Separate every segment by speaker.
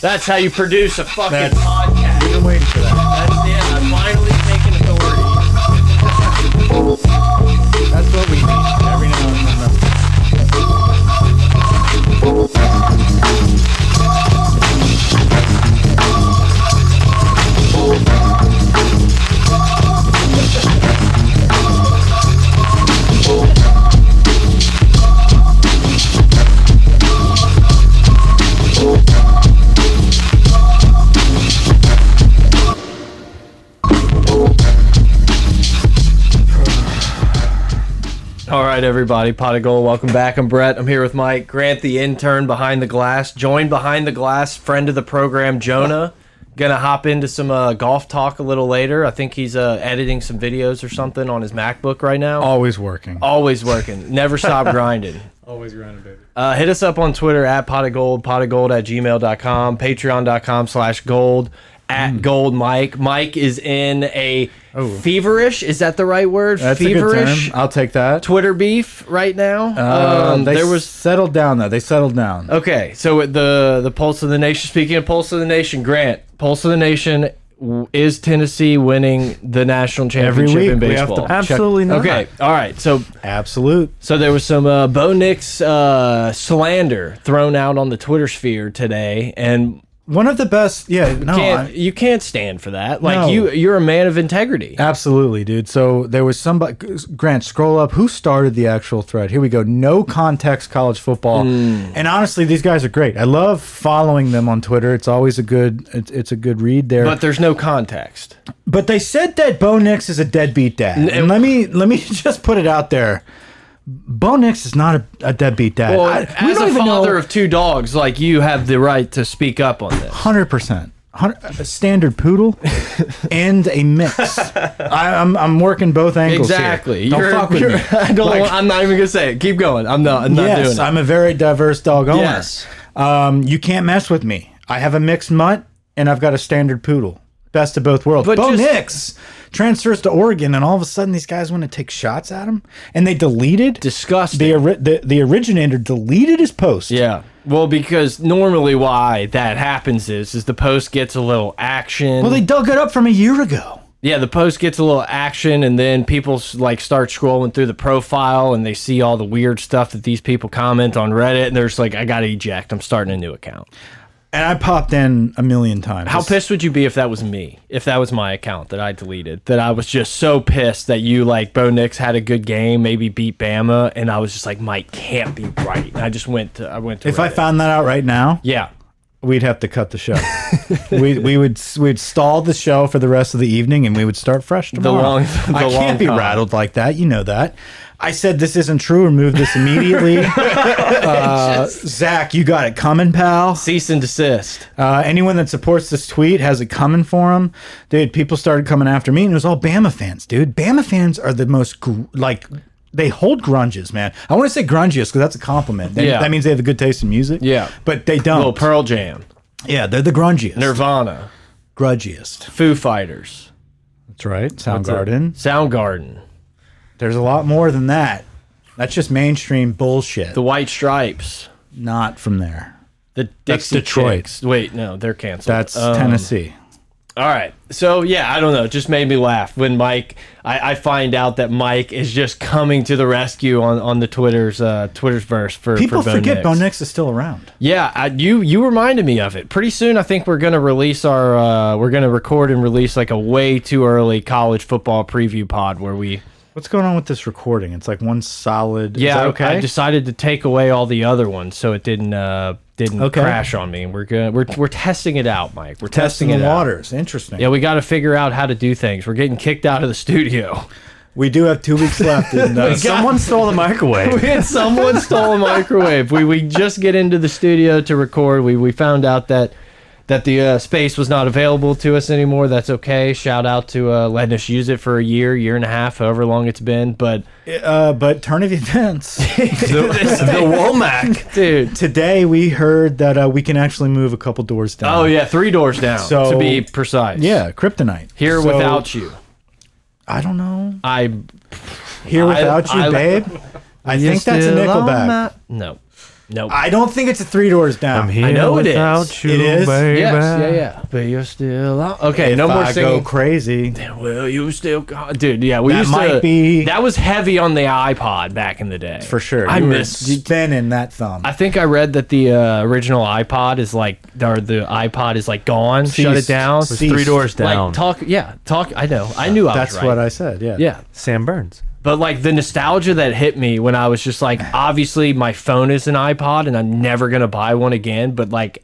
Speaker 1: That's how you produce a fucking
Speaker 2: That's-
Speaker 1: podcast.
Speaker 2: I've been waiting for that.
Speaker 1: That's it. I'm finally taking authority.
Speaker 2: That's what we need every now and then.
Speaker 1: All right, everybody. Pot of Gold, welcome back. I'm Brett. I'm here with Mike Grant, the intern behind the glass. Joined behind the glass, friend of the program, Jonah. Gonna hop into some uh, golf talk a little later. I think he's uh, editing some videos or something on his MacBook right now.
Speaker 2: Always working.
Speaker 1: Always working. Never stop grinding.
Speaker 2: Always grinding, baby.
Speaker 1: Uh, hit us up on Twitter at pot of gold, pot of gold at gmail.com, patreon.com slash gold, at gold Mike. Mike is in a
Speaker 2: Hmm. Oh.
Speaker 1: feverish, is that the right word?
Speaker 2: That's
Speaker 1: feverish
Speaker 2: a good term. I'll take that.
Speaker 1: Twitter beef right now.
Speaker 2: Um,
Speaker 1: um,
Speaker 2: they
Speaker 1: there was
Speaker 2: settled down though. They settled down.
Speaker 1: Okay, so at the the pulse of the nation. Speaking of pulse of the nation, Grant, pulse of the nation w- is Tennessee winning the national
Speaker 2: Every
Speaker 1: championship
Speaker 2: week
Speaker 1: in
Speaker 2: we have
Speaker 1: baseball.
Speaker 2: to check-
Speaker 3: Absolutely not.
Speaker 1: okay, all right. So
Speaker 2: Absolute.
Speaker 1: so there was some uh, Bo Nix uh, slander thrown out on the Twitter sphere today, and
Speaker 2: One of the best. Yeah. No.
Speaker 1: can't,
Speaker 2: I-
Speaker 1: you can't stand for that. Like
Speaker 2: No.
Speaker 1: you you're a man of integrity.
Speaker 2: Absolutely, dude. So there was somebody. Grant, scroll up. Who started the actual thread? Here we go. No context college football.
Speaker 1: Hmm.
Speaker 2: And honestly, these guys are great. I love following them on Twitter. It's always a good. It's, it's a good read there.
Speaker 1: But there's no context.
Speaker 2: But they said that Bo Nix is a deadbeat dad. And let me let me just put it out there. Bo Nix is not a, a deadbeat dad.
Speaker 1: Well,
Speaker 2: I- we
Speaker 1: as
Speaker 2: don't
Speaker 1: a
Speaker 2: even
Speaker 1: father
Speaker 2: know
Speaker 1: of two dogs, like you have the right to speak up on this.
Speaker 2: 100%. Hun- A standard poodle and a mix. I, I'm, I'm working both angles. here.
Speaker 1: Exactly.
Speaker 2: Don't
Speaker 1: You're-
Speaker 2: fuck with
Speaker 1: you're-
Speaker 2: me.
Speaker 1: I don't.
Speaker 2: Like-
Speaker 1: want- I'm not even gonna say it. Keep going. I'm not. I'm not
Speaker 2: yes,
Speaker 1: doing it.
Speaker 2: I'm a very diverse dog owner.
Speaker 1: Yes.
Speaker 2: Um, you can't mess with me. I have a mixed mutt and I've got a standard poodle. Best of both worlds.
Speaker 1: But
Speaker 2: Bo
Speaker 1: just-
Speaker 2: Nix transfers to Oregon, and all of a sudden these guys want to take shots at him, and they deleted
Speaker 1: Disgusting.
Speaker 2: the, ori- the the originator deleted his post.
Speaker 1: yeah. Well, because normally why that happens is is the post gets a little action.
Speaker 2: Well, they dug it up from a year ago.
Speaker 1: yeah, the post gets a little action, and then people s- like start scrolling through the profile, and they see all the weird stuff that these people comment on Reddit, and they're just like, I gotta eject. I'm starting a new account.
Speaker 2: And I popped in a million times.
Speaker 1: How pissed would you be if that was me? If that was my account that I deleted, that I was just so pissed that you like Bo Nix had a good game, maybe beat Bama, and I was just like, Mike can't be right. And I just went to I went to
Speaker 2: If I
Speaker 1: Reddit.
Speaker 2: found that out right now,
Speaker 1: yeah.
Speaker 2: we'd have to cut the show. we we would s- we'd stall the show for the rest of the evening, and we would start fresh tomorrow.
Speaker 1: long- the
Speaker 2: I can't
Speaker 1: long
Speaker 2: be
Speaker 1: con.
Speaker 2: rattled like that. You know that. I said this isn't true. Remove this immediately. uh, Zach, you got it coming, pal.
Speaker 1: Cease and desist.
Speaker 2: Uh, anyone that supports this tweet has it coming for them, dude. People started coming after me, and it was all Bama fans, dude. Bama fans are the most gr like they hold grunges, man. I want to say grungiest because that's a compliment. They-
Speaker 1: Yeah.
Speaker 2: that means they have a good taste in music.
Speaker 1: Yeah.
Speaker 2: but they
Speaker 1: Little
Speaker 2: don't.
Speaker 1: Pearl Jam.
Speaker 2: yeah, they're the grungiest,
Speaker 1: Nirvana.
Speaker 2: grudgiest.
Speaker 1: Foo Fighters.
Speaker 2: That's right. Soundgarden.
Speaker 1: Soundgarden.
Speaker 2: There's a lot more than that. That's just mainstream bullshit.
Speaker 1: The White Stripes.
Speaker 2: Not from there.
Speaker 1: The Dixie
Speaker 2: That's Detroit.
Speaker 1: Chicks. Wait, no, they're canceled.
Speaker 2: That's
Speaker 1: Um,
Speaker 2: Tennessee.
Speaker 1: All right. So yeah, I don't know. It just made me laugh when Mike. I, I find out that Mike is just coming to the rescue on on the Twitter's uh, Twitter's verse for
Speaker 2: People
Speaker 1: for Bo
Speaker 2: forget
Speaker 1: Nix.
Speaker 2: Bo Nix is still around.
Speaker 1: Yeah, I, you you reminded me of it. Pretty soon, I think we're gonna release our uh, we're gonna record and release like a way too early college football preview pod where we
Speaker 2: What's going on with this recording? It's like one solid. is
Speaker 1: yeah
Speaker 2: that
Speaker 1: I-
Speaker 2: okay.
Speaker 1: I, decided to take away all the other ones so it didn't uh, didn't
Speaker 2: Okay.
Speaker 1: crash on me. We're gonna we're we're testing it out, Mike. We're testing,
Speaker 2: testing the
Speaker 1: it out.
Speaker 2: waters. Interesting.
Speaker 1: Yeah, we got to figure out how to do things. We're getting kicked out of the studio.
Speaker 2: We do have two weeks left. And, uh,
Speaker 3: Someone stole the microwave.
Speaker 1: and someone stole a microwave. We we just get into the studio to record. We we found out that that the uh, space was not available to us anymore. That's okay. Shout out to uh, letting us use it for a year, year and a half, however long it's been. But
Speaker 2: uh, but turn of events.
Speaker 3: the, the Womack.
Speaker 1: dude,
Speaker 2: Today we heard that uh, we can actually move a couple doors down.
Speaker 1: oh yeah, three doors down to
Speaker 2: So-
Speaker 1: be precise.
Speaker 2: Yeah, kryptonite.
Speaker 1: here
Speaker 2: So,
Speaker 1: without you,
Speaker 2: I don't know.
Speaker 1: I
Speaker 2: Here
Speaker 1: I-
Speaker 2: without you,
Speaker 1: I-
Speaker 2: babe. I think that's a
Speaker 1: Still on
Speaker 2: Nickelback.
Speaker 1: my- No, Nope.
Speaker 2: I don't think it's a three doors down.
Speaker 3: I'm here
Speaker 1: I know it is.
Speaker 3: without you,
Speaker 2: It is?
Speaker 3: baby.
Speaker 1: yes, yeah, yeah. But you're still out. Okay,
Speaker 2: If
Speaker 1: no more
Speaker 2: I
Speaker 1: singing.
Speaker 2: go crazy.
Speaker 1: Will you still, God, dude? Yeah, we
Speaker 2: That
Speaker 1: used to.
Speaker 2: might be-
Speaker 1: That was heavy on the iPod back in the day,
Speaker 2: For sure.
Speaker 1: I
Speaker 2: You were
Speaker 1: miss.
Speaker 2: spinning that thumb.
Speaker 1: I think I read that the uh, original iPod is like, or the iPod is like gone. Shut it
Speaker 2: Ceased.
Speaker 1: down.
Speaker 2: Ceased.
Speaker 3: Three doors down.
Speaker 1: Like talk, yeah, talk. I know. I knew I
Speaker 2: That's
Speaker 1: was right.
Speaker 2: what I said. Yeah.
Speaker 1: Yeah,
Speaker 3: Sam Burns.
Speaker 1: but like the nostalgia that hit me when I was just like, obviously my phone is an iPod and I'm never gonna buy one again. But like,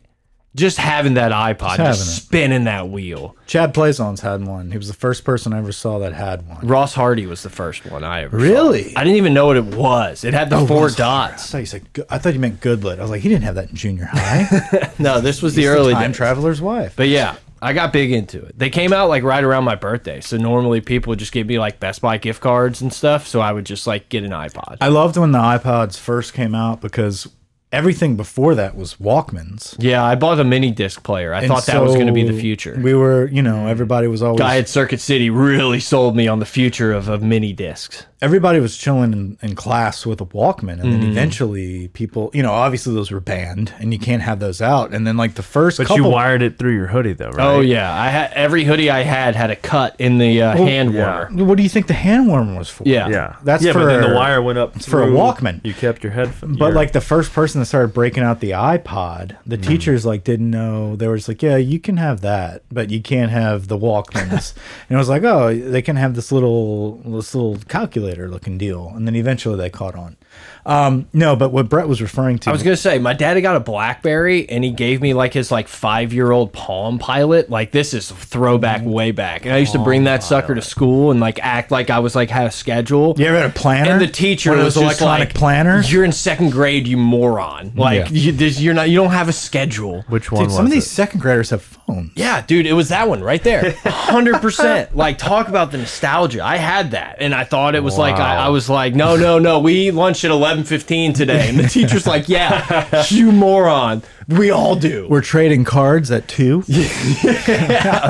Speaker 1: just having that iPod,
Speaker 2: having
Speaker 1: just
Speaker 2: it.
Speaker 1: spinning that wheel.
Speaker 2: Chad Plaison's had one. He was the first person I ever saw that had one.
Speaker 1: Ross Hardy was the first one I ever. saw.
Speaker 2: Really?
Speaker 1: I didn't even know what it was. It had the four
Speaker 2: Ross
Speaker 1: dots.
Speaker 2: So you said, Go- I thought you meant Goodlet. I was like, he didn't have that in junior high.
Speaker 1: No, this was the early
Speaker 2: time
Speaker 1: days.
Speaker 2: traveler's wife.
Speaker 1: But yeah, I got big into it. They came out like right around my birthday, so normally people would just give me like Best Buy gift cards and stuff. So I would just like get an iPod.
Speaker 2: I loved when the iPods first came out because everything before that was Walkmans.
Speaker 1: yeah, I bought a mini disc player. I
Speaker 2: And
Speaker 1: thought that was going to be the
Speaker 2: so
Speaker 1: future.
Speaker 2: We were, you know, everybody was always
Speaker 1: guy at Circuit City really sold me on the future of, of mini discs.
Speaker 2: everybody was chilling in, in class with a Walkman, and then
Speaker 1: Mm.
Speaker 2: eventually people, you know, obviously those were banned, and you can't have those out. And then like the first
Speaker 3: But
Speaker 2: couple,
Speaker 3: you wired it through your hoodie, though, right?
Speaker 1: Oh yeah, I had every hoodie I had had a cut in the uh, hand
Speaker 3: yeah.
Speaker 1: warmer.
Speaker 2: what do you think the hand warmer was for?
Speaker 1: Yeah.
Speaker 3: Yeah.
Speaker 2: That's
Speaker 3: yeah, but then
Speaker 2: for-
Speaker 3: the wire went up
Speaker 2: for a
Speaker 3: through-
Speaker 2: Walkman.
Speaker 3: You kept your headphone.
Speaker 2: But
Speaker 3: your-
Speaker 2: like the first person that started breaking out the iPod, the
Speaker 1: Mm.
Speaker 2: teachers like didn't know. They were just like, "Yeah, you can have that, but you can't have the Walkmans." and it was like, "Oh, they can have this little this little calculator looking deal." And then eventually they caught on. Um, no, but what Brett was referring to
Speaker 1: I was gonna say my dad had got a BlackBerry and he gave me like his like five year old Palm Pilot. Like this is throwback way back. And I used to bring that sucker to school and like act like I was like had a schedule.
Speaker 2: You ever had a planner?
Speaker 1: And the teacher
Speaker 2: One of
Speaker 1: was
Speaker 2: those
Speaker 1: just
Speaker 2: electronic
Speaker 1: like,
Speaker 2: planners.
Speaker 1: You're in second grade, you moron. Like
Speaker 2: Yeah.
Speaker 1: you, this, you're not. You don't have a schedule.
Speaker 3: which one
Speaker 2: Dude,
Speaker 3: was
Speaker 2: some of these
Speaker 3: it?
Speaker 2: second graders have phones.
Speaker 1: Yeah, dude, it was that one right there. 100%. like, talk about the nostalgia. I had that. And I thought it was like, I, I was like, no, no, no, we eat lunch at 11.15 today. And the teacher's like, yeah, you moron. We all do.
Speaker 2: We're trading cards at two.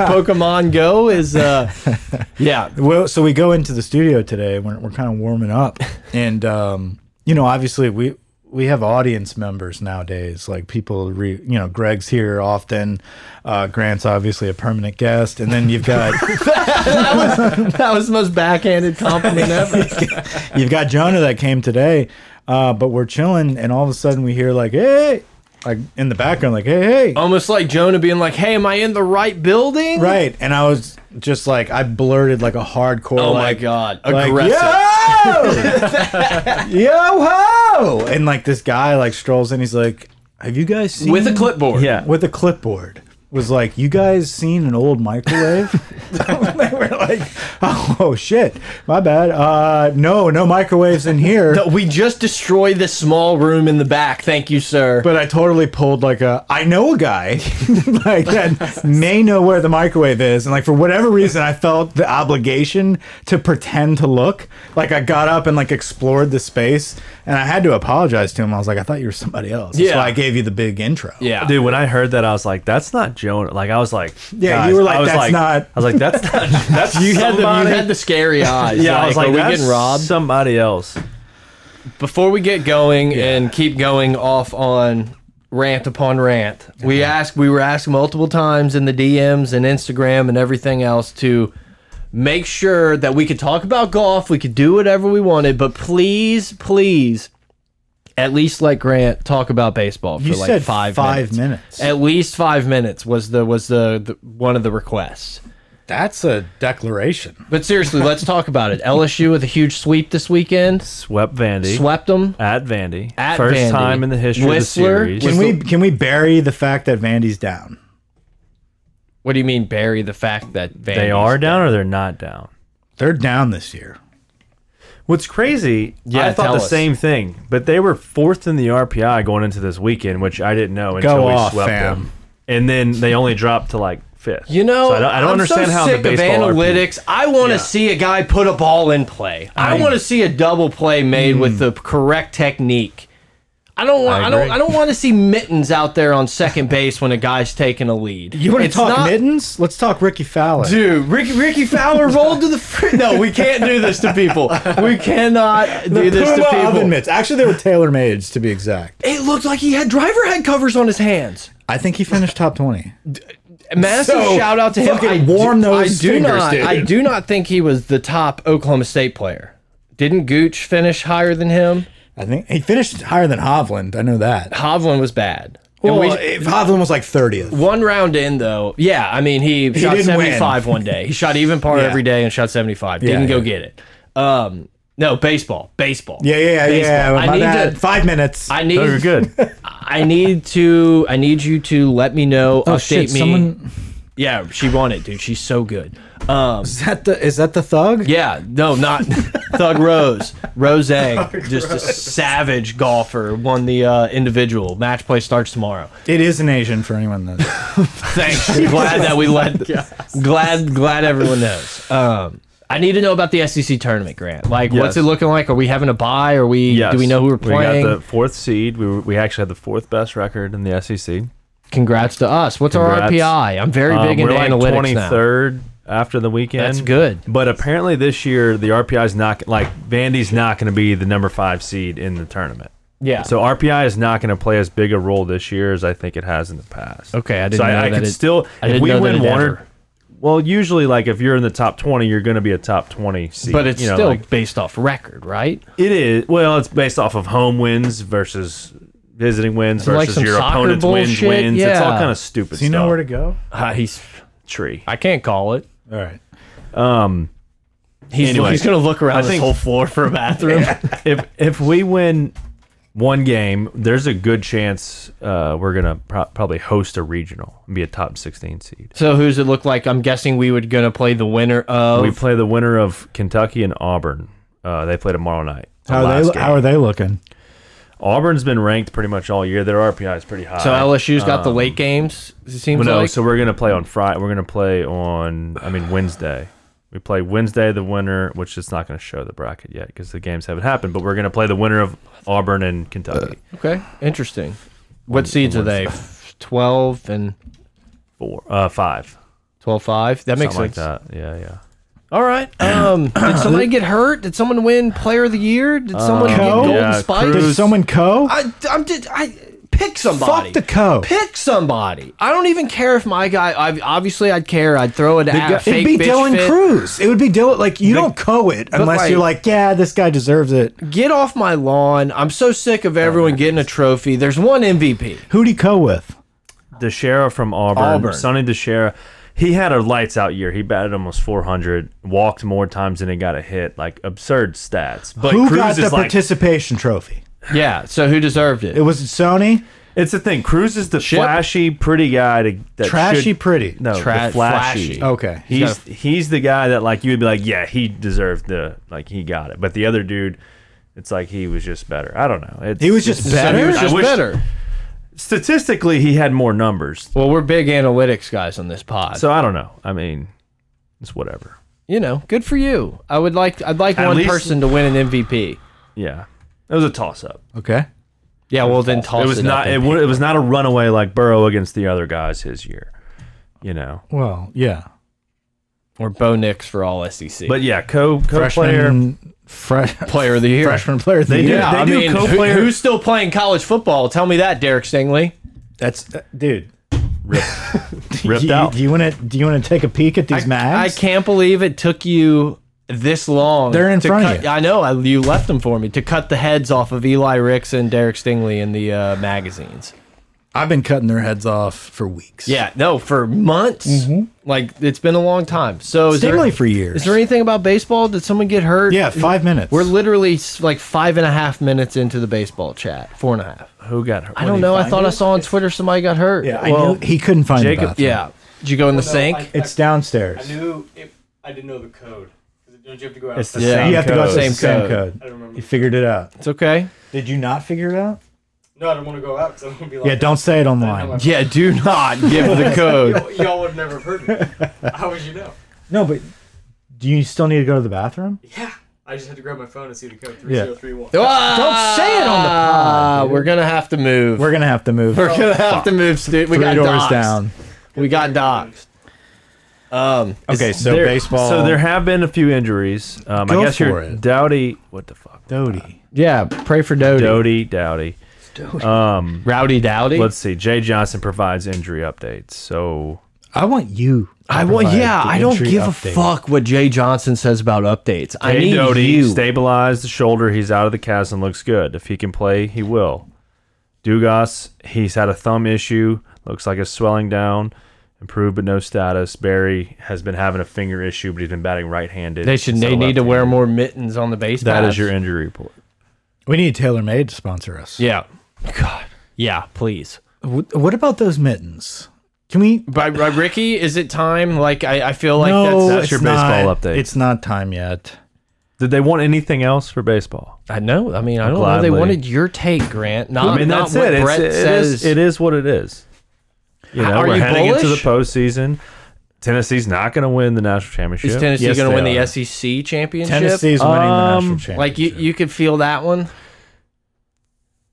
Speaker 1: Pokemon Go is, uh, yeah.
Speaker 2: Well, so we go into the studio today. We're, we're kind of warming up, and um, you know, obviously we we have audience members nowadays. Like people, re, you know, Greg's here often. Uh, Grant's obviously a permanent guest, and then you've got
Speaker 1: That was the most backhanded compliment ever.
Speaker 2: you've got Jonah that came today. Uh, but we're chilling, and all of a sudden we hear like, hey, like in the background, like, hey, hey,
Speaker 1: Almost like Jonah being like, hey, am I in the right building?
Speaker 2: right. And I was just like, I blurted like a hardcore.
Speaker 1: Oh,
Speaker 2: like,
Speaker 1: my God.
Speaker 2: like,
Speaker 1: Aggressive.
Speaker 2: yo, yo ho, and like this guy like strolls in. He's like, "Have you guys seen
Speaker 1: With a clipboard.
Speaker 3: Yeah.
Speaker 2: with a clipboard?" Was like, "You guys seen an old microwave?" they were like, "Oh shit, my bad. Uh, no, no microwaves in here."
Speaker 1: No, we just destroyed this small room in the back. Thank you, sir.
Speaker 2: But I totally pulled like a I know a guy like that may know where the microwave is, and like for whatever reason, I felt the obligation to pretend to look. Like I got up and like explored the space, and I had to apologize to him. I was like, I thought you were somebody else. That's
Speaker 1: Yeah.
Speaker 2: why I gave you the big intro.
Speaker 1: yeah.
Speaker 3: Dude, when I heard that, I was like, "That's not Jonah." Like, I was like,
Speaker 2: Yeah,
Speaker 3: guys,
Speaker 2: you were like,
Speaker 3: I was
Speaker 2: "That's not-
Speaker 3: I was like, "That's not." That's
Speaker 1: You had, the, you
Speaker 3: somebody-
Speaker 1: had the scary eyes.
Speaker 3: Yeah, I was like,
Speaker 1: are we
Speaker 3: "That's
Speaker 1: getting robbed?
Speaker 3: Somebody else.
Speaker 1: Before we get going and keep going off on rant upon rant, we asked, we were asked multiple times in the DMs and Instagram and everything else to make sure that we could talk about golf, we could do whatever we wanted, but please, please, at least let Grant talk about baseball for
Speaker 2: You
Speaker 1: like
Speaker 2: said
Speaker 1: five
Speaker 2: five minutes.
Speaker 1: At least five minutes was the was the, the one of the requests.
Speaker 2: That's a declaration.
Speaker 1: But seriously, let's talk about it. LSU with a huge sweep this weekend,
Speaker 3: Swept Vandy.
Speaker 1: swept them.
Speaker 3: at Vandy.
Speaker 1: At
Speaker 3: First
Speaker 1: Vandy.
Speaker 3: time in the history
Speaker 1: Whistler.
Speaker 3: of the series.
Speaker 2: Can
Speaker 1: Was
Speaker 2: we
Speaker 1: the-
Speaker 2: can we bury the fact that Vandy's down?
Speaker 1: What do you mean bury the fact that Vandy's
Speaker 3: they are down or they're not down.
Speaker 2: They're down this year.
Speaker 3: What's crazy,
Speaker 1: Yeah,
Speaker 3: I thought
Speaker 1: tell
Speaker 3: the
Speaker 1: us.
Speaker 3: same thing, but they were fourth in the RPI going into this weekend, which I didn't know until we
Speaker 2: off,
Speaker 3: swept
Speaker 2: fam.
Speaker 3: them. And then they only dropped to like fifth.
Speaker 1: You know,
Speaker 3: So I don't, I don't
Speaker 1: I'm
Speaker 3: understand
Speaker 1: so
Speaker 3: how
Speaker 1: sick
Speaker 3: the
Speaker 1: of
Speaker 3: baseball RPI
Speaker 1: analytics. I want to see a guy put a ball in play. I, want to see a double play made with the correct technique. I don't want.
Speaker 2: I
Speaker 1: I, don't.
Speaker 2: agree.
Speaker 1: I don't want to see mittens out there on second base when a guy's taking a lead.
Speaker 2: You want to
Speaker 1: It's
Speaker 2: talk
Speaker 1: not-
Speaker 2: mittens? Let's talk Ricky Fowler.
Speaker 1: Dude, Ricky, Ricky Fowler rolled to the. Fr- no, we can't do this to people. We cannot do this to
Speaker 2: Puma
Speaker 1: people.
Speaker 2: oven mitts. Actually, they were tailor made to be exact.
Speaker 1: It looked like he had driver head covers on his hands.
Speaker 2: I think he finished top twenty.
Speaker 1: Massive
Speaker 2: So,
Speaker 1: shout out to him.
Speaker 2: fucking
Speaker 1: I do-
Speaker 2: warm those
Speaker 1: I do
Speaker 2: fingers,
Speaker 1: not.
Speaker 2: dude.
Speaker 1: I do not think he was the top Oklahoma State player. Didn't Gooch finish higher than him?
Speaker 2: I think he finished higher than Hovland. I know that.
Speaker 1: Hovland was bad. And
Speaker 2: Well,
Speaker 1: we-
Speaker 2: if Hovland was like thirtieth.
Speaker 1: one round in though, yeah. I mean, he, shot
Speaker 2: didn't win.
Speaker 1: 75 one day. He shot even par
Speaker 2: Yeah.
Speaker 1: every day and shot 75. Didn't
Speaker 2: yeah.
Speaker 1: go get it. Um, no baseball, baseball.
Speaker 2: Yeah, yeah, yeah. yeah.
Speaker 1: Baseball.
Speaker 2: My
Speaker 1: I need
Speaker 2: bad.
Speaker 1: to.
Speaker 2: Five minutes.
Speaker 1: I
Speaker 3: No, you're
Speaker 1: need.
Speaker 3: good.
Speaker 1: I need to. I need you to let me know.
Speaker 3: Oh,
Speaker 1: update
Speaker 2: Oh, shit,
Speaker 1: me.
Speaker 2: someone-
Speaker 1: Yeah, she won it, dude. She's so good. Um,
Speaker 2: is that the is that the thug?
Speaker 1: yeah, no, not Thug Rose. Rose, just a savage golfer, won the uh, individual. Match play starts tomorrow.
Speaker 2: It is an Asian for anyone that.
Speaker 1: Thanks. glad that
Speaker 3: Oh
Speaker 1: we let. Glad, glad everyone knows. Um, I need to know about the SEC tournament, Grant. Like, what's
Speaker 3: Yes.
Speaker 1: it looking like? Are we having a buy? Are we?
Speaker 3: Yes.
Speaker 1: Do we know who we're playing?
Speaker 3: We got the fourth seed. We, were, we actually had the fourth best record in the E SEC.
Speaker 1: Congrats to us. What's our
Speaker 3: Congrats.
Speaker 1: RPI? I'm very
Speaker 3: Um,
Speaker 1: big
Speaker 3: we're
Speaker 1: into
Speaker 3: like
Speaker 1: analytics now.
Speaker 3: 23rd after the weekend.
Speaker 1: That's good.
Speaker 3: But apparently this year the RPI is not like Vandy's not going to be the number five seed in the tournament.
Speaker 1: Yeah.
Speaker 3: So RPI is not going to play as big a role this year as I think it has in the past.
Speaker 1: Okay, I didn't
Speaker 3: so
Speaker 1: know
Speaker 3: I, I
Speaker 1: that
Speaker 3: could
Speaker 1: it-
Speaker 3: still
Speaker 1: I
Speaker 3: if
Speaker 1: didn't
Speaker 3: we
Speaker 1: know that
Speaker 3: win
Speaker 1: it
Speaker 3: one
Speaker 1: ever-
Speaker 3: or well, usually like if you're in the top 20, you're going to be a top 20 seed.
Speaker 1: but it's
Speaker 3: you know,
Speaker 1: still
Speaker 3: like-
Speaker 1: based off record, right?
Speaker 3: it is. Well, it's based off of home wins versus visiting wins
Speaker 1: So, like,
Speaker 3: versus
Speaker 1: some
Speaker 3: your
Speaker 1: soccer
Speaker 3: opponent's wins
Speaker 1: bullshit?
Speaker 3: wins. It's all
Speaker 1: Yeah.
Speaker 3: kind of stupid
Speaker 2: Do you
Speaker 3: stuff.
Speaker 2: know where to go?
Speaker 1: Uh, he's.
Speaker 3: tree.
Speaker 1: I can't call it.
Speaker 2: All right.
Speaker 1: He's,
Speaker 3: Anyway,
Speaker 1: he's gonna look around
Speaker 3: I
Speaker 1: this
Speaker 3: think-
Speaker 1: whole floor for a bathroom.
Speaker 3: if if we win one game, there's a good chance uh, we're gonna pro probably host a regional and be a top 16 seed.
Speaker 1: So who's it look like? I'm guessing we would gonna play the winner of.
Speaker 3: We play the winner of Kentucky and Auburn. Uh, they play tomorrow night. the
Speaker 2: How are
Speaker 3: last
Speaker 2: they?
Speaker 3: game.
Speaker 2: How are they looking?
Speaker 3: Auburn's been ranked pretty much all year. Their RPI is pretty high.
Speaker 1: so LSU's got the late games. It seems
Speaker 3: um, Well, no,
Speaker 1: like.
Speaker 3: so we're gonna play on Friday. We're gonna play on. I mean Wednesday. We play Wednesday the winner, which is not gonna show the bracket yet because the games haven't happened. But we're gonna play the winner of Auburn and Kentucky.
Speaker 1: okay, interesting. What seeds are they? Twelve and
Speaker 3: Four, uh, five,
Speaker 1: 12-5? That makes
Speaker 3: something like
Speaker 1: sense.
Speaker 3: that. Yeah, yeah.
Speaker 1: All right. Um, did somebody get hurt? Did someone win Player of the Year? Did someone get
Speaker 2: Co?
Speaker 1: Golden
Speaker 3: Um, Yeah,
Speaker 1: Spikes?
Speaker 2: Did
Speaker 3: Cruz-
Speaker 2: someone co?
Speaker 1: I, I'm just, I pick somebody.
Speaker 2: Fuck the co.
Speaker 1: Pick somebody. I don't even care if my guy. I, obviously, I'd care. I'd throw it at
Speaker 2: It'd
Speaker 1: fake
Speaker 2: be
Speaker 1: bitch
Speaker 2: Dylan
Speaker 1: fit.
Speaker 2: Cruz. It would be Dylan. Like you don't co it unless
Speaker 1: like-
Speaker 2: you're like, yeah, this guy deserves it.
Speaker 1: Get off my lawn. I'm so sick of everyone getting a trophy. There's one MVP.
Speaker 2: Who'd he co with?
Speaker 3: DeShera from Auburn,
Speaker 1: Auburn.
Speaker 3: Sonny DeShera. He had a lights out year. He batted almost 400, walked more times than he got a hit. Like absurd stats. But
Speaker 2: Who
Speaker 3: Cruz
Speaker 2: got the
Speaker 3: is like
Speaker 2: participation trophy?
Speaker 1: Yeah. So who deserved it?
Speaker 2: It was Sony.
Speaker 3: it's the thing. Cruz is the
Speaker 1: Chip?
Speaker 3: flashy, pretty guy to that
Speaker 2: Trashy
Speaker 3: should-
Speaker 2: pretty.
Speaker 3: No,
Speaker 1: Tra-
Speaker 3: the flashy.
Speaker 1: flashy.
Speaker 2: Okay.
Speaker 3: He's
Speaker 1: got
Speaker 3: he's the guy that like you would be like, yeah, he deserved the like he got it. But the other dude, it's like he was just better. I don't know. It's,
Speaker 2: He was just
Speaker 3: it's-
Speaker 2: better?
Speaker 1: He was
Speaker 3: I
Speaker 1: just
Speaker 3: wish-
Speaker 1: better.
Speaker 3: Statistically, he had more numbers.
Speaker 1: Well, we're big analytics guys on this pod.
Speaker 3: So I don't know. I mean, it's whatever.
Speaker 1: you know, good for you. I would like I'd like
Speaker 3: At
Speaker 1: one
Speaker 3: least-
Speaker 1: person to win an MVP.
Speaker 3: Yeah, it was a toss up.
Speaker 2: Okay.
Speaker 1: Yeah, well then toss
Speaker 3: it was not.
Speaker 1: Up
Speaker 3: It,
Speaker 1: and-
Speaker 3: wa- it was not a runaway like Burrow against the other guys his year. You know,
Speaker 2: Well, yeah.
Speaker 1: or Bo Nix for all E SEC.
Speaker 3: but yeah, co co player.
Speaker 2: Freshman, fresh,
Speaker 1: player of the year.
Speaker 2: freshman player. Of the
Speaker 3: They did
Speaker 2: year.
Speaker 1: Yeah,
Speaker 3: They
Speaker 1: I
Speaker 3: do
Speaker 1: mean, who-
Speaker 3: co-player-
Speaker 1: who's still playing college football? Tell me that, Derek Stingley.
Speaker 2: That's uh, dude.
Speaker 3: Ripped
Speaker 2: do, you-
Speaker 3: out.
Speaker 2: Do you want to? Do you want to take a peek at these
Speaker 1: I
Speaker 2: mags?
Speaker 1: can't believe it took you this long.
Speaker 2: They're in
Speaker 1: to
Speaker 2: front of
Speaker 1: cut,
Speaker 2: you.
Speaker 1: I know. I, you left them for me to cut the heads off of Eli Ricks and Derek Stingley in the uh, magazines.
Speaker 2: I've been cutting their heads off for weeks.
Speaker 1: Yeah, no, for months. Like it's been a long time. So is
Speaker 2: Mm-hmm. Stingley
Speaker 1: there,
Speaker 2: for years.
Speaker 1: Is there anything about baseball? Did someone get hurt?
Speaker 2: Yeah, five minutes.
Speaker 1: We're literally s- like five and a half minutes into the baseball chat. Four and a half.
Speaker 3: Who got hurt?
Speaker 1: I don't know. I thought I saw on Twitter somebody got hurt.
Speaker 2: Yeah, I
Speaker 3: Well,
Speaker 2: knew he couldn't find the
Speaker 3: Jacob-
Speaker 2: bathroom.
Speaker 1: Yeah. Did you go in the sink?
Speaker 2: It's downstairs.
Speaker 4: I knew if I didn't know the code. 'Cause Don't you have to go out?
Speaker 3: It's the
Speaker 1: Yeah.
Speaker 3: same
Speaker 2: you have to go out to
Speaker 3: code.
Speaker 2: the
Speaker 1: Same
Speaker 2: same,
Speaker 1: code.
Speaker 2: code.
Speaker 4: I don't remember.
Speaker 2: You figured it out.
Speaker 1: it's okay.
Speaker 2: Did you not figure it out?
Speaker 4: No, I don't want to go out because I'm gonna be like.
Speaker 2: Yeah, don't say it online.
Speaker 4: online.
Speaker 1: Yeah, do not give the code.
Speaker 4: Y'all, "Oh, y'all would never have heard me. How would you know?
Speaker 2: No, but do you still need to go to the bathroom?
Speaker 4: Yeah. I just had to grab my phone and see the code
Speaker 2: Yeah.
Speaker 4: 3031.
Speaker 1: Don't Ah,
Speaker 2: say it on the pod, dude.
Speaker 1: We're gonna have to move.
Speaker 2: We're gonna have to move
Speaker 1: We're gonna have to move, dude. We
Speaker 2: three
Speaker 1: got
Speaker 2: doors
Speaker 1: doxxed.
Speaker 2: down.
Speaker 1: We got doxxed. Um,
Speaker 2: Okay, so
Speaker 3: There-
Speaker 2: baseball.
Speaker 3: So there have been a few injuries. Um,
Speaker 2: Go
Speaker 3: I guess
Speaker 2: for
Speaker 3: you're
Speaker 2: it.
Speaker 3: Dowdy. What the fuck?
Speaker 2: Doty.
Speaker 1: yeah, pray for Dodie.
Speaker 3: Dowdy, Dowdy. Um,
Speaker 1: Rowdy Dowdy.
Speaker 3: let's see. Jay Johnson provides injury updates. So
Speaker 2: I want you. to
Speaker 1: I want.
Speaker 2: provide
Speaker 1: Yeah,
Speaker 2: the
Speaker 1: I don't
Speaker 2: injury
Speaker 1: give
Speaker 2: update.
Speaker 1: a fuck what Jay Johnson says about updates. I
Speaker 3: Hey,
Speaker 1: need
Speaker 3: Doty
Speaker 1: you.
Speaker 3: stabilized the shoulder. He's out of the cast and looks good. If he can play, he will. Dugas, he's had a thumb issue. Looks like it's swelling down. Improved but no status. Barry has been having a finger issue, but he's been batting right-handed.
Speaker 1: they should.
Speaker 3: instead
Speaker 1: They
Speaker 3: of
Speaker 1: need to wear
Speaker 3: left-handed.
Speaker 1: more mittens on the base.
Speaker 3: That
Speaker 1: paths.
Speaker 3: is your injury report.
Speaker 2: We need Taylor Made to sponsor us.
Speaker 1: Yeah. God. Yeah, please.
Speaker 2: Wh- What about those mittens? Can we?
Speaker 1: By, by Ricky, is it time? Like I, I feel like
Speaker 2: no,
Speaker 1: that's
Speaker 3: that's your
Speaker 2: it's not.
Speaker 3: baseball update.
Speaker 2: It's not time yet.
Speaker 3: Did they want anything else for baseball?
Speaker 1: I know. I mean, I don't know. They
Speaker 3: Gladly.
Speaker 1: wanted your take, Grant. Not,
Speaker 3: I mean,
Speaker 1: not
Speaker 3: that's
Speaker 1: what
Speaker 3: it. It's-
Speaker 1: Brett
Speaker 3: it is-
Speaker 1: says.
Speaker 3: it is what it is. You know,
Speaker 1: Are
Speaker 3: we're
Speaker 1: you
Speaker 3: heading into the
Speaker 1: bullish?
Speaker 3: postseason. Tennessee's not going to win the national championship.
Speaker 1: Is Tennessee
Speaker 2: Yes,
Speaker 1: going to
Speaker 2: they
Speaker 1: win
Speaker 2: are.
Speaker 1: the SEC championship?
Speaker 2: Tennessee's winning the national
Speaker 3: Um,
Speaker 2: championship.
Speaker 1: Like you, you could feel that one.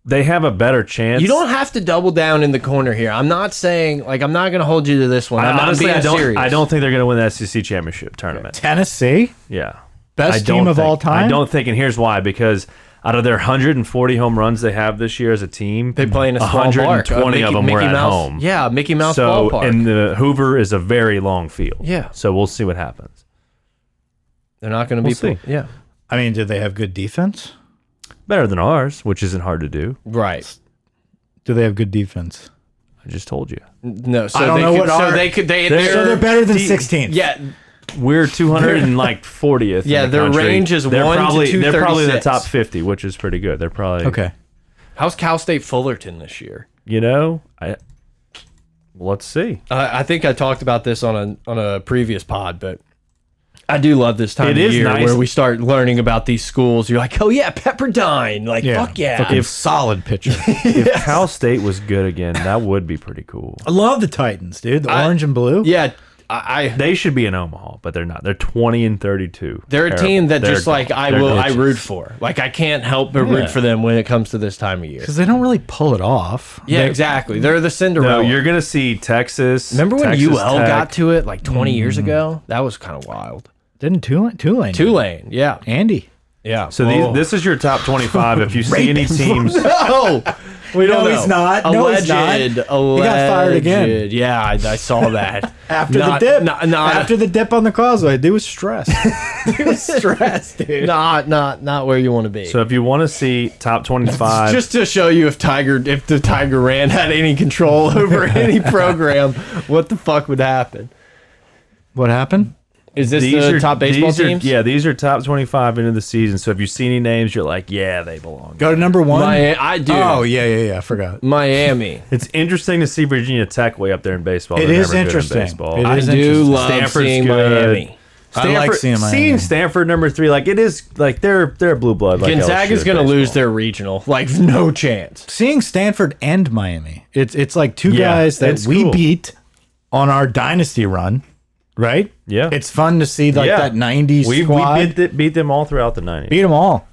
Speaker 3: They have a better chance.
Speaker 1: you don't have to double down in the corner here. I'm not saying like I'm not going to hold you to this one.
Speaker 3: I,
Speaker 1: I'm
Speaker 3: honestly,
Speaker 1: not being
Speaker 3: I don't.
Speaker 1: serious.
Speaker 3: I don't think they're going to win the SEC championship tournament.
Speaker 2: Tennessee,
Speaker 3: Yeah,
Speaker 2: Best
Speaker 3: I don't
Speaker 2: team of
Speaker 3: think-
Speaker 2: all time?
Speaker 3: I don't think, and here's why: because out of their 140 home runs they have this year as a team,
Speaker 1: They play in a small ballpark. Uh,
Speaker 3: 120
Speaker 1: Mickey,
Speaker 3: of them were
Speaker 1: Mickey
Speaker 3: at
Speaker 1: Mouse,
Speaker 3: home.
Speaker 1: Yeah, Mickey Mouse
Speaker 3: so,
Speaker 1: ballpark.
Speaker 3: and the Hoover is a very long field.
Speaker 1: Yeah.
Speaker 3: So we'll see what happens.
Speaker 1: They're not going to be.
Speaker 3: We'll see.
Speaker 1: Yeah,
Speaker 2: I mean, do they have good defense?
Speaker 3: Better than ours, which isn't hard to do.
Speaker 1: right.
Speaker 2: Do they have good defense?
Speaker 3: I just told you.
Speaker 1: No, so
Speaker 2: I don't
Speaker 1: they
Speaker 2: know
Speaker 1: could,
Speaker 2: what
Speaker 1: so
Speaker 2: our-
Speaker 1: they could. They
Speaker 3: They're-
Speaker 2: So
Speaker 1: they're
Speaker 2: they're better than
Speaker 3: de-
Speaker 2: 16th.
Speaker 1: yeah.
Speaker 3: We're 200 and like 40th. in
Speaker 1: Yeah,
Speaker 3: the
Speaker 1: their
Speaker 3: country.
Speaker 1: range is
Speaker 3: they're
Speaker 1: 1 to
Speaker 3: probably, They're probably in the
Speaker 1: 236.
Speaker 3: top 50, which is pretty good. They're probably
Speaker 2: Okay.
Speaker 1: How's Cal State Fullerton this year?
Speaker 3: You know, I let's see.
Speaker 1: Uh, I think I talked about this on a on a previous pod, but I do love this time of
Speaker 3: It is
Speaker 1: year
Speaker 3: nice.
Speaker 1: where we start learning about these schools. You're like, oh yeah, Pepperdine, like fuck yeah.
Speaker 2: Fucking solid pitcher.
Speaker 3: If Cal State was good again, that would be pretty cool.
Speaker 2: I love the Titans, dude. The
Speaker 1: I-
Speaker 2: orange and blue.
Speaker 1: Yeah, I, I
Speaker 3: They should be in Omaha, but they're not. They're 20 and 32.
Speaker 1: they're a
Speaker 3: Terrible.
Speaker 1: team that
Speaker 3: They're
Speaker 1: just like
Speaker 3: dumb.
Speaker 1: I
Speaker 3: They're
Speaker 1: will I
Speaker 3: bitches.
Speaker 1: root for. Like I can't help but root for them when it comes to this time of year.
Speaker 2: Because they don't really pull it off.
Speaker 1: Yeah,
Speaker 2: They-
Speaker 1: exactly. They're the
Speaker 3: No,
Speaker 1: Cinderella.
Speaker 3: you're gonna see Texas.
Speaker 1: Remember when
Speaker 3: Texas
Speaker 1: UL
Speaker 3: Tech. Mm.
Speaker 1: got to it like 20 years ago? That was kind of wild.
Speaker 2: Didn't Tulane? Tulane.
Speaker 1: Tulane, yeah,
Speaker 2: Andy.
Speaker 1: yeah. Oh.
Speaker 3: So these, this is your top 25. If you see any teams,
Speaker 1: No, we don't
Speaker 2: No,
Speaker 1: know.
Speaker 2: he's not. No,
Speaker 1: Alleged,
Speaker 2: he's not.
Speaker 1: Alleged.
Speaker 2: He got fired again.
Speaker 1: Yeah, I, I saw that.
Speaker 2: After
Speaker 1: Not-
Speaker 2: the dip.
Speaker 1: Not, not,
Speaker 2: After the dip on the causeway, dude was stressed.
Speaker 1: stress, dude. Not, not, not where you want to be.
Speaker 3: so if you want to see top 25,
Speaker 1: just to show you if Tiger, if the Tiger Rand had any control over any program, what the fuck would happen?
Speaker 2: what happened?
Speaker 1: Is this the top baseball
Speaker 3: these are-
Speaker 1: teams?
Speaker 3: yeah, these are top 25 into the season. So if you see any names, you're like, yeah, they belong.
Speaker 2: Go to number one.
Speaker 1: Mi- I do.
Speaker 2: Oh, yeah, yeah, yeah. I forgot.
Speaker 1: Miami.
Speaker 3: It's interesting to see Virginia Tech way up there in baseball.
Speaker 2: It
Speaker 3: They're
Speaker 2: is
Speaker 3: never good in
Speaker 2: interesting.
Speaker 3: baseball.
Speaker 2: It
Speaker 1: I
Speaker 2: is
Speaker 1: do
Speaker 2: interesting.
Speaker 1: love
Speaker 3: Stanford's
Speaker 1: seeing
Speaker 3: good.
Speaker 1: Miami.
Speaker 2: I like
Speaker 3: Stanford-
Speaker 2: seeing Miami.
Speaker 3: seeing Stanford number three. Like it is like they're they're blue blood. Like
Speaker 1: Gonzaga's
Speaker 3: LSU
Speaker 1: going to
Speaker 3: in
Speaker 1: lose
Speaker 3: baseball.
Speaker 1: their regional. Like, no chance.
Speaker 2: seeing Stanford and Miami, it's it's like two
Speaker 3: Yeah,
Speaker 2: guys that
Speaker 3: it's
Speaker 2: we
Speaker 3: cool.
Speaker 2: beat on our dynasty run, right?
Speaker 3: Yeah.
Speaker 2: it's fun to see like
Speaker 3: Yeah.
Speaker 2: that '90s
Speaker 3: We, we
Speaker 2: squad
Speaker 3: beat, th- beat them all throughout the 90s.
Speaker 2: beat them all.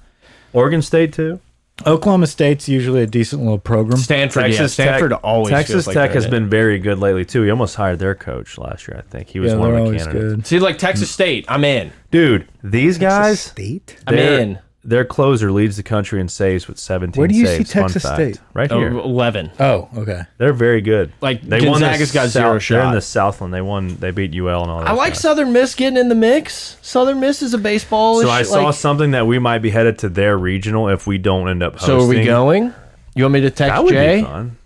Speaker 3: Oregon State too.
Speaker 2: Oklahoma State's usually a decent little program.
Speaker 1: Stanford, yeah.
Speaker 3: Texas Tech-
Speaker 1: Stanford always
Speaker 3: Texas
Speaker 1: feels like
Speaker 3: Tech
Speaker 1: they're
Speaker 3: has
Speaker 1: in it.
Speaker 3: been very good lately too. He almost hired their coach last year. I think he was
Speaker 2: yeah,
Speaker 3: one
Speaker 2: they're
Speaker 3: of the
Speaker 2: always
Speaker 3: candidates.
Speaker 2: good.
Speaker 1: See, like Texas State, I'm in.
Speaker 3: Dude, these guys.
Speaker 2: State.
Speaker 1: I'm
Speaker 3: their-
Speaker 1: in.
Speaker 3: Their closer leads the country in saves with 17
Speaker 2: Where do you see
Speaker 3: saves. Fun
Speaker 2: Texas
Speaker 3: fact.
Speaker 2: State?
Speaker 3: Right
Speaker 1: Oh,
Speaker 3: here.
Speaker 1: 11.
Speaker 2: Oh, okay.
Speaker 3: They're very good.
Speaker 1: Like,
Speaker 3: they won the
Speaker 1: Gonzaga's got
Speaker 3: South-
Speaker 1: zero
Speaker 3: They're
Speaker 1: shot.
Speaker 3: in the Southland. They won. They beat UL and all that.
Speaker 1: I like Southern Miss getting in the mix. Southern Miss is a baseball.
Speaker 3: So I saw something that we might be headed to their regional if we don't end up hosting.
Speaker 1: So are we going? You want me to
Speaker 3: That
Speaker 1: text
Speaker 3: would be
Speaker 1: Jay?
Speaker 3: fun.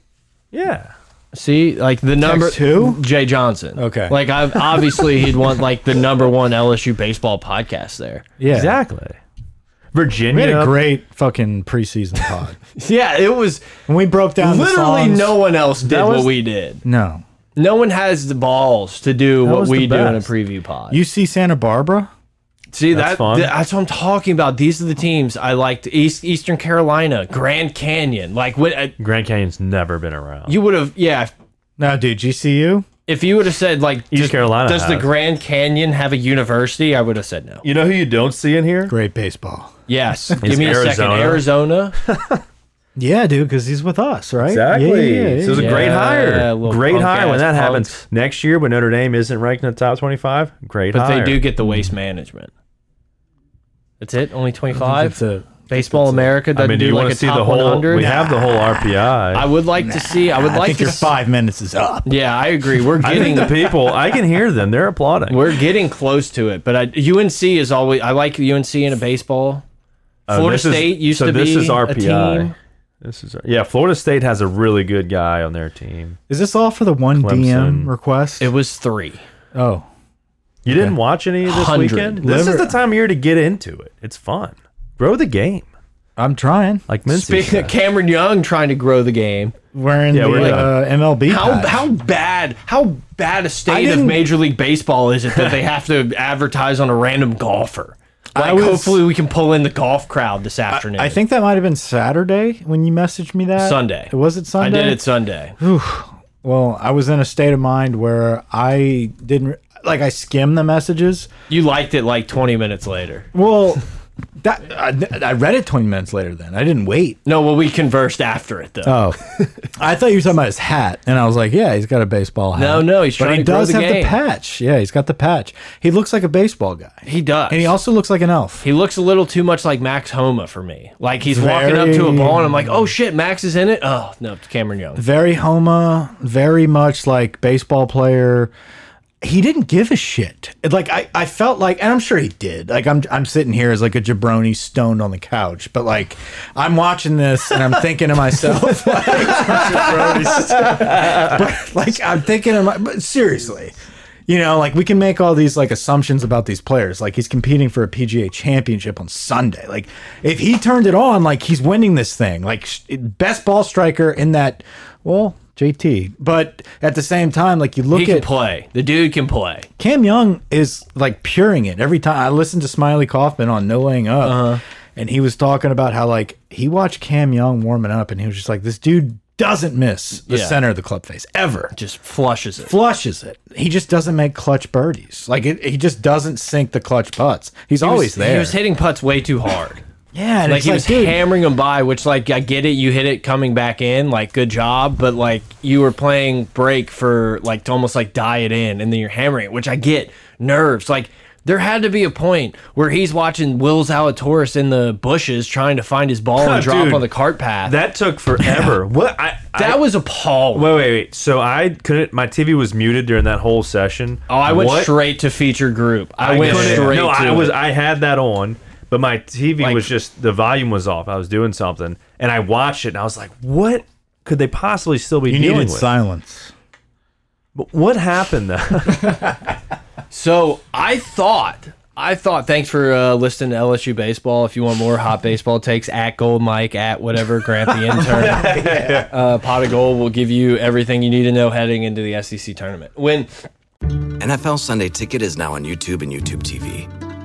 Speaker 3: Yeah.
Speaker 1: See, like the number
Speaker 2: who?
Speaker 1: Jay Johnson.
Speaker 2: Okay.
Speaker 1: Like I obviously he'd want like the number one LSU baseball podcast there.
Speaker 2: Yeah,
Speaker 3: Exactly.
Speaker 2: We
Speaker 3: Virginia.
Speaker 2: had a great fucking preseason pod.
Speaker 1: Yeah, it was
Speaker 2: when we broke down the
Speaker 1: literally
Speaker 2: songs-
Speaker 1: no one else did
Speaker 3: That
Speaker 1: what
Speaker 3: was-
Speaker 1: we did.
Speaker 2: no.
Speaker 1: No one has the balls to do what
Speaker 3: was
Speaker 1: we
Speaker 3: the
Speaker 1: do in a
Speaker 3: best.
Speaker 1: preview pod.
Speaker 2: UC Santa Barbara.
Speaker 1: See
Speaker 3: That's
Speaker 1: that
Speaker 3: fun.
Speaker 1: th- that's what I'm talking about. These are the teams I liked: East Eastern Carolina, Grand Canyon. Like what uh,
Speaker 3: Grand Canyon's never been around.
Speaker 1: you would have, yeah.
Speaker 2: No, dude, GCU.
Speaker 1: If you would have said like,
Speaker 3: East
Speaker 1: does-
Speaker 3: Carolina
Speaker 1: does the
Speaker 3: has.
Speaker 1: Grand Canyon have a university? I would have said no.
Speaker 3: You know who you don't see in here?
Speaker 2: Great baseball.
Speaker 1: Yes, give me a second.
Speaker 3: Arizona.
Speaker 1: Arizona,
Speaker 2: Yeah, dude, because he's with us, right?
Speaker 3: Exactly.
Speaker 2: Yeah, yeah, yeah,
Speaker 3: So it was
Speaker 1: yeah.
Speaker 3: a great
Speaker 1: Yeah,
Speaker 3: hire.
Speaker 1: little
Speaker 3: Great
Speaker 1: punk
Speaker 3: hire when
Speaker 1: ass
Speaker 3: that happens.
Speaker 1: punks.
Speaker 3: Next year, when Notre Dame isn't ranked in the top 25, great
Speaker 1: but
Speaker 3: hire.
Speaker 1: they do get the waste management. That's it. Only twenty
Speaker 2: It's
Speaker 1: five.
Speaker 2: a,
Speaker 1: Baseball America doesn't
Speaker 3: I mean, do
Speaker 1: do,
Speaker 3: you
Speaker 1: like
Speaker 3: want
Speaker 1: a
Speaker 3: to see
Speaker 1: top
Speaker 3: the whole?
Speaker 1: 100.
Speaker 3: We have the whole RPI.
Speaker 1: I
Speaker 3: I,
Speaker 1: would like to see. I would
Speaker 2: I
Speaker 1: like
Speaker 2: think
Speaker 1: to.
Speaker 2: your
Speaker 1: s-
Speaker 2: five minutes is up.
Speaker 1: Yeah, I agree. We're getting
Speaker 3: think the people. I can hear them. They're applauding.
Speaker 1: we're getting close to it. But I, UNC is always. I like UNC in a baseball.
Speaker 3: Uh,
Speaker 1: Florida
Speaker 3: this is-
Speaker 1: State used
Speaker 3: so
Speaker 1: to
Speaker 3: this
Speaker 1: be
Speaker 3: is RPI.
Speaker 1: a team.
Speaker 3: This is yeah. Florida State has a really good guy on their team.
Speaker 2: Is this all for the one
Speaker 3: Clemson.
Speaker 2: DM request?
Speaker 1: It was three.
Speaker 2: oh,
Speaker 3: You didn't watch any of this
Speaker 1: 100.
Speaker 3: weekend. This is
Speaker 2: Liver-
Speaker 3: the time of year to get into it. It's fun. Grow the game,
Speaker 2: I'm trying.
Speaker 3: like Mincy.
Speaker 1: Speaking
Speaker 3: said.
Speaker 1: of Cameron Young trying to grow the game,
Speaker 2: Wearing
Speaker 3: Yeah,
Speaker 2: the
Speaker 3: we're
Speaker 2: uh, MLB.
Speaker 1: how
Speaker 2: patch.
Speaker 1: how bad how bad a state of
Speaker 2: didn't-
Speaker 1: Major League Baseball is it that they have to advertise on a random golfer? Like,
Speaker 2: was-
Speaker 1: hopefully, we can pull in the golf crowd this afternoon.
Speaker 2: I think that might have been Saturday when you messaged me that.
Speaker 1: Sunday.
Speaker 2: Was it
Speaker 1: I
Speaker 2: Sunday?
Speaker 1: did it Sunday.
Speaker 2: Well, I was in a state of mind where I didn't like I skimmed the messages.
Speaker 1: You liked it like 20 minutes later.
Speaker 2: Well, that I, I read it 20 minutes later then. I didn't wait.
Speaker 1: No, well, we conversed after it though.
Speaker 2: Oh. I thought you were talking about his hat and I was like, yeah, he's got a baseball hat.
Speaker 1: No, no, he's
Speaker 2: But
Speaker 1: trying
Speaker 2: he
Speaker 1: to grow
Speaker 2: does
Speaker 1: the
Speaker 2: have
Speaker 1: game.
Speaker 2: the patch. Yeah, he's got the patch. He looks like a baseball guy.
Speaker 1: he does.
Speaker 2: And he also looks like an elf.
Speaker 1: He looks a little too much like Max Homa for me. Like he's walking up to a
Speaker 2: Very-
Speaker 1: ball, and I'm like, "Oh shit, Max is in it." Oh no, it's Cameron Young.
Speaker 2: Very Homa, very much like baseball player. He didn't give a shit. It- Like I, I felt like, and I'm sure he did. Like I'm, I'm sitting here as like a jabroni stoned on the couch, but like I'm watching this and I'm thinking to myself, like, but, like I'm thinking to my, but seriously, you know, like we can make all these like assumptions about these players. Like he's competing for a PGA championship on Sunday. Like if he turned it on, like he's winning this thing. Like sh- best ball striker in that. Well, JT, but at the same time, like you look
Speaker 1: He
Speaker 2: at
Speaker 1: can play. The dude can play.
Speaker 2: Cam Young is like puring it every time. I listened to Smiley Kaufman on No Laying Up,
Speaker 1: Uh-huh.
Speaker 2: and he was talking about how like he watched Cam Young warming up, and he was just like, "This dude doesn't miss the
Speaker 1: Yeah.
Speaker 2: center of the club face ever.
Speaker 1: Just flushes it.
Speaker 2: Flushes it. He just doesn't make clutch birdies. Like it, he just doesn't sink the clutch putts. He's
Speaker 1: He was-
Speaker 2: always there.
Speaker 1: He was hitting putts way too hard.
Speaker 2: yeah, and
Speaker 1: like
Speaker 2: it's
Speaker 1: he was
Speaker 2: dude,
Speaker 1: hammering them by, which like I get it. You hit it coming back in, like good job. But like you were playing break for like to almost like die it in, and then you're hammering it, which I get nerves. Like there had to be a point where he's watching Will Zalatoris in the bushes trying to find his ball and drop
Speaker 3: Dude,
Speaker 1: on the cart path. That,
Speaker 3: that took forever. what I, I
Speaker 1: was appalling.
Speaker 3: Wait, wait, wait. So I couldn't. My TV was muted during that whole session.
Speaker 1: Oh, I went
Speaker 3: What?
Speaker 1: straight to feature group. I, went
Speaker 3: couldn't-
Speaker 1: straight.
Speaker 3: No,
Speaker 1: to
Speaker 3: I was.
Speaker 1: it.
Speaker 3: I had that on, but my TV
Speaker 1: Like-
Speaker 3: was just the volume was off. I was doing something, and I watched it, and I was like, "What could they possibly still be
Speaker 2: you
Speaker 3: dealing
Speaker 2: needed
Speaker 3: with?
Speaker 2: silence.
Speaker 3: But what happened though?
Speaker 1: So I thought, I thought. Thanks for uh, listening to LSU baseball. If you want more hot baseball takes, at Gold Mike, at whatever Grant the intern, uh, pot of gold will give you everything you need to know heading into the SEC tournament. When
Speaker 5: NFL Sunday Ticket is now on YouTube and YouTube TV,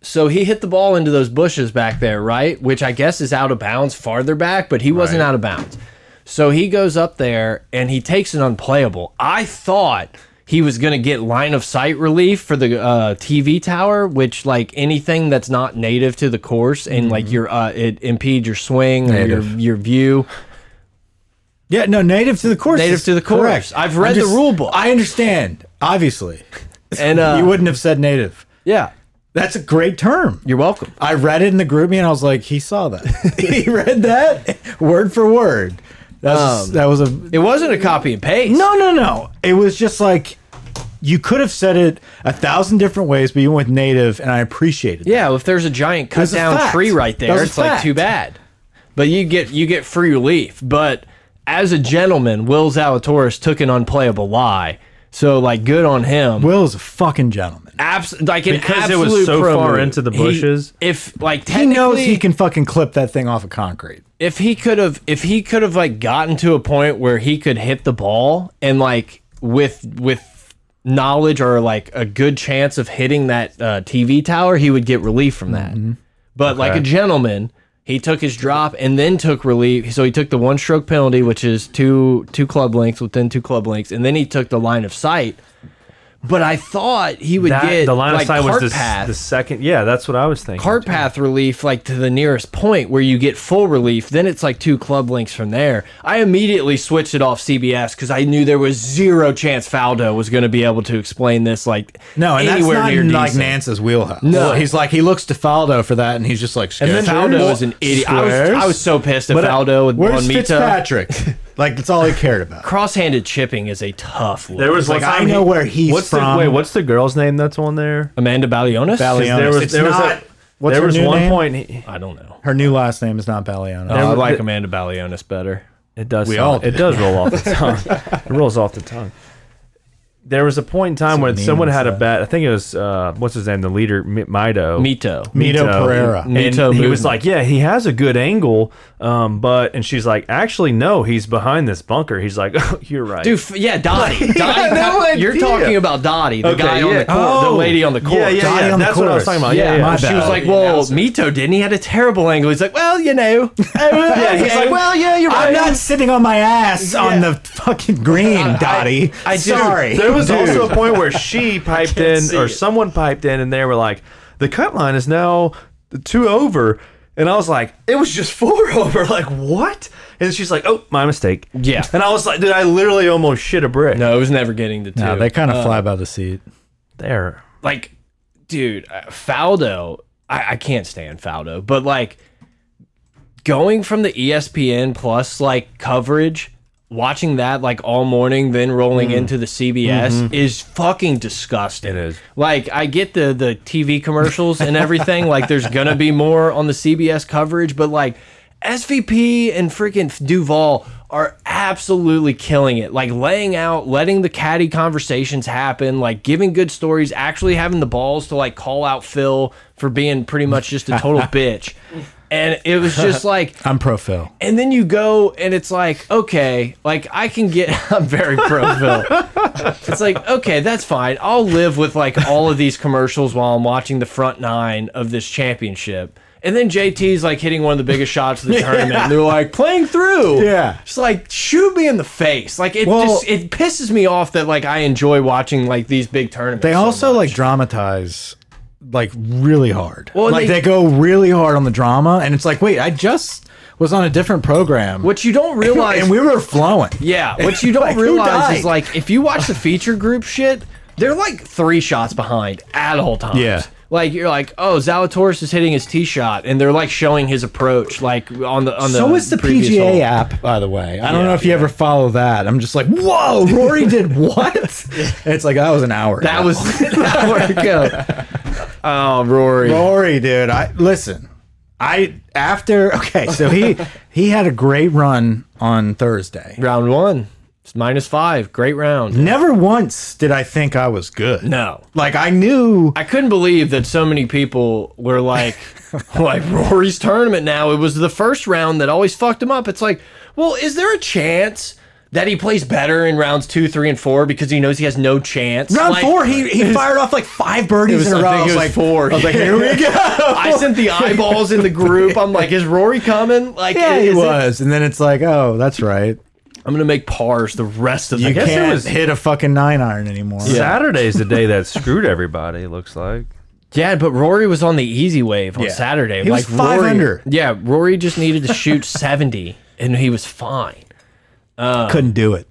Speaker 1: so he hit the ball into those bushes back there, right? Which I guess is out of bounds farther back, but he wasn't out of bounds. So he goes up there and he takes an unplayable. I thought he was going to get line of sight relief for the uh, TV tower, which like anything that's not native to the course and like your uh, it impedes your swing or your
Speaker 2: Mm-hmm. Native.
Speaker 1: your view.
Speaker 2: Yeah, no, native to the course.
Speaker 1: Native
Speaker 2: is
Speaker 1: to the course.
Speaker 2: correct.
Speaker 1: I've
Speaker 2: I'm
Speaker 1: read the
Speaker 2: just-
Speaker 1: rule book.
Speaker 2: I understand. Obviously,
Speaker 1: And uh,
Speaker 2: you wouldn't have said native.
Speaker 1: yeah,
Speaker 2: That's a great term.
Speaker 1: you're welcome.
Speaker 2: I read it in the group me and I was like, he saw that. he read that word for word. That's,
Speaker 1: Um,
Speaker 2: that was a
Speaker 1: It wasn't a copy and paste.
Speaker 2: no, no, no. It was just like you could have said it a thousand different ways, but you went with native, and I appreciated.
Speaker 1: Yeah, well, if there's a giant cut
Speaker 2: That's a
Speaker 1: down
Speaker 2: fact.
Speaker 1: tree right there,
Speaker 2: That's a
Speaker 1: it's like
Speaker 2: fact.
Speaker 1: too bad. But you get you get free relief. But as a gentleman, Will Zalatoris took an unplayable lie. So like, good on him.
Speaker 2: Will is a fucking gentleman.
Speaker 1: Abs- like an
Speaker 3: Because it
Speaker 1: absolute
Speaker 3: was so
Speaker 1: pro
Speaker 3: far
Speaker 1: move.
Speaker 3: into the
Speaker 1: He-
Speaker 3: bushes.
Speaker 1: if like
Speaker 2: He knows he
Speaker 1: technically-
Speaker 2: can fucking clip that thing off of concrete.
Speaker 1: if he could have if he could have like gotten to a point where he could hit the ball and like with with knowledge or like a good chance of hitting that uh, TV tower, he would get relief from that.
Speaker 3: Mm-hmm.
Speaker 1: But like a gentleman, he took his drop and then took relief. So he took the one stroke penalty, which is two two club lengths within two club lengths, and then he took the line of sight. But I thought he would
Speaker 3: That-
Speaker 1: get
Speaker 3: the line
Speaker 1: like,
Speaker 3: of sight was
Speaker 1: cart
Speaker 3: the,
Speaker 1: path
Speaker 3: s- the second. Yeah, that's what I was thinking.
Speaker 1: cart path relief like to the nearest point where you get full relief then it's like two club links from there i immediately switched it off cbs because i knew there was zero chance faldo was going to be able to explain this like
Speaker 2: No, and
Speaker 1: anywhere
Speaker 2: that's not
Speaker 1: near
Speaker 2: in, like
Speaker 1: decent.
Speaker 2: Nance's wheelhouse.
Speaker 1: No.
Speaker 2: he's like he looks to Faldo for that, and he's just like.
Speaker 1: and then faldo is an idiot I was, I
Speaker 2: Squares.
Speaker 1: was so pissed at
Speaker 2: But, uh,
Speaker 1: faldo with
Speaker 2: Where's
Speaker 1: Bonmita.
Speaker 2: Fitzpatrick? like that's all he cared about.
Speaker 1: cross-handed chipping is a tough look.
Speaker 3: There was
Speaker 2: Like,
Speaker 3: one
Speaker 2: I
Speaker 3: time
Speaker 2: know
Speaker 3: he-
Speaker 2: where he's
Speaker 3: what's
Speaker 2: from.
Speaker 3: The, wait, what's the girl's name that's on there?
Speaker 1: amanda balionis
Speaker 2: Balionis.
Speaker 3: There was
Speaker 2: It's
Speaker 3: there
Speaker 2: not-
Speaker 3: was a,
Speaker 2: what's
Speaker 3: there
Speaker 2: her
Speaker 3: was
Speaker 2: new
Speaker 3: one
Speaker 2: name?
Speaker 3: point. He,
Speaker 1: i don't know
Speaker 2: Her new last name is not Balliano.
Speaker 1: No, i
Speaker 3: was-
Speaker 1: like
Speaker 3: the-
Speaker 1: amanda balionis better
Speaker 3: It does.
Speaker 2: We
Speaker 3: sound-
Speaker 2: all
Speaker 3: it
Speaker 2: do.
Speaker 3: does roll off the tongue. it rolls off the tongue. There was a point in time
Speaker 2: So
Speaker 3: when
Speaker 2: mean
Speaker 3: someone
Speaker 2: and
Speaker 3: had a
Speaker 2: sad.
Speaker 3: bet. I think it was uh, what's his name, the leader Mi- Mido.
Speaker 1: mito
Speaker 2: Mito Pereira.
Speaker 3: And
Speaker 1: Mito
Speaker 3: he
Speaker 1: movement.
Speaker 3: was like, "Yeah, he has a good angle, um, but..." And she's like, "Actually, no, he's behind this bunker." He's like, oh, "You're right,
Speaker 1: Dude, f- yeah, Dottie. Dottie
Speaker 3: no
Speaker 1: you're
Speaker 3: idea.
Speaker 1: talking about Dottie, the
Speaker 3: Okay,
Speaker 1: guy on
Speaker 3: yeah.
Speaker 1: the court, the
Speaker 3: Oh.
Speaker 1: lady on the court.
Speaker 3: Yeah, yeah,
Speaker 2: Dottie
Speaker 3: yeah.
Speaker 2: on the
Speaker 3: That's what I was
Speaker 2: chorus.
Speaker 3: talking about. Yeah, yeah.
Speaker 2: my
Speaker 1: Oh, she
Speaker 2: bad.
Speaker 1: was like, "Well, Mito didn't. He had a terrible angle." He's like, "Well, you know." yeah, he's like, "Well, yeah, you're right."
Speaker 2: I'm not sitting on my ass on the fucking green, Dottie.
Speaker 1: I just-
Speaker 2: Sorry.
Speaker 3: There was also a point where she piped in,
Speaker 1: see
Speaker 3: or
Speaker 1: it.
Speaker 3: someone piped in, and they were like, "The cut line is now two over," and I was like, "It was just four over." Like what? And she's like, "Oh, my mistake."
Speaker 1: Yeah.
Speaker 3: And I was like, "Dude, I literally almost shit a brick."
Speaker 1: No, it was never getting to two.
Speaker 2: No, they kind of fly by the seat.
Speaker 3: There.
Speaker 1: like, dude, uh, Faldo. I, I can't stand Faldo, but like going from the E ESPN Plus like coverage. Watching that like all morning, then rolling into the CBS is fucking disgusting.
Speaker 3: It is.
Speaker 1: Like I get the the TV commercials and everything. like there's gonna be more on the CBS coverage, but like SVP and freaking Duval are absolutely killing it. Like laying out, letting the caddy conversations happen, like giving good stories, actually having the balls to like call out Phil for being pretty much just a total bitch. And it was just like
Speaker 2: I'm pro Phil.
Speaker 1: and then you go and it's like, okay, like I can get I'm very pro Phil. it's like, okay, that's fine. I'll live with like all of these commercials while I'm watching the front nine of this championship. And then JT's like hitting one of the biggest shots of the tournament. And they're like, playing through.
Speaker 2: Yeah.
Speaker 1: Just like shoot me in the face. Like it
Speaker 2: Well-
Speaker 1: just it pisses me off that like I enjoy watching like these big tournaments.
Speaker 2: They
Speaker 1: so
Speaker 2: also
Speaker 1: much.
Speaker 2: like dramatize like really hard.
Speaker 1: Well,
Speaker 2: like
Speaker 1: they-
Speaker 2: they, go really hard on the drama and it's like, "Wait, I just was on a different program."
Speaker 1: what you don't realize
Speaker 2: and we were flowing.
Speaker 1: Yeah, what you don't
Speaker 2: Like, who
Speaker 1: realize
Speaker 2: died?
Speaker 1: is like if you watch the feature group shit, they're like three shots behind at all times.
Speaker 2: Yeah.
Speaker 1: Like you're like, oh, Zalatoris is hitting his tee shot, and they're like showing his approach, like on the on the.
Speaker 2: So is the
Speaker 1: previous
Speaker 2: PGA
Speaker 1: hole.
Speaker 2: app, by the way. I don't know if you ever follow that. I'm just like, whoa, Rory did what? It's like that was an hour.
Speaker 1: That
Speaker 2: ago.
Speaker 1: was an hour ago. Oh, Rory.
Speaker 2: Rory, dude. I listen. I after okay, so he he had a great run on Thursday.
Speaker 1: round one, it's minus five. Great round.
Speaker 2: Never once did I think I was good.
Speaker 1: No.
Speaker 2: Like I knew
Speaker 1: I couldn't believe that so many people were like, like Rory's tournament now. It was the first round that always fucked him up. It's like, well, is there a chance that he plays better in rounds two, three, and four because he knows he has no chance?
Speaker 2: round
Speaker 1: Like,
Speaker 2: four he he fired off like five birdies
Speaker 1: was-
Speaker 2: in a
Speaker 1: I
Speaker 2: row.
Speaker 1: think it was
Speaker 2: like
Speaker 1: four.
Speaker 2: I was like, here we go.
Speaker 1: I sent the eyeballs in the group. I'm like, is Rory coming? Like,
Speaker 2: yeah, he
Speaker 1: is it-
Speaker 2: was, and then it's like, oh, that's right.
Speaker 1: I'm gonna make pars the rest of the
Speaker 2: You
Speaker 1: game.
Speaker 3: guess it
Speaker 2: can't
Speaker 3: was-
Speaker 2: hit a fucking nine iron anymore.
Speaker 3: Saturday's the day that screwed everybody. It looks like.
Speaker 1: Yeah, but Rory was on the easy wave on
Speaker 2: Yeah.
Speaker 1: Saturday.
Speaker 2: He was five
Speaker 1: Rory-
Speaker 2: under.
Speaker 1: Yeah, Rory just needed to shoot 70, and he was fine.
Speaker 2: couldn't do it.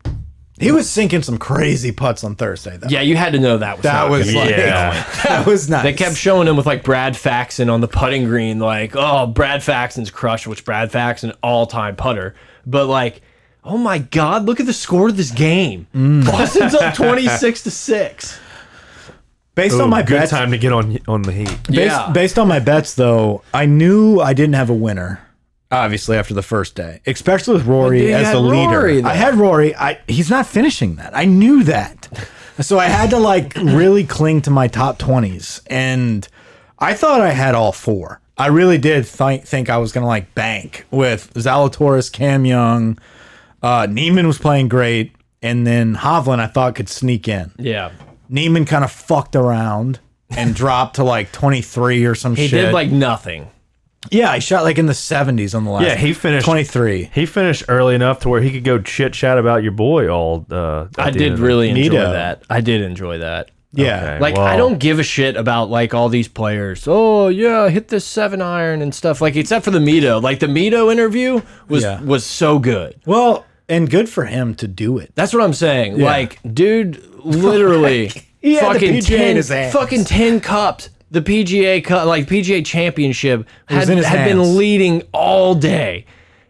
Speaker 2: He was sinking some crazy putts on Thursday though.
Speaker 1: Yeah, you had to know that was
Speaker 2: that
Speaker 1: not
Speaker 2: was
Speaker 1: gonna
Speaker 2: like,
Speaker 3: Yeah.
Speaker 2: that was nice.
Speaker 1: They kept showing him with like Brad Faxon on the putting green, like, oh, Brad Faxon's crush, which Brad Faxon, all time putter. But like, oh my God, look at the score of this game.
Speaker 2: Mm.
Speaker 1: Boston's up 26 to 6.
Speaker 2: based on my
Speaker 3: good
Speaker 2: bets.
Speaker 3: time to get on on the heat.
Speaker 2: Based,
Speaker 1: Yeah.
Speaker 2: based on my bets, though, I knew I didn't have a winner. Obviously, after the first day, especially with Rory
Speaker 1: you
Speaker 2: as
Speaker 1: had
Speaker 2: the leader,
Speaker 1: Rory, though.
Speaker 2: I had Rory. I he's not finishing that. I knew that. So I had to like really cling to my top 20s. And I thought I had all four. I really did thi- think I was going to like bank with Zalatoris, Cam Young. Uh, Neiman was playing great. And then Hovland, I thought could sneak in.
Speaker 1: Yeah.
Speaker 2: Neiman kind of fucked around and dropped to like 23 or some
Speaker 1: He
Speaker 2: shit.
Speaker 1: did like nothing.
Speaker 2: yeah, he shot like in the 70s on the last.
Speaker 3: Yeah, he finished-
Speaker 2: 23.
Speaker 3: He finished early enough to where he could go chit chat about your boy all. Uh, at
Speaker 1: I
Speaker 3: the end
Speaker 1: did
Speaker 3: of the-
Speaker 1: really enjoy
Speaker 2: Neato.
Speaker 1: that. I did enjoy that.
Speaker 2: Yeah.
Speaker 3: Okay.
Speaker 1: Like I
Speaker 3: well-
Speaker 1: don't give a shit about like all these players. Oh yeah, hit this seven iron and stuff. Like except for the Mito. Like the Mito interview was
Speaker 2: Yeah.
Speaker 1: was so good.
Speaker 2: Well, and good for him to do it.
Speaker 1: That's what I'm saying. Like dude, literally
Speaker 2: He had the
Speaker 1: fucking
Speaker 2: PGA in
Speaker 1: ten
Speaker 2: his hands.
Speaker 1: fucking ten cups. The PGA cup, like PGA Championship, had,
Speaker 2: in his
Speaker 1: had been
Speaker 2: hands.
Speaker 1: leading all day.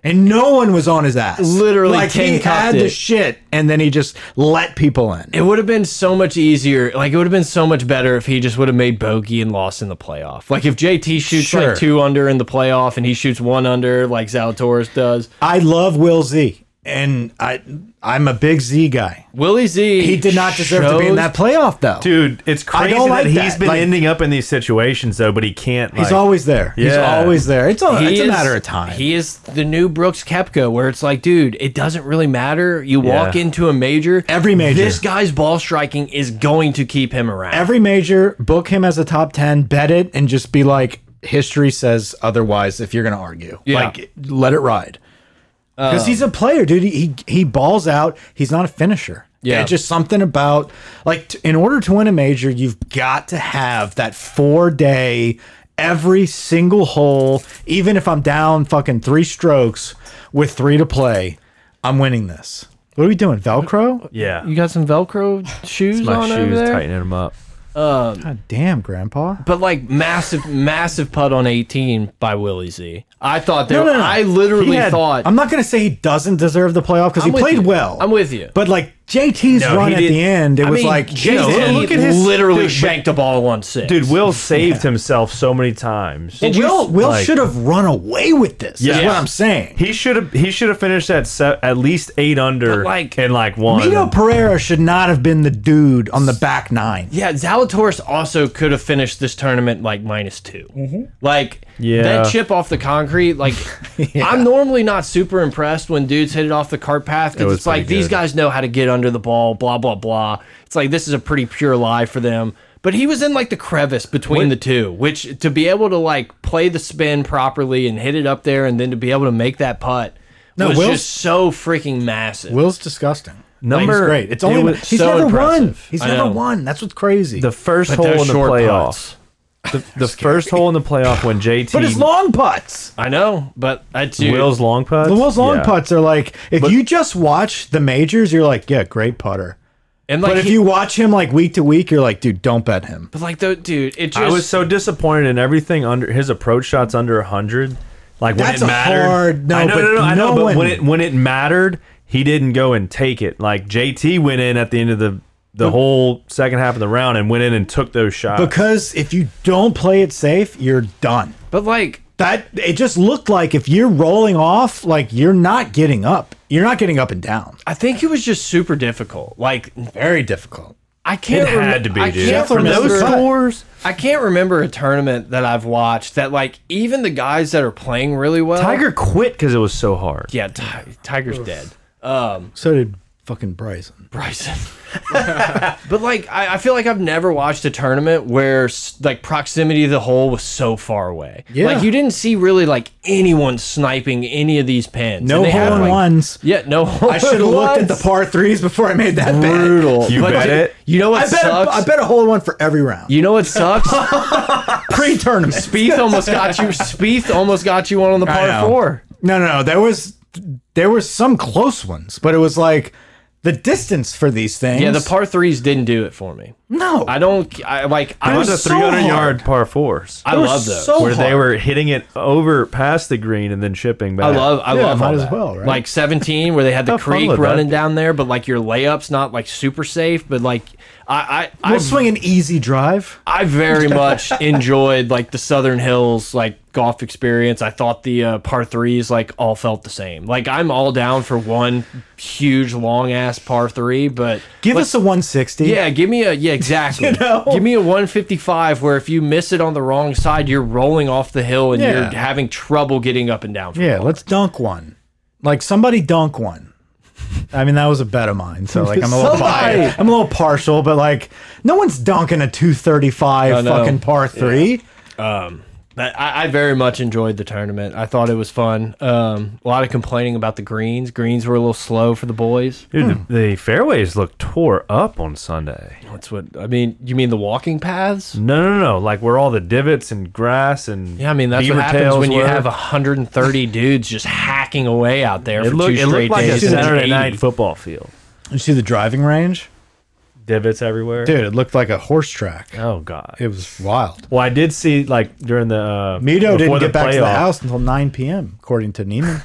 Speaker 2: And no one was on his ass.
Speaker 1: Literally
Speaker 2: like he
Speaker 1: 10 cupped
Speaker 2: had the
Speaker 1: it.
Speaker 2: shit, and then he just let people in.
Speaker 1: It would have been so much easier. Like it would have been so much better if he just would have made bogey and lost in the playoff. Like if JT shoots
Speaker 2: Sure.
Speaker 1: like two under in the playoff and he shoots one under like Zalatoris does.
Speaker 2: I love Will Z, and I I'm a big Z guy.
Speaker 1: Willie Z.
Speaker 2: He did not deserve to be in
Speaker 1: shows-
Speaker 2: that playoff though.
Speaker 3: Dude, it's
Speaker 2: I
Speaker 3: crazy
Speaker 2: don't like
Speaker 3: that he's
Speaker 2: that.
Speaker 3: been
Speaker 2: Like-
Speaker 3: ending up in these situations though, but he can't.
Speaker 2: he's
Speaker 3: like-
Speaker 2: always there. He's
Speaker 3: Yeah.
Speaker 2: always there. It's a,
Speaker 1: He
Speaker 2: it's a
Speaker 1: is-
Speaker 2: matter of time.
Speaker 1: He is the new Brooks Kepka, where it's like, dude, it doesn't really matter. You walk
Speaker 3: Yeah.
Speaker 1: into a major,
Speaker 2: Every major.
Speaker 1: This guy's ball striking is going to keep him around.
Speaker 2: Every major, book him as a top ten, bet it, and just be like, history says otherwise. If you're gonna argue,
Speaker 1: Yeah. Um,
Speaker 2: like let it ride. Because he's a player, dude. He, he he balls out. He's not a finisher.
Speaker 1: Yeah.
Speaker 2: it's just something about like t- in order to win a major, you've got to have that four day, every single hole. Even if I'm down fucking three strokes with three to play, I'm winning this. What are we doing, Velcro?
Speaker 3: Yeah,
Speaker 1: you got some Velcro shoes
Speaker 3: my
Speaker 1: on over
Speaker 3: shoes
Speaker 1: there.
Speaker 3: tightening him up.
Speaker 2: God damn, Grandpa.
Speaker 1: But like massive, massive putt on 18 by Willie Z. I thought that
Speaker 2: No, no, no.
Speaker 1: I literally
Speaker 2: He had-
Speaker 1: thought
Speaker 2: I'm not going to say he doesn't deserve the playoff because he
Speaker 1: I'm with
Speaker 2: played
Speaker 1: you.
Speaker 2: well.
Speaker 1: I'm with you.
Speaker 2: But like JT's
Speaker 3: No,
Speaker 2: run
Speaker 3: he
Speaker 2: at
Speaker 3: did-
Speaker 2: the end, it
Speaker 1: I
Speaker 2: was
Speaker 1: mean,
Speaker 2: like
Speaker 1: Jay
Speaker 2: Jesus.
Speaker 1: Z
Speaker 3: look at his-
Speaker 1: literally
Speaker 3: dude, but-
Speaker 1: shanked a ball on six.
Speaker 3: Dude, Will saved himself so many times.
Speaker 1: Did you-
Speaker 2: Will, Will
Speaker 3: like-
Speaker 2: should have run away with this. Yeah.
Speaker 3: Yeah.
Speaker 2: Is what I'm saying.
Speaker 3: He should have. He should have finished at se at least eight under,
Speaker 1: But, like,
Speaker 3: in like one.
Speaker 2: Mito Pereira should not have been the dude on the back nine.
Speaker 1: yeah, Zalatoris also could have finished this tournament like minus 2
Speaker 2: Mm-hmm.
Speaker 1: Like
Speaker 3: Yeah.
Speaker 1: that chip off the concrete. Like I'm normally not super impressed when dudes hit it off the cart path
Speaker 3: It
Speaker 1: because
Speaker 3: was
Speaker 1: it's like
Speaker 3: pretty
Speaker 1: these
Speaker 3: good.
Speaker 1: guys know how to get under the ball. Blah blah blah. It's like this is a pretty pure lie for them. But he was in like the crevice between the two, which to be able to like play the spin properly and hit it up there, and then to be able to make that putt
Speaker 2: No,
Speaker 1: was
Speaker 2: Will's-
Speaker 1: just so freaking massive.
Speaker 2: Will's disgusting.
Speaker 3: Number-
Speaker 2: he's great. It's
Speaker 3: it
Speaker 2: only
Speaker 3: was
Speaker 2: he's
Speaker 1: so
Speaker 2: never won.
Speaker 1: impressive.
Speaker 2: He's
Speaker 1: I
Speaker 2: never
Speaker 1: know.
Speaker 2: won. That's what's crazy.
Speaker 3: the first hole in the playoffs. The, the first hole in the playoff when JT
Speaker 2: but his long putts.
Speaker 1: I know, but uh, that's you.
Speaker 3: Will's long putts.
Speaker 2: The Will's long
Speaker 3: Yeah.
Speaker 2: putts are like if you just watch the majors, you're like, yeah, great putter.
Speaker 1: and like
Speaker 2: But if
Speaker 1: he-
Speaker 2: you watch him like week to week, you're like, dude, don't bet him.
Speaker 1: but like the dude, it just
Speaker 3: I was so disappointed in everything under his approach shots under hundred. Like when
Speaker 2: That's
Speaker 3: it
Speaker 2: a
Speaker 3: mattered,
Speaker 2: hard- no,
Speaker 3: I know,
Speaker 2: but
Speaker 3: no, no, I
Speaker 2: no
Speaker 3: know, but
Speaker 2: one-
Speaker 3: when it when it mattered, he didn't go and take it. Like JT went in at the end of the the whole second half of the round and went in and took those shots.
Speaker 2: Because if you don't play it safe, you're done.
Speaker 1: but like
Speaker 2: That it just looked like if you're rolling off, like you're not getting up. You're not getting up and down.
Speaker 1: I think it was just super difficult. Like
Speaker 2: Very difficult.
Speaker 1: I can't.
Speaker 3: It had
Speaker 1: remem-
Speaker 3: to be,
Speaker 1: I
Speaker 3: dude.
Speaker 1: can't
Speaker 2: For
Speaker 1: remember-
Speaker 2: those
Speaker 3: scores,
Speaker 1: I can't remember a tournament that I've watched that like even the guys that are playing really well.
Speaker 2: Oh.
Speaker 3: Tiger quit because it was so hard.
Speaker 1: yeah, Ti- Tiger's dead.
Speaker 2: So did fucking Bryson.
Speaker 1: Bryson. but like, I, I feel like I've never watched a tournament where s- like proximity to the hole was so far away.
Speaker 2: Yeah.
Speaker 1: Like you didn't see really like anyone sniping any of these pins.
Speaker 2: No
Speaker 1: And they had,
Speaker 2: hole in
Speaker 1: like-
Speaker 2: ones.
Speaker 1: Yeah, no. Hole
Speaker 2: I should have looked at the
Speaker 1: par.
Speaker 2: par threes before I made that
Speaker 1: Brutal.
Speaker 3: You bet
Speaker 1: you-
Speaker 3: it?
Speaker 1: You know
Speaker 2: bet.
Speaker 1: what
Speaker 2: I bet, a,
Speaker 1: sucks?
Speaker 2: I bet a hole in one for every round.
Speaker 1: You know what sucks?
Speaker 2: Pre-tournament.
Speaker 1: Spieth almost got you. Spieth almost got you one on the
Speaker 2: I
Speaker 1: par
Speaker 2: know.
Speaker 1: four.
Speaker 2: No, no, no. There was there were some close ones, but it was like the distance for these things.
Speaker 1: Yeah, the par threes didn't do it for me.
Speaker 2: No.
Speaker 1: I don't. I like. I
Speaker 3: That
Speaker 1: was
Speaker 3: was
Speaker 1: so
Speaker 3: a 300
Speaker 1: hard.
Speaker 3: yard par fours.
Speaker 1: I
Speaker 3: They were
Speaker 1: love those.
Speaker 3: So where they
Speaker 2: hard.
Speaker 3: were hitting it over past the green and then shipping
Speaker 1: I
Speaker 3: back.
Speaker 1: love. I
Speaker 2: Yeah,
Speaker 1: love
Speaker 2: might
Speaker 1: all
Speaker 2: as
Speaker 1: that.
Speaker 2: well, right?
Speaker 1: Like 17, where they had the
Speaker 3: Have fun
Speaker 1: creek
Speaker 3: with that.
Speaker 1: running down there, but like your layups not like super safe, but like I I
Speaker 2: We'll
Speaker 1: I,
Speaker 2: swing an easy drive.
Speaker 1: I very much enjoyed like the Southern Hills like golf experience. I thought the uh, par threes like all felt the same. Like I'm all down for one huge long ass par three, but
Speaker 2: Give
Speaker 1: like,
Speaker 2: us a 160.
Speaker 1: Yeah, give me a yeah, exactly.
Speaker 2: know?
Speaker 1: Give me a 155 where if you miss it on the wrong side, you're rolling off the hill and
Speaker 2: Yeah.
Speaker 1: you're having trouble getting up and down. From
Speaker 2: Yeah,
Speaker 1: it.
Speaker 2: let's dunk one. Like somebody dunk one. I mean, that was a bet of mine. So like, I'm a little
Speaker 1: Somebody!
Speaker 2: biased. I'm a little partial, but like, no one's dunking a 235
Speaker 1: I know.
Speaker 2: fucking par three.
Speaker 1: But I, I very much enjoyed the tournament. I thought it was fun. Um, a lot of complaining about the greens. Greens were a little slow for the boys.
Speaker 3: Dude,
Speaker 2: hmm.
Speaker 3: the, the fairways look tore up on Sunday.
Speaker 1: That's what I mean. You mean the walking paths?
Speaker 3: No, no, no. Like where all the divots and grass and
Speaker 1: Yeah, I mean that's
Speaker 3: beaver
Speaker 1: what happens
Speaker 3: tails
Speaker 1: when you
Speaker 3: were.
Speaker 1: have 130 dudes just hacking away out there
Speaker 3: It
Speaker 1: for
Speaker 3: looked,
Speaker 1: two
Speaker 3: it
Speaker 1: straight
Speaker 3: looked like a
Speaker 1: days. and it's
Speaker 3: Saturday
Speaker 1: 80.
Speaker 3: night football field.
Speaker 2: You see the driving range,
Speaker 3: Divots everywhere.
Speaker 2: dude. It looked like a horse track.
Speaker 3: Oh god.
Speaker 2: It was wild.
Speaker 3: Well, I did see like during the uh,
Speaker 2: Mito
Speaker 3: before
Speaker 2: didn't get back to the
Speaker 3: playoff-
Speaker 2: house until 9 p.m. according to Neiman.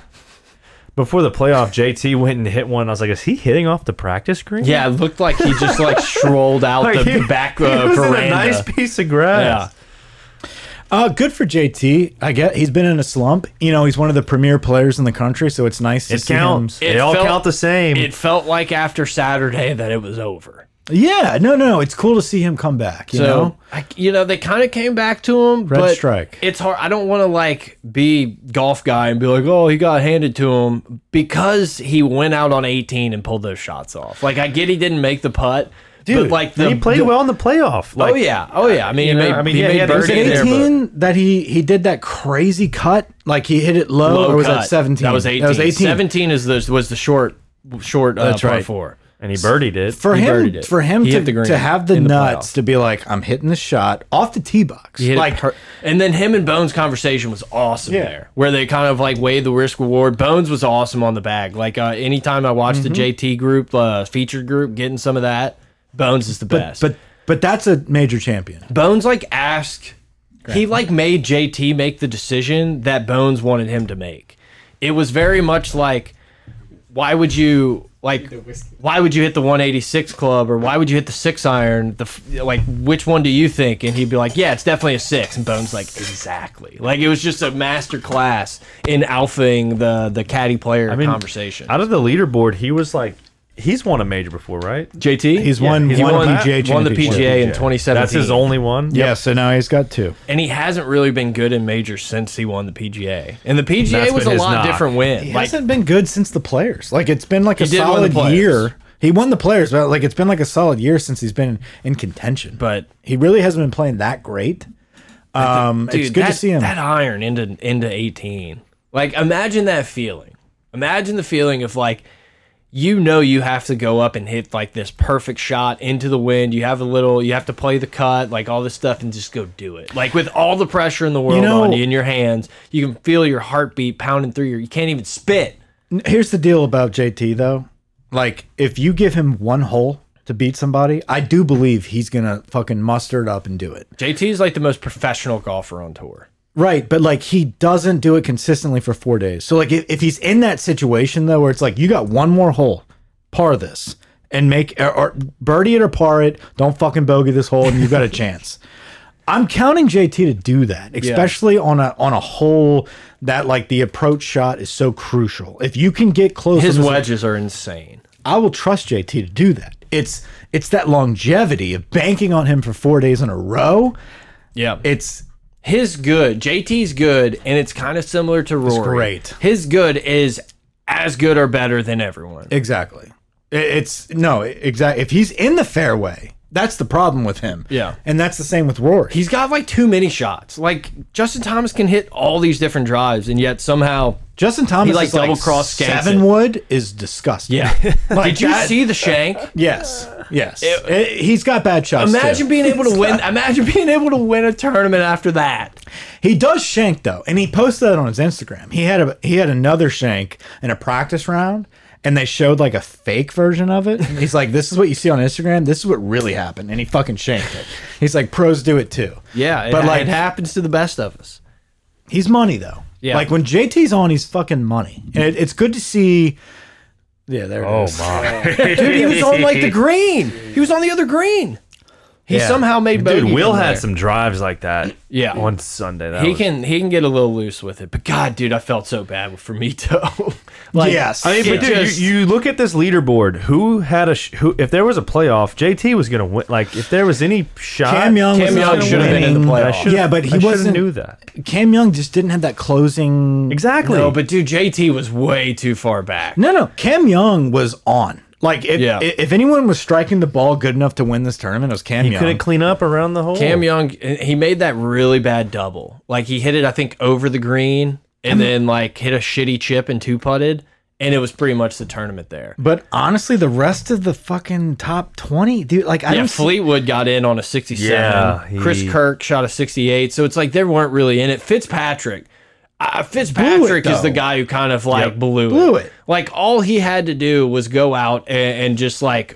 Speaker 3: before the playoff. JT went and hit one. I was like, is he hitting off the practice green?
Speaker 1: Yeah, it looked like he just like strolled out
Speaker 3: Like,
Speaker 1: the,
Speaker 3: he-
Speaker 1: the back
Speaker 3: he
Speaker 1: uh,
Speaker 3: was in
Speaker 1: veranda.
Speaker 3: a nice piece of grass.
Speaker 2: Uh, good for JT. I get he's been in a slump. You know, he's one of the premier players in the country, so it's nice to
Speaker 3: It
Speaker 2: see
Speaker 3: counts.
Speaker 2: him.
Speaker 3: They
Speaker 1: It
Speaker 3: all
Speaker 1: felt-
Speaker 3: count the same.
Speaker 1: It felt like after Saturday that it was over.
Speaker 2: Yeah, no, no, it's cool to see him come back. You
Speaker 1: so
Speaker 2: know,
Speaker 1: I, you know they kind of came back to him.
Speaker 2: Red
Speaker 1: but
Speaker 2: strike.
Speaker 1: It's hard. I don't want to like be golf guy and be like, oh, he got handed to him because he went out on 18 and pulled those shots off. Like I get he didn't make the putt, but like
Speaker 3: and
Speaker 1: the
Speaker 3: he played
Speaker 1: the-
Speaker 3: well in the playoff. Like,
Speaker 1: oh yeah, oh yeah. I mean,
Speaker 3: You know,
Speaker 1: he made,
Speaker 3: I mean,
Speaker 1: he
Speaker 3: yeah, he
Speaker 1: made
Speaker 3: had
Speaker 2: was
Speaker 3: those
Speaker 1: birdie
Speaker 2: it
Speaker 1: there, but-
Speaker 2: 18 that he he did that crazy cut? Like he hit it low,
Speaker 1: Low
Speaker 2: or was
Speaker 1: cut.
Speaker 2: that 17?
Speaker 1: That was 18. 17 is the was the short short uh,
Speaker 2: That's
Speaker 1: par
Speaker 2: right.
Speaker 1: 4.
Speaker 3: and he birdied it.
Speaker 2: For
Speaker 1: He birdied
Speaker 2: him,
Speaker 1: it.
Speaker 2: for him
Speaker 1: He
Speaker 2: to,
Speaker 1: hit the green
Speaker 2: to have the
Speaker 1: in the
Speaker 2: nuts
Speaker 1: playoffs.
Speaker 2: to be like, I'm hitting the shot off the tee box.
Speaker 1: He hit it
Speaker 2: Like,
Speaker 1: per- and then him and Bones' conversation was awesome
Speaker 2: Yeah.
Speaker 1: there, where they kind of like weighed the risk reward. Bones was awesome on the bag. Like uh, anytime I watch the JT group, uh, featured group, getting some of that, Bones is the best.
Speaker 2: but but that's a major champion.
Speaker 1: Bones like asked, he like made JT make the decision that Bones wanted him to make. It was very much like, why would you like, why would you hit the 186 club or why would you hit the six iron? The f- like, which one do you think? And he'd be like, yeah, it's definitely a six. And Bones like, exactly. Like it was just a master class in alphaing the the caddy player conversation.
Speaker 3: Out of the leaderboard, he was like, he's won a major before, right?
Speaker 1: JT,
Speaker 2: He's won-
Speaker 1: he
Speaker 2: he's
Speaker 1: won,
Speaker 2: won
Speaker 1: that-
Speaker 2: PGA
Speaker 1: won the
Speaker 2: championship.
Speaker 1: PGA in
Speaker 3: Yeah.
Speaker 1: 2017.
Speaker 3: That's his only one.
Speaker 2: Yeah, so now he's got two.
Speaker 1: and he hasn't really been good in majors since he won the PGA. And the PGA
Speaker 3: That's
Speaker 1: was a
Speaker 3: been his
Speaker 1: lot
Speaker 3: knock.
Speaker 1: different win.
Speaker 2: He
Speaker 1: like
Speaker 2: hasn't been good since the players. Like it's been like a
Speaker 1: did win the
Speaker 2: solid
Speaker 1: Players.
Speaker 2: year. He won the players, but like it's been like a solid year since he's been in contention.
Speaker 1: But-
Speaker 2: he really hasn't been playing that great. Um, it's
Speaker 1: dude,
Speaker 2: good
Speaker 1: that,
Speaker 2: to see him.
Speaker 1: that iron into into 18. Like imagine that feeling. Imagine the feeling of like you know you have to go up and hit like this perfect shot into the wind. You have a little you have to play the cut, like all this stuff and just go do it. Like with all the pressure in the world
Speaker 2: know-
Speaker 1: on you in your hands, you can feel your heartbeat pounding through your you can't even spit.
Speaker 2: Here's the deal about JT though. Like if you give him one hole to beat somebody, I do believe he's gonna fucking muster it up and do it.
Speaker 1: JT is like the most professional golfer on tour.
Speaker 2: Right, but like he doesn't do it consistently for four days. So like if, if he's in that situation though, where it's like you got one more hole, par this and make or, or birdie it or par it. Don't fucking bogey this hole, and you've got a chance. I'm counting JT to do that, especially on a on a hole that like the approach shot is so crucial. If you can get close,
Speaker 1: His
Speaker 2: on this-
Speaker 1: wedges are insane.
Speaker 2: I will trust JT to do that. It's it's that longevity of banking on him for four days in a row.
Speaker 1: Yeah.
Speaker 2: It's
Speaker 1: his good, JT's good, and it's kind of similar to Rory.
Speaker 2: great.
Speaker 1: His good is as good or better than everyone.
Speaker 2: Exactly. I- It's no, exactly. If he's in the fairway, that's the problem with him.
Speaker 1: Yeah.
Speaker 2: And that's the same with Rory.
Speaker 1: He's got like too many shots. Like Justin Thomas can hit all these different drives, and yet somehow.
Speaker 2: Justin Thomas
Speaker 1: He, like,
Speaker 2: is
Speaker 1: double-cross skanks
Speaker 2: seven
Speaker 1: it.
Speaker 2: wood is disgusting.
Speaker 1: Yeah.
Speaker 2: Like
Speaker 1: Did you
Speaker 2: that-
Speaker 1: see the shank?
Speaker 2: Yes. Yes. I- he's got bad shots.
Speaker 1: Imagine
Speaker 2: too.
Speaker 1: being able to win. Imagine being able to win a tournament after that.
Speaker 2: He does shank though, and he posted that on his Instagram. He had a he had another shank in a practice round, and they showed like a fake version of it. And he's like, "This is what you see on Instagram. This is what really happened." And he fucking shanked it. He's like, "Pros do it too."
Speaker 1: Yeah, it,
Speaker 2: but like
Speaker 1: it happens to the best of us.
Speaker 2: he's money though.
Speaker 1: Yeah.
Speaker 2: Like when JT's on, he's fucking money, and it, it's good to see. Yeah, there it
Speaker 3: Oh
Speaker 2: is.
Speaker 3: my!
Speaker 1: Dude, he was on like the green. He was on the other green. He
Speaker 2: Yeah.
Speaker 1: somehow made bogey.
Speaker 3: Dude, Will
Speaker 1: from
Speaker 3: had
Speaker 1: there.
Speaker 3: some drives like that.
Speaker 1: Yeah.
Speaker 3: One Sunday. That
Speaker 1: He
Speaker 3: was-
Speaker 1: can he can get a little loose with it, but God, dude, I felt so bad for Mito. like,
Speaker 2: Yes.
Speaker 3: I mean, but
Speaker 1: It
Speaker 3: dude,
Speaker 1: just-
Speaker 3: you, you look at this leaderboard. Who had a sh who? If there was a playoff, JT was gonna win. Like if there was any shot,
Speaker 2: Cam Young,
Speaker 1: Cam
Speaker 2: was
Speaker 1: Young
Speaker 2: fucking
Speaker 1: should have been in the
Speaker 2: winning.
Speaker 1: playoffs.
Speaker 3: I should've-
Speaker 2: Yeah, but he
Speaker 3: I should've
Speaker 2: wasn't-
Speaker 3: Knew that
Speaker 2: Cam Young just didn't have that closing.
Speaker 3: exactly.
Speaker 1: no, but dude, JT was way too far back.
Speaker 2: No, no. Cam Young was on. Like, if,
Speaker 1: Yeah.
Speaker 2: if if anyone was striking the ball good enough to win this tournament, it was Cam
Speaker 3: he
Speaker 2: Young.
Speaker 3: couldn't clean up around the hole.
Speaker 1: Cam Young, he made that really bad double. Like he hit it, I think, over the green, and then like hit a shitty chip and two putted, and it was pretty much the tournament there.
Speaker 2: But honestly, the rest of the fucking top twenty, dude. Like, I
Speaker 1: Yeah,
Speaker 2: don't. see-
Speaker 1: Fleetwood got in on a 67.
Speaker 3: Yeah,
Speaker 1: Chris
Speaker 3: he-
Speaker 1: Kirk shot a 68. So it's like they weren't really in it. Fitzpatrick. Uh, Fitzpatrick
Speaker 2: Blew it,
Speaker 1: is the
Speaker 2: though.
Speaker 1: guy who kind of like blew,
Speaker 2: Blew it.
Speaker 1: Like all he had to do was go out and, and just like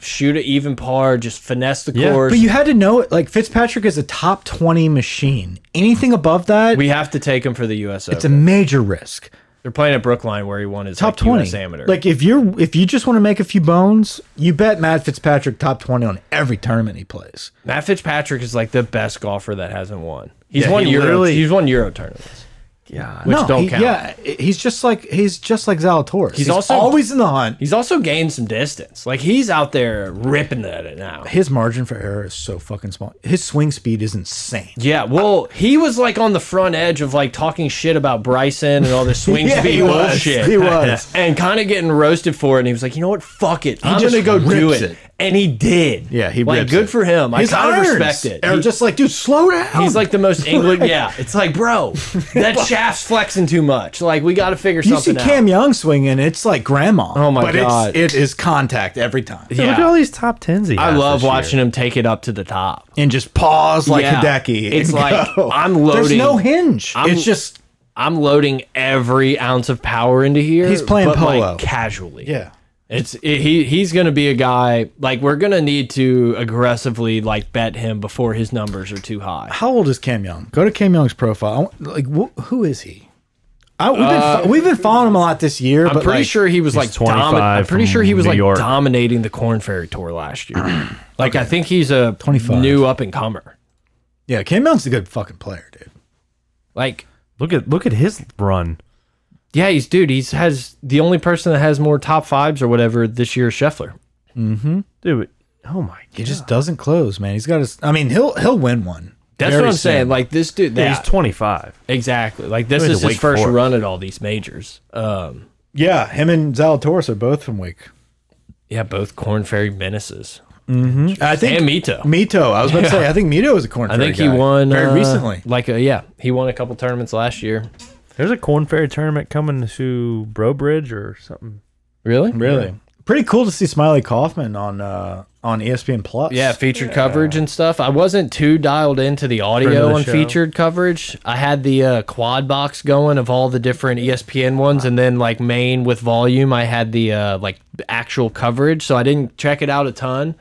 Speaker 1: shoot an even par, just finesse the
Speaker 3: Yeah,
Speaker 1: course.
Speaker 2: But you had to know it. Like, Fitzpatrick is a top twenty machine. Anything above that,
Speaker 1: we have to take him for the US
Speaker 2: it's a
Speaker 1: Open.
Speaker 2: major risk.
Speaker 1: They're playing at Brookline where he won his
Speaker 2: Top
Speaker 1: like,
Speaker 2: twenty
Speaker 1: US amateur.
Speaker 2: Like, if you're if you just want to make a few bones, you bet Matt Fitzpatrick top twenty on every tournament he plays.
Speaker 1: Matt Fitzpatrick is the best golfer that hasn't won. He's
Speaker 3: Yeah,
Speaker 1: won
Speaker 3: he
Speaker 1: Euro.
Speaker 3: literally-
Speaker 1: He's won Euro tournaments.
Speaker 3: Yeah.
Speaker 1: Which don't
Speaker 2: he-
Speaker 1: count.
Speaker 2: Yeah, he's just like he's just like Zalatoris. He's,
Speaker 1: also-
Speaker 2: always in the hunt.
Speaker 1: He's also gained some distance. Like he's out there ripping at it now.
Speaker 2: his margin for error is so fucking small. His swing speed is insane.
Speaker 1: Yeah, well, he was like on the front edge of like talking shit about Bryson and all this swing
Speaker 2: Yeah,
Speaker 1: speed
Speaker 2: he was.
Speaker 1: bullshit.
Speaker 2: He was.
Speaker 1: and kind of getting roasted for it. And he was like, you know what? Fuck it. I'm
Speaker 2: just
Speaker 1: gonna go do
Speaker 2: rips
Speaker 1: it.
Speaker 2: it.
Speaker 1: And he did.
Speaker 2: Yeah, he
Speaker 1: like
Speaker 2: rips
Speaker 1: good
Speaker 2: it.
Speaker 1: for him.
Speaker 2: His
Speaker 1: I kind
Speaker 2: irons
Speaker 1: of respect it.
Speaker 2: Are
Speaker 1: He-
Speaker 2: just like, dude, slow down.
Speaker 1: he's like the most England. Yeah, it's like, bro, that shaft's flexing too much. Like we got to figure
Speaker 2: you see
Speaker 1: something
Speaker 2: Cam
Speaker 1: out.
Speaker 2: Young swinging, it's like grandma.
Speaker 1: Oh my
Speaker 2: but
Speaker 1: God.
Speaker 2: it's, it is contact every time.
Speaker 1: Yeah.
Speaker 3: Look at all these top tens. He
Speaker 1: I
Speaker 3: has
Speaker 1: love
Speaker 3: this year.
Speaker 1: watching him take it up to the top.
Speaker 2: And just pause like
Speaker 1: Yeah.
Speaker 2: Hideki. and
Speaker 1: It's like,
Speaker 2: go.
Speaker 1: I'm
Speaker 2: There's
Speaker 1: loading.
Speaker 2: no hinge.
Speaker 1: I'm-
Speaker 2: it's just
Speaker 1: I'm loading every ounce of power into here.
Speaker 2: He's playing
Speaker 1: but, like,
Speaker 2: polo.
Speaker 1: casually.
Speaker 2: yeah.
Speaker 1: It's it, he he's going to be a guy like we're going to need to aggressively like bet him before his numbers are too high.
Speaker 2: How old is Cam Young? Go to Cam Young's profile. I want- Like, wh who is he? I, we've, been, fo- we've been following him a lot this year.
Speaker 1: Uh, I'm
Speaker 2: but
Speaker 1: pretty
Speaker 2: like,
Speaker 1: sure he was
Speaker 3: he's
Speaker 1: like domi-
Speaker 3: 25
Speaker 1: I'm pretty sure
Speaker 3: from
Speaker 1: he was
Speaker 3: New
Speaker 1: like
Speaker 3: York.
Speaker 1: dominating the Corn Ferry Tour last year. like I think he's a
Speaker 2: 25.
Speaker 1: new up and comer.
Speaker 2: Yeah, Cam Young's a good fucking player, dude.
Speaker 1: Like
Speaker 3: Look at look at his run.
Speaker 1: yeah, he's dude. He's has the only person that has more top fives or whatever this year is Scheffler.
Speaker 3: Dude, oh my
Speaker 2: He
Speaker 3: god.
Speaker 2: just doesn't close, man. He's got his. I mean, he'll he'll win one.
Speaker 1: That's
Speaker 2: very
Speaker 1: what I'm
Speaker 2: soon.
Speaker 1: saying. Like this dude,
Speaker 3: Dude,
Speaker 1: yeah,
Speaker 3: He's 25.
Speaker 1: exactly. Like this
Speaker 3: Going
Speaker 1: is
Speaker 3: to
Speaker 1: his
Speaker 3: Wake
Speaker 1: first
Speaker 3: Forest.
Speaker 1: run at all these majors. Um,
Speaker 2: Yeah, him and Zalatoris are both from Wake.
Speaker 1: yeah, both Corn Ferry menaces.
Speaker 2: I think
Speaker 1: And Mito.
Speaker 2: Mito. I was about to say. I think Mito is a corn.
Speaker 1: I
Speaker 2: fairy
Speaker 1: think
Speaker 2: guy.
Speaker 1: he won
Speaker 2: very
Speaker 1: uh,
Speaker 2: recently.
Speaker 1: Like a, yeah, he won a couple tournaments last year.
Speaker 3: There's a Corn Ferry tournament coming to Brobridge or something.
Speaker 1: Really?
Speaker 2: Really, pretty cool to see Smiley Kaufman on uh, on ESPN Plus.
Speaker 1: Yeah, featured coverage and stuff. I wasn't too dialed into the audio
Speaker 3: the
Speaker 1: on
Speaker 3: show.
Speaker 1: featured coverage. I had the uh, quad box going of all the different E ESPN ones, and then like main with volume, I had the uh, like actual coverage, so I didn't check it out a ton.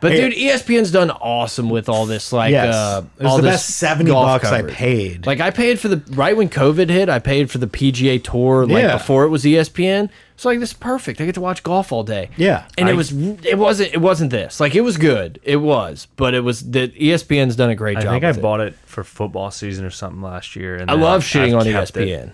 Speaker 1: But
Speaker 2: Hey-
Speaker 1: dude, E ESPN's done awesome with all this. Like,
Speaker 2: yes,
Speaker 1: uh,
Speaker 2: it was
Speaker 1: all
Speaker 2: the
Speaker 1: this
Speaker 2: best seventy
Speaker 1: golf
Speaker 2: bucks I
Speaker 1: coverage.
Speaker 2: paid.
Speaker 1: Like I paid for the right when COVID hit, I paid for the PGA Tour like
Speaker 2: Yeah.
Speaker 1: before it was E ESPN. So like this is perfect. I get to watch golf all day.
Speaker 2: Yeah.
Speaker 1: and
Speaker 3: I-
Speaker 1: it was it wasn't it wasn't this. Like it was good, it was, but it was E that ESPN's done a great
Speaker 3: I
Speaker 1: job.
Speaker 3: think I
Speaker 1: with it.
Speaker 3: bought it for football season or something last year. And
Speaker 1: I
Speaker 3: then
Speaker 1: love
Speaker 3: I've
Speaker 1: shitting on E
Speaker 3: kept it. E
Speaker 1: ESPN,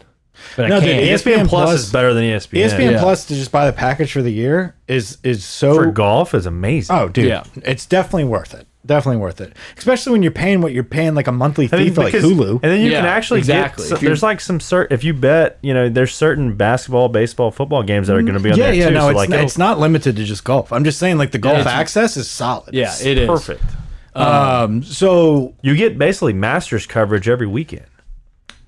Speaker 1: but
Speaker 2: No,
Speaker 1: I
Speaker 2: dude, E
Speaker 1: can't.
Speaker 2: ES-
Speaker 3: ESPN, Plus
Speaker 2: Plus- E
Speaker 3: is better than E ESPN.
Speaker 2: ESPN
Speaker 1: Yeah.
Speaker 2: Plus to just buy the package for the year is is so
Speaker 3: for golf is amazing.
Speaker 2: Oh, dude,
Speaker 1: Yeah.
Speaker 2: it's definitely worth it. Definitely worth it, especially when you're paying what you're paying, like a monthly fee
Speaker 3: I mean,
Speaker 2: for like
Speaker 3: because-
Speaker 2: Hulu.
Speaker 3: and then you
Speaker 1: Yeah,
Speaker 3: can actually
Speaker 1: exactly.
Speaker 3: get. so-
Speaker 1: If you-
Speaker 3: there's like some certain. If you bet, you know, there's certain basketball, baseball, football games that are going to be on
Speaker 2: yeah,
Speaker 3: there
Speaker 2: yeah,
Speaker 3: too.
Speaker 2: no,
Speaker 3: so
Speaker 2: it's,
Speaker 3: like,
Speaker 2: not,
Speaker 3: oh,
Speaker 2: it's not limited to just golf. I'm just saying, like the golf
Speaker 1: it's-
Speaker 2: access is solid.
Speaker 1: yeah, it is
Speaker 3: perfect.
Speaker 2: Um, so
Speaker 3: You get basically Masters coverage every weekend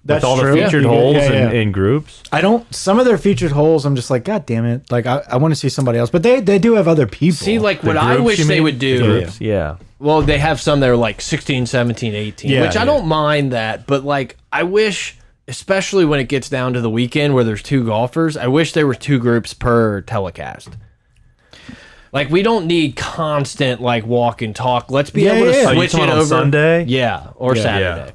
Speaker 2: that's
Speaker 3: with all
Speaker 2: true.
Speaker 3: the featured
Speaker 2: You get-
Speaker 3: holes
Speaker 2: yeah, yeah.
Speaker 3: And, and groups.
Speaker 2: I don't. Some of their featured holes, I'm just like, God damn it! Like I, I want to see somebody else, but they they do have other people.
Speaker 1: See, like what
Speaker 3: The
Speaker 1: I
Speaker 3: groups,
Speaker 1: wish
Speaker 3: you
Speaker 1: they
Speaker 3: mean?
Speaker 1: would do.
Speaker 3: The groups, yeah.
Speaker 1: Well, they have some that are like 16, 17, 18,
Speaker 2: Yeah,
Speaker 1: which I
Speaker 2: yeah.
Speaker 1: don't mind that, but like I wish especially when it gets down to the weekend where there's two golfers. I wish there were two groups per telecast. Like we don't need constant like walk and talk. Let's be
Speaker 2: Yeah,
Speaker 1: able to
Speaker 2: yeah, yeah.
Speaker 3: Oh, you
Speaker 1: switch
Speaker 3: talking
Speaker 1: it
Speaker 3: on
Speaker 1: over
Speaker 3: Sunday?
Speaker 1: yeah, or Saturday.
Speaker 3: Yeah.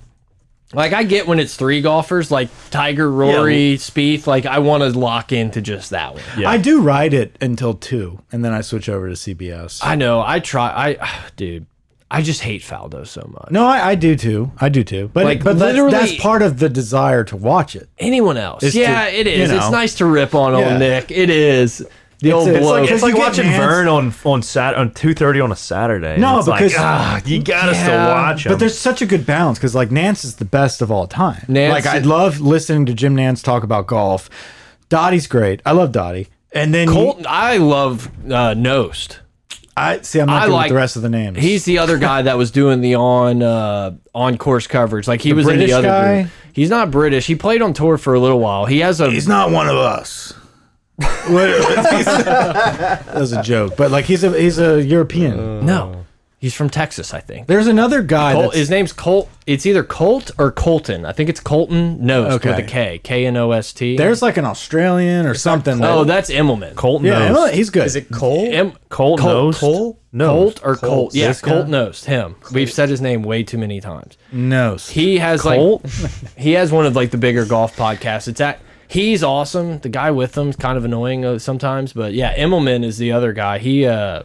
Speaker 1: Like I get when it's three golfers, like Tiger, Rory, Spieth. Like I want to lock into just that one.
Speaker 3: Yeah.
Speaker 2: I do ride it until two, and then I switch over to CBS.
Speaker 1: I know. I try. I, dude, I just hate Faldo so much.
Speaker 2: no, I, I do too. I do too. But
Speaker 1: Like,
Speaker 2: but literally, that's,
Speaker 1: literally-
Speaker 2: part of the desire to watch it.
Speaker 1: Anyone else?
Speaker 2: It's
Speaker 1: yeah,
Speaker 2: to-
Speaker 1: it
Speaker 2: you
Speaker 1: is.
Speaker 2: know.
Speaker 1: It's nice to rip on
Speaker 2: Yeah.
Speaker 1: old Nick. It is. The old
Speaker 2: a- it's
Speaker 1: bloke.
Speaker 2: like-
Speaker 3: It's
Speaker 2: Because
Speaker 3: like
Speaker 2: you get
Speaker 3: watching
Speaker 2: hands-
Speaker 3: Vern on on Sat on two thirty on a Saturday.
Speaker 2: No,
Speaker 3: it's
Speaker 2: because-
Speaker 3: like, ah, you gotta still
Speaker 1: Yeah,
Speaker 3: watch him.
Speaker 2: But there's such a good balance because like Nance is the best of all time.
Speaker 1: Nance-
Speaker 2: like I love listening to Jim Nance talk about golf. Dottie's great. I love Dottie. And then
Speaker 1: Colton. I love uh, Nost.
Speaker 2: I see. I'm not
Speaker 1: I
Speaker 2: good
Speaker 1: like
Speaker 2: with the rest of the names.
Speaker 1: He's the other guy that was doing the on uh, on course coverage. Like he was in
Speaker 2: British
Speaker 1: the other
Speaker 2: guy?
Speaker 1: group. He's not British. He played on tour for a little while. He has a
Speaker 2: he's not one of us. that was a joke, but like he's a he's a European.
Speaker 1: no. He's from Texas, I think.
Speaker 2: There's another guy.
Speaker 1: Col
Speaker 2: that's,
Speaker 1: his name's Colt. It's either Colt or Colton. I think it's Colton Nost with a K. K N O S T.
Speaker 2: there's like an Australian or something.
Speaker 1: oh,
Speaker 2: that,
Speaker 1: that's Immelman.
Speaker 3: Colton
Speaker 2: yeah,
Speaker 3: knows.
Speaker 2: he's good.
Speaker 6: Is it Cole?
Speaker 1: Em
Speaker 3: Colt
Speaker 1: Col-
Speaker 3: Nost?
Speaker 1: Col-
Speaker 3: Nost.
Speaker 1: Colt or Colt?
Speaker 3: Colt,
Speaker 1: Yeah,
Speaker 3: this
Speaker 1: Colt
Speaker 3: guy?
Speaker 1: Nost. Him. We've said his name way too many times.
Speaker 2: no.
Speaker 1: He has like he has one of like the bigger golf podcasts. It's at he's awesome. The guy with him is kind of annoying uh, sometimes, but yeah, Immelman is the other guy. He uh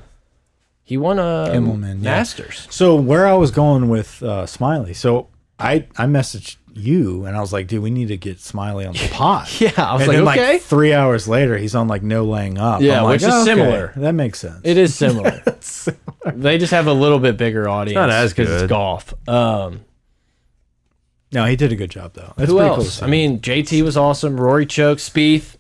Speaker 1: he won a
Speaker 2: Immelman, yeah.
Speaker 1: Masters.
Speaker 2: So where I was going with uh, Smiley, so I I messaged you and I was like, dude, we need to get Smiley on the pod.
Speaker 1: Yeah, I was
Speaker 2: and
Speaker 1: like,
Speaker 2: then,
Speaker 1: okay.
Speaker 2: like three hours later, he's on like no laying up.
Speaker 1: Yeah,
Speaker 2: I'm like,
Speaker 1: which is
Speaker 2: "Oh, okay,
Speaker 1: similar."
Speaker 2: That makes sense.
Speaker 1: It is similar. They just have a little bit bigger audience.
Speaker 3: not as
Speaker 1: 'cause
Speaker 3: good.
Speaker 1: It's golf. Um,
Speaker 2: no, he did a good job though. That's
Speaker 1: who
Speaker 2: pretty cool.
Speaker 1: else?
Speaker 2: to
Speaker 1: I mean, JT was awesome. Rory Choke, Spieth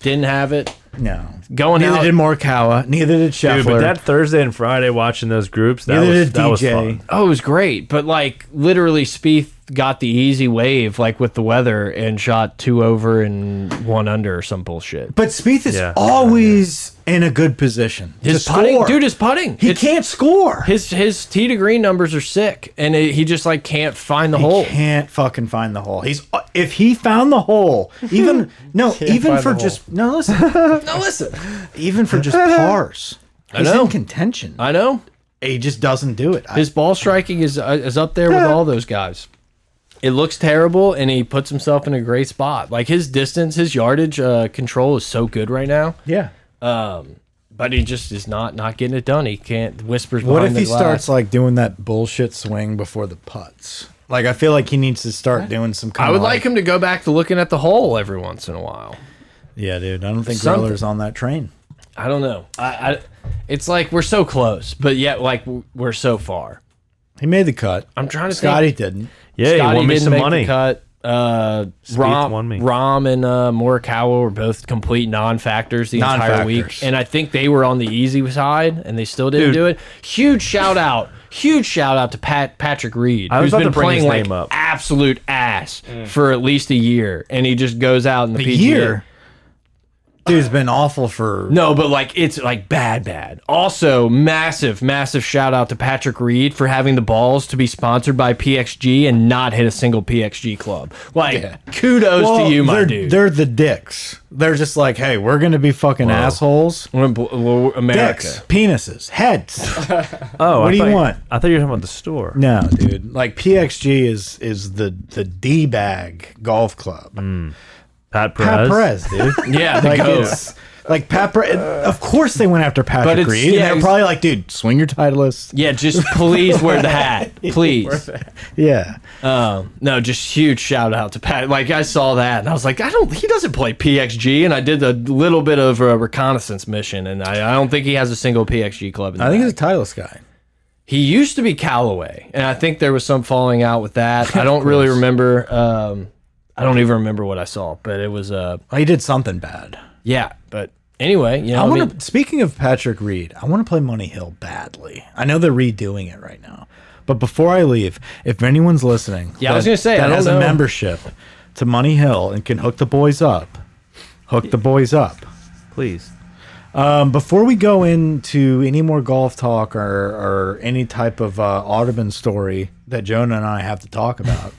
Speaker 1: didn't have it.
Speaker 2: see. no,
Speaker 1: Going
Speaker 2: neither
Speaker 1: out.
Speaker 2: did Morikawa, neither did Scheffler.
Speaker 3: Dude, but that Thursday and Friday watching those groups, that
Speaker 2: Neither
Speaker 3: was
Speaker 2: did
Speaker 3: that was
Speaker 2: DJ.
Speaker 3: fun.
Speaker 1: Oh, it was great, but like literally, Spieth got the easy wave, like with the weather, and shot two over and one under or some bullshit.
Speaker 2: But Spieth is
Speaker 3: Yeah.
Speaker 2: always in a good position.
Speaker 1: His
Speaker 2: to
Speaker 1: putting,
Speaker 2: score.
Speaker 1: dude, his putting.
Speaker 2: he
Speaker 1: It's-
Speaker 2: can't score.
Speaker 1: His his tee to green numbers are sick, and it, he just like can't find the hole.
Speaker 2: He can't fucking find the hole. He's if he found the hole, even no, even
Speaker 6: find
Speaker 2: for
Speaker 6: the
Speaker 2: just no listen, no listen, even for just pars. He's
Speaker 1: know.
Speaker 2: in contention.
Speaker 1: I know
Speaker 2: he just doesn't do it. I-
Speaker 1: his ball striking is uh, is up there with all those guys. It looks terrible, and he puts himself in a great spot. Like his distance, his yardage uh, control is so good right now,
Speaker 2: yeah.
Speaker 1: but he just is not not getting it done. He can't whispers.
Speaker 2: What
Speaker 1: behind
Speaker 2: if
Speaker 1: the
Speaker 2: he
Speaker 1: glass.
Speaker 2: starts like doing that bullshit swing before the putts? Like I feel like he needs to start doing some. Kind
Speaker 1: I would
Speaker 2: of
Speaker 1: like him to go back to looking at the hole every once in a while.
Speaker 2: Yeah, dude. I don't think
Speaker 1: Something.
Speaker 2: Reller's on that train.
Speaker 1: I don't know. I, I it's like we're so close, but yet like w- we're so far.
Speaker 2: He made the cut.
Speaker 1: I'm trying to
Speaker 2: Scotty
Speaker 1: think.
Speaker 2: didn't.
Speaker 3: Yeah,
Speaker 1: Scotty
Speaker 3: he won me
Speaker 1: didn't
Speaker 3: some
Speaker 1: make the
Speaker 3: money.
Speaker 1: cut. Uh, Rom,
Speaker 3: won me.
Speaker 1: Rom and uh, Morikawa were both complete non-factors the entire
Speaker 2: Non-factors.
Speaker 1: week, and I think they were on the easy side, and they still didn't
Speaker 3: Dude.
Speaker 1: do it. Huge shout out, huge shout out to Pat Patrick Reed,
Speaker 3: I was
Speaker 1: who's
Speaker 3: about
Speaker 1: been
Speaker 3: to bring his
Speaker 1: playing like
Speaker 3: name up.
Speaker 1: absolute ass for at least a year, and he just goes out in the
Speaker 2: A
Speaker 1: PGA.
Speaker 2: year. Dude's been awful for
Speaker 1: No, but like it's like bad, bad. Also, massive, massive shout out to Patrick Reed for having the balls to be sponsored by PXG and not hit a single PXG club. Like, kudos
Speaker 2: Well,
Speaker 1: to you, my
Speaker 2: they're,
Speaker 1: dude.
Speaker 2: They're the dicks. They're just like, hey, we're gonna be fucking assholes.
Speaker 1: We're bl- we're America.
Speaker 2: Dicks, penises, heads.
Speaker 3: Oh,
Speaker 2: What
Speaker 3: I
Speaker 2: do you
Speaker 3: thought-
Speaker 2: want?
Speaker 3: I thought you were talking about the store.
Speaker 2: no, dude. Like PXG is is the the d bag golf club.
Speaker 3: Pat Perez.
Speaker 2: Pat Perez, dude.
Speaker 1: Yeah, the
Speaker 2: like
Speaker 1: goat.
Speaker 2: it's like Pat. Perez, of course they went after Patrick
Speaker 1: it's-
Speaker 2: Reed. and
Speaker 1: yeah,
Speaker 2: they're
Speaker 1: it's-
Speaker 2: probably like, dude, swing your Titleist.
Speaker 1: Yeah, just please wear the hat, please.
Speaker 2: Yeah,
Speaker 1: Um, no, just huge shout out to Pat. Like I saw that and I was like, I don't. He doesn't play PXG, and I did a little bit of a reconnaissance mission, and I, I don't think he has a single PXG club. In the
Speaker 2: I think
Speaker 1: bag.
Speaker 2: he's a Titleist guy.
Speaker 1: He used to be Callaway, and I think there was some falling out with that. I don't really remember. Um, I don't even remember what I saw, but it was uh,
Speaker 2: Oh, he did something bad.
Speaker 1: yeah. But anyway, you know,
Speaker 2: I
Speaker 1: I
Speaker 2: want to.
Speaker 1: mean,
Speaker 2: speaking of Patrick Reed, I want to play Money Hill badly. I know they're redoing it right now, but before I leave, if anyone's listening,
Speaker 1: Yeah, I was gonna say, I
Speaker 2: that
Speaker 1: don't
Speaker 2: has a
Speaker 1: know.
Speaker 2: membership to Money Hill and can hook the boys up. Hook the boys up.
Speaker 3: Please.
Speaker 2: Um, before we go into any more golf talk or, or any type of uh, Audubon story that Jonah and I have to talk about,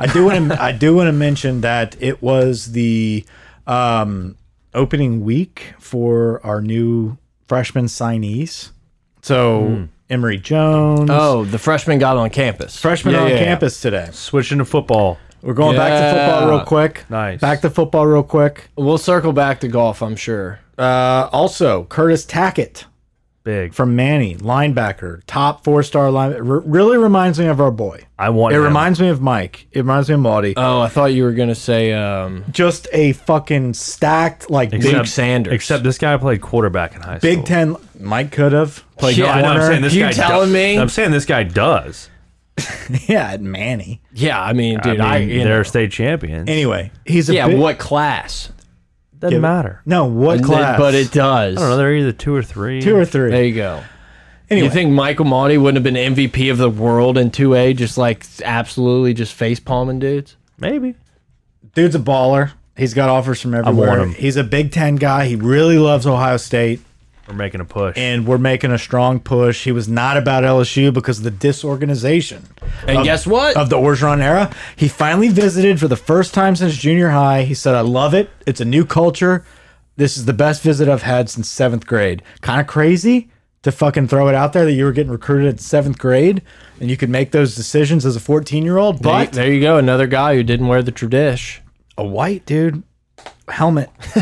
Speaker 2: I do want to I do want to mention that it was the um, opening week for our new freshman signees. So Emory Jones,
Speaker 1: Hmm. Oh, the freshman got on campus.
Speaker 2: freshman
Speaker 1: Yeah,
Speaker 2: on
Speaker 1: yeah, yeah.
Speaker 2: campus today.
Speaker 3: Switching to football.
Speaker 2: We're going back to football
Speaker 1: Yeah.
Speaker 2: real quick.
Speaker 3: Nice.
Speaker 2: Back to football real quick.
Speaker 1: We'll circle back to golf, I'm sure.
Speaker 2: Uh, also, Curtis Tackett
Speaker 3: Big.
Speaker 2: from Manny, linebacker, top four star line. re- really reminds me of our boy.
Speaker 3: I want.
Speaker 2: It
Speaker 3: him.
Speaker 2: reminds me of Mike. It reminds me of Maudie.
Speaker 1: Oh, I thought you were gonna say um,
Speaker 2: Just a fucking stacked like
Speaker 1: Except-
Speaker 2: big,
Speaker 1: Duke Sanders.
Speaker 3: Except this guy played quarterback in high school.
Speaker 2: Big Ten. Mike could have played
Speaker 1: Shit,
Speaker 3: No, I know, I'm
Speaker 2: corner.
Speaker 3: saying this
Speaker 1: You
Speaker 3: guy
Speaker 1: telling
Speaker 3: do-
Speaker 1: me?
Speaker 3: I'm saying this guy does.
Speaker 2: yeah, at Manny.
Speaker 1: yeah. I mean, dude,
Speaker 3: I
Speaker 1: I,
Speaker 3: mean,
Speaker 1: you
Speaker 3: they're
Speaker 1: know.
Speaker 3: state champions.
Speaker 2: Anyway, he's a
Speaker 1: yeah.
Speaker 2: big-
Speaker 1: What class?
Speaker 3: Doesn't matter.
Speaker 2: No, what class?
Speaker 1: But it does.
Speaker 3: I don't know. They're either two or three.
Speaker 2: two or three.
Speaker 1: There you go.
Speaker 2: Anyway.
Speaker 1: You think Michael Monty wouldn't have been MVP of the world in 2A, just like absolutely just face palming dudes?
Speaker 3: maybe.
Speaker 2: Dude's a baller. He's got offers from everywhere.
Speaker 3: him.
Speaker 2: He's a Big Ten guy. He really loves Ohio State.
Speaker 3: We're making a push.
Speaker 2: and we're making a strong push. He was not about LSU because of the disorganization
Speaker 1: And guess what?
Speaker 2: of the Orgeron era. He finally visited for the first time since junior high. He said, I love it. It's a new culture. This is the best visit I've had since seventh grade. Kind of crazy to fucking throw it out there that you were getting recruited at seventh grade and you could make those decisions as a 14 year old,
Speaker 1: There-
Speaker 2: but
Speaker 1: there, you go, another guy who didn't wear the tradish.
Speaker 2: a white dude. Helmet,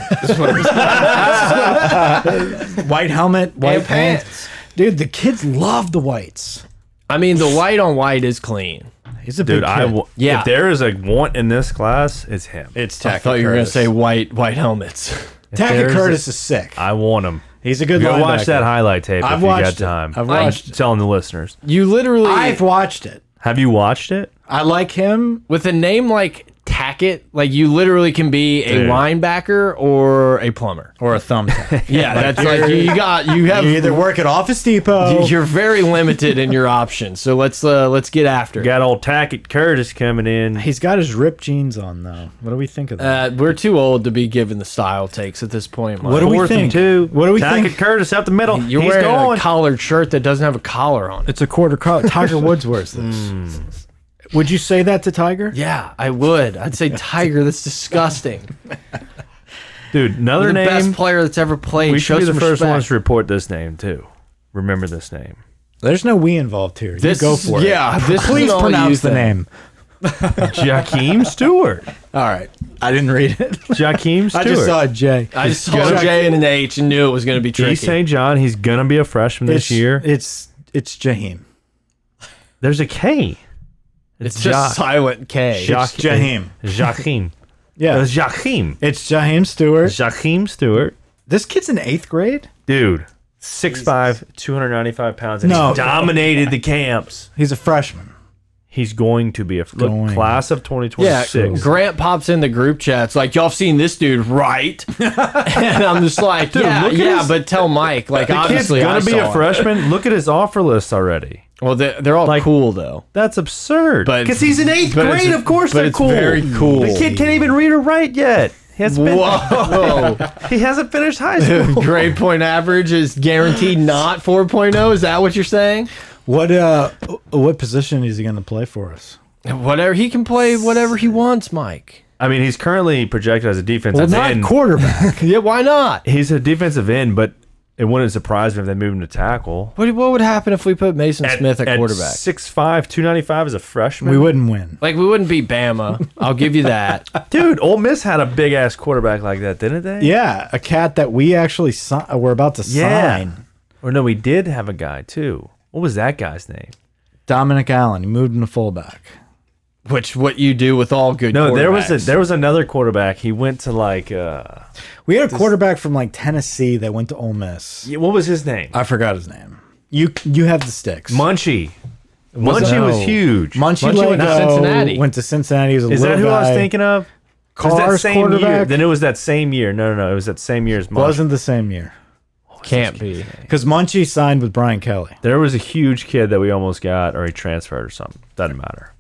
Speaker 2: white helmet, white pants. dude. The kids love the whites.
Speaker 1: I mean, the white on white is clean.
Speaker 2: He's a
Speaker 3: Dude,
Speaker 2: big
Speaker 3: I
Speaker 2: kid.
Speaker 3: w-
Speaker 1: Yeah.
Speaker 3: if there is a want in this class, it's him.
Speaker 2: It's Tackett
Speaker 1: I thought you were gonna say white white helmets.
Speaker 2: Tackett
Speaker 3: there's
Speaker 2: Curtis is sick.
Speaker 3: I want him.
Speaker 2: He's a good
Speaker 3: Go
Speaker 2: linebacker.
Speaker 3: watch that highlight tape
Speaker 2: I've
Speaker 3: if you got
Speaker 2: watched it.
Speaker 3: time.
Speaker 2: I've watched
Speaker 3: I'm telling the listeners.
Speaker 1: You literally
Speaker 2: I've watched it.
Speaker 3: Have you watched it?
Speaker 2: I like him.
Speaker 1: with a name like Tackett, like you literally can be a
Speaker 3: Dude.
Speaker 1: linebacker or a plumber.
Speaker 2: Or a thumbtack.
Speaker 1: Yeah, that's like you, you got you have
Speaker 2: you either work at Office Depot.
Speaker 1: you're very limited in your options. So let's uh, let's get after. it.
Speaker 3: Got old Tackett Curtis coming in.
Speaker 2: He's got his ripped jeans on, though. What do we think of that?
Speaker 1: Uh, we're too old to be given the style takes at this point. Mike.
Speaker 2: What do we
Speaker 3: Fourth
Speaker 2: think?
Speaker 3: and two.
Speaker 2: What do we
Speaker 3: Tackett
Speaker 2: think?
Speaker 3: Curtis up the middle.
Speaker 1: You're
Speaker 3: He's
Speaker 1: wearing
Speaker 3: going.
Speaker 1: a collared shirt that doesn't have a collar on it.
Speaker 2: it's a quarter Hmm. collar. Tiger Woods wears this. Would you say that to Tiger?
Speaker 1: Yeah, I would. I'd say Tiger. That's disgusting.
Speaker 3: Dude, another
Speaker 1: You're the
Speaker 3: name.
Speaker 1: best player that's ever played.
Speaker 3: we
Speaker 1: Show
Speaker 3: should be the
Speaker 1: some
Speaker 3: first
Speaker 1: respect.
Speaker 3: ones to report this name too. Remember this name.
Speaker 2: There's no we involved here.
Speaker 1: This
Speaker 2: you go
Speaker 1: is-
Speaker 2: for it.
Speaker 1: yeah, this is
Speaker 2: Please
Speaker 1: an all
Speaker 2: pronounce
Speaker 1: you
Speaker 2: the
Speaker 1: thing.
Speaker 2: name.
Speaker 3: Jakeem Stewart.
Speaker 2: All right. I didn't read it.
Speaker 3: Jakeem Stewart.
Speaker 2: I just saw a J.
Speaker 1: I just saw a J and an H and knew it was going to be tricky.
Speaker 3: East St. John. He's gonna be a freshman
Speaker 2: It's,
Speaker 3: this year.
Speaker 2: It's it's Jaheim.
Speaker 3: There's a K.
Speaker 1: it's just silent K.
Speaker 2: It's Jaheim.
Speaker 3: Jakeem.
Speaker 2: Yeah.
Speaker 3: It's Jakeem.
Speaker 2: It's Jaheim Stewart.
Speaker 3: Jakeem Stewart.
Speaker 2: This kid's in eighth grade.
Speaker 3: Dude. 6'5", 295 pounds, and
Speaker 2: No.
Speaker 3: he dominated the camps.
Speaker 2: He's a freshman.
Speaker 3: He's going to be a look,
Speaker 2: Going.
Speaker 3: class of
Speaker 1: Yeah,
Speaker 3: 2026.
Speaker 1: Grant pops in the group chats like, "Y'all seen this dude, right?" and I'm just like, "Yeah,
Speaker 3: look at
Speaker 1: yeah,"
Speaker 3: his-
Speaker 1: but tell Mike, like,
Speaker 3: the kid's
Speaker 1: obviously,
Speaker 3: going
Speaker 1: I
Speaker 3: to be
Speaker 1: saw
Speaker 3: a
Speaker 1: it.
Speaker 3: freshman. Look at his offer list already.
Speaker 1: Well, they're, they're all
Speaker 3: Like-
Speaker 1: cool though.
Speaker 3: That's absurd.
Speaker 1: But-
Speaker 3: Because he's in eighth
Speaker 1: but it's-
Speaker 3: grade, of course
Speaker 1: but
Speaker 3: they're
Speaker 1: it's
Speaker 3: cool.
Speaker 1: very cool.
Speaker 3: The kid can't even read or write yet. He hasn't, been-
Speaker 1: Whoa.
Speaker 3: he hasn't finished high school.
Speaker 1: grade point average is guaranteed not 4.0 is that what you're saying
Speaker 2: What uh, what position is he going to play for us?
Speaker 1: whatever he can play whatever he wants mike
Speaker 3: I mean, he's currently projected as a defensive
Speaker 2: Well, not
Speaker 3: end.
Speaker 2: quarterback.
Speaker 1: yeah why not
Speaker 3: he's a defensive end, but it wouldn't surprise me if they moved him to tackle.
Speaker 1: what, what would happen if we put mason smith at, quarterback
Speaker 3: 6'5", 295 as a freshman.
Speaker 2: we wouldn't win.
Speaker 1: like we wouldn't be bama i'll give you that
Speaker 3: Dude, Ole Miss had a big ass quarterback like that, didn't they?
Speaker 2: Yeah, a cat that we actually si- uh, we're about to
Speaker 3: Yeah.
Speaker 2: sign.
Speaker 3: Or no, we did have a guy too. What was that guy's name?
Speaker 2: Dominic Allen. He moved into fullback.
Speaker 1: which what you do with all good
Speaker 3: No, there was a
Speaker 1: quarterbacks.
Speaker 3: there was another quarterback. He went to like uh
Speaker 2: We had a quarterback from like Tennessee that went to Ole Miss.
Speaker 3: yeah, what was his name?
Speaker 2: I forgot his name. You you have the sticks.
Speaker 3: Munchie. Munchie
Speaker 2: No.
Speaker 3: was huge.
Speaker 2: Munchie,
Speaker 1: Munchie went to
Speaker 2: Lego
Speaker 1: Cincinnati.
Speaker 2: Went to Cincinnati. He was a
Speaker 3: Is that
Speaker 2: little
Speaker 3: who I was
Speaker 2: guy.
Speaker 3: thinking of? It was that
Speaker 2: Carr's
Speaker 3: same year.
Speaker 2: quarterback?
Speaker 3: Then it was that same year. No, no, no. It was that same year as Munchie.
Speaker 2: Wasn't the same year
Speaker 1: can't be
Speaker 2: because Munchie signed with Brian Kelly.
Speaker 3: There was a huge kid that we almost got, or he transferred or something. Doesn't matter.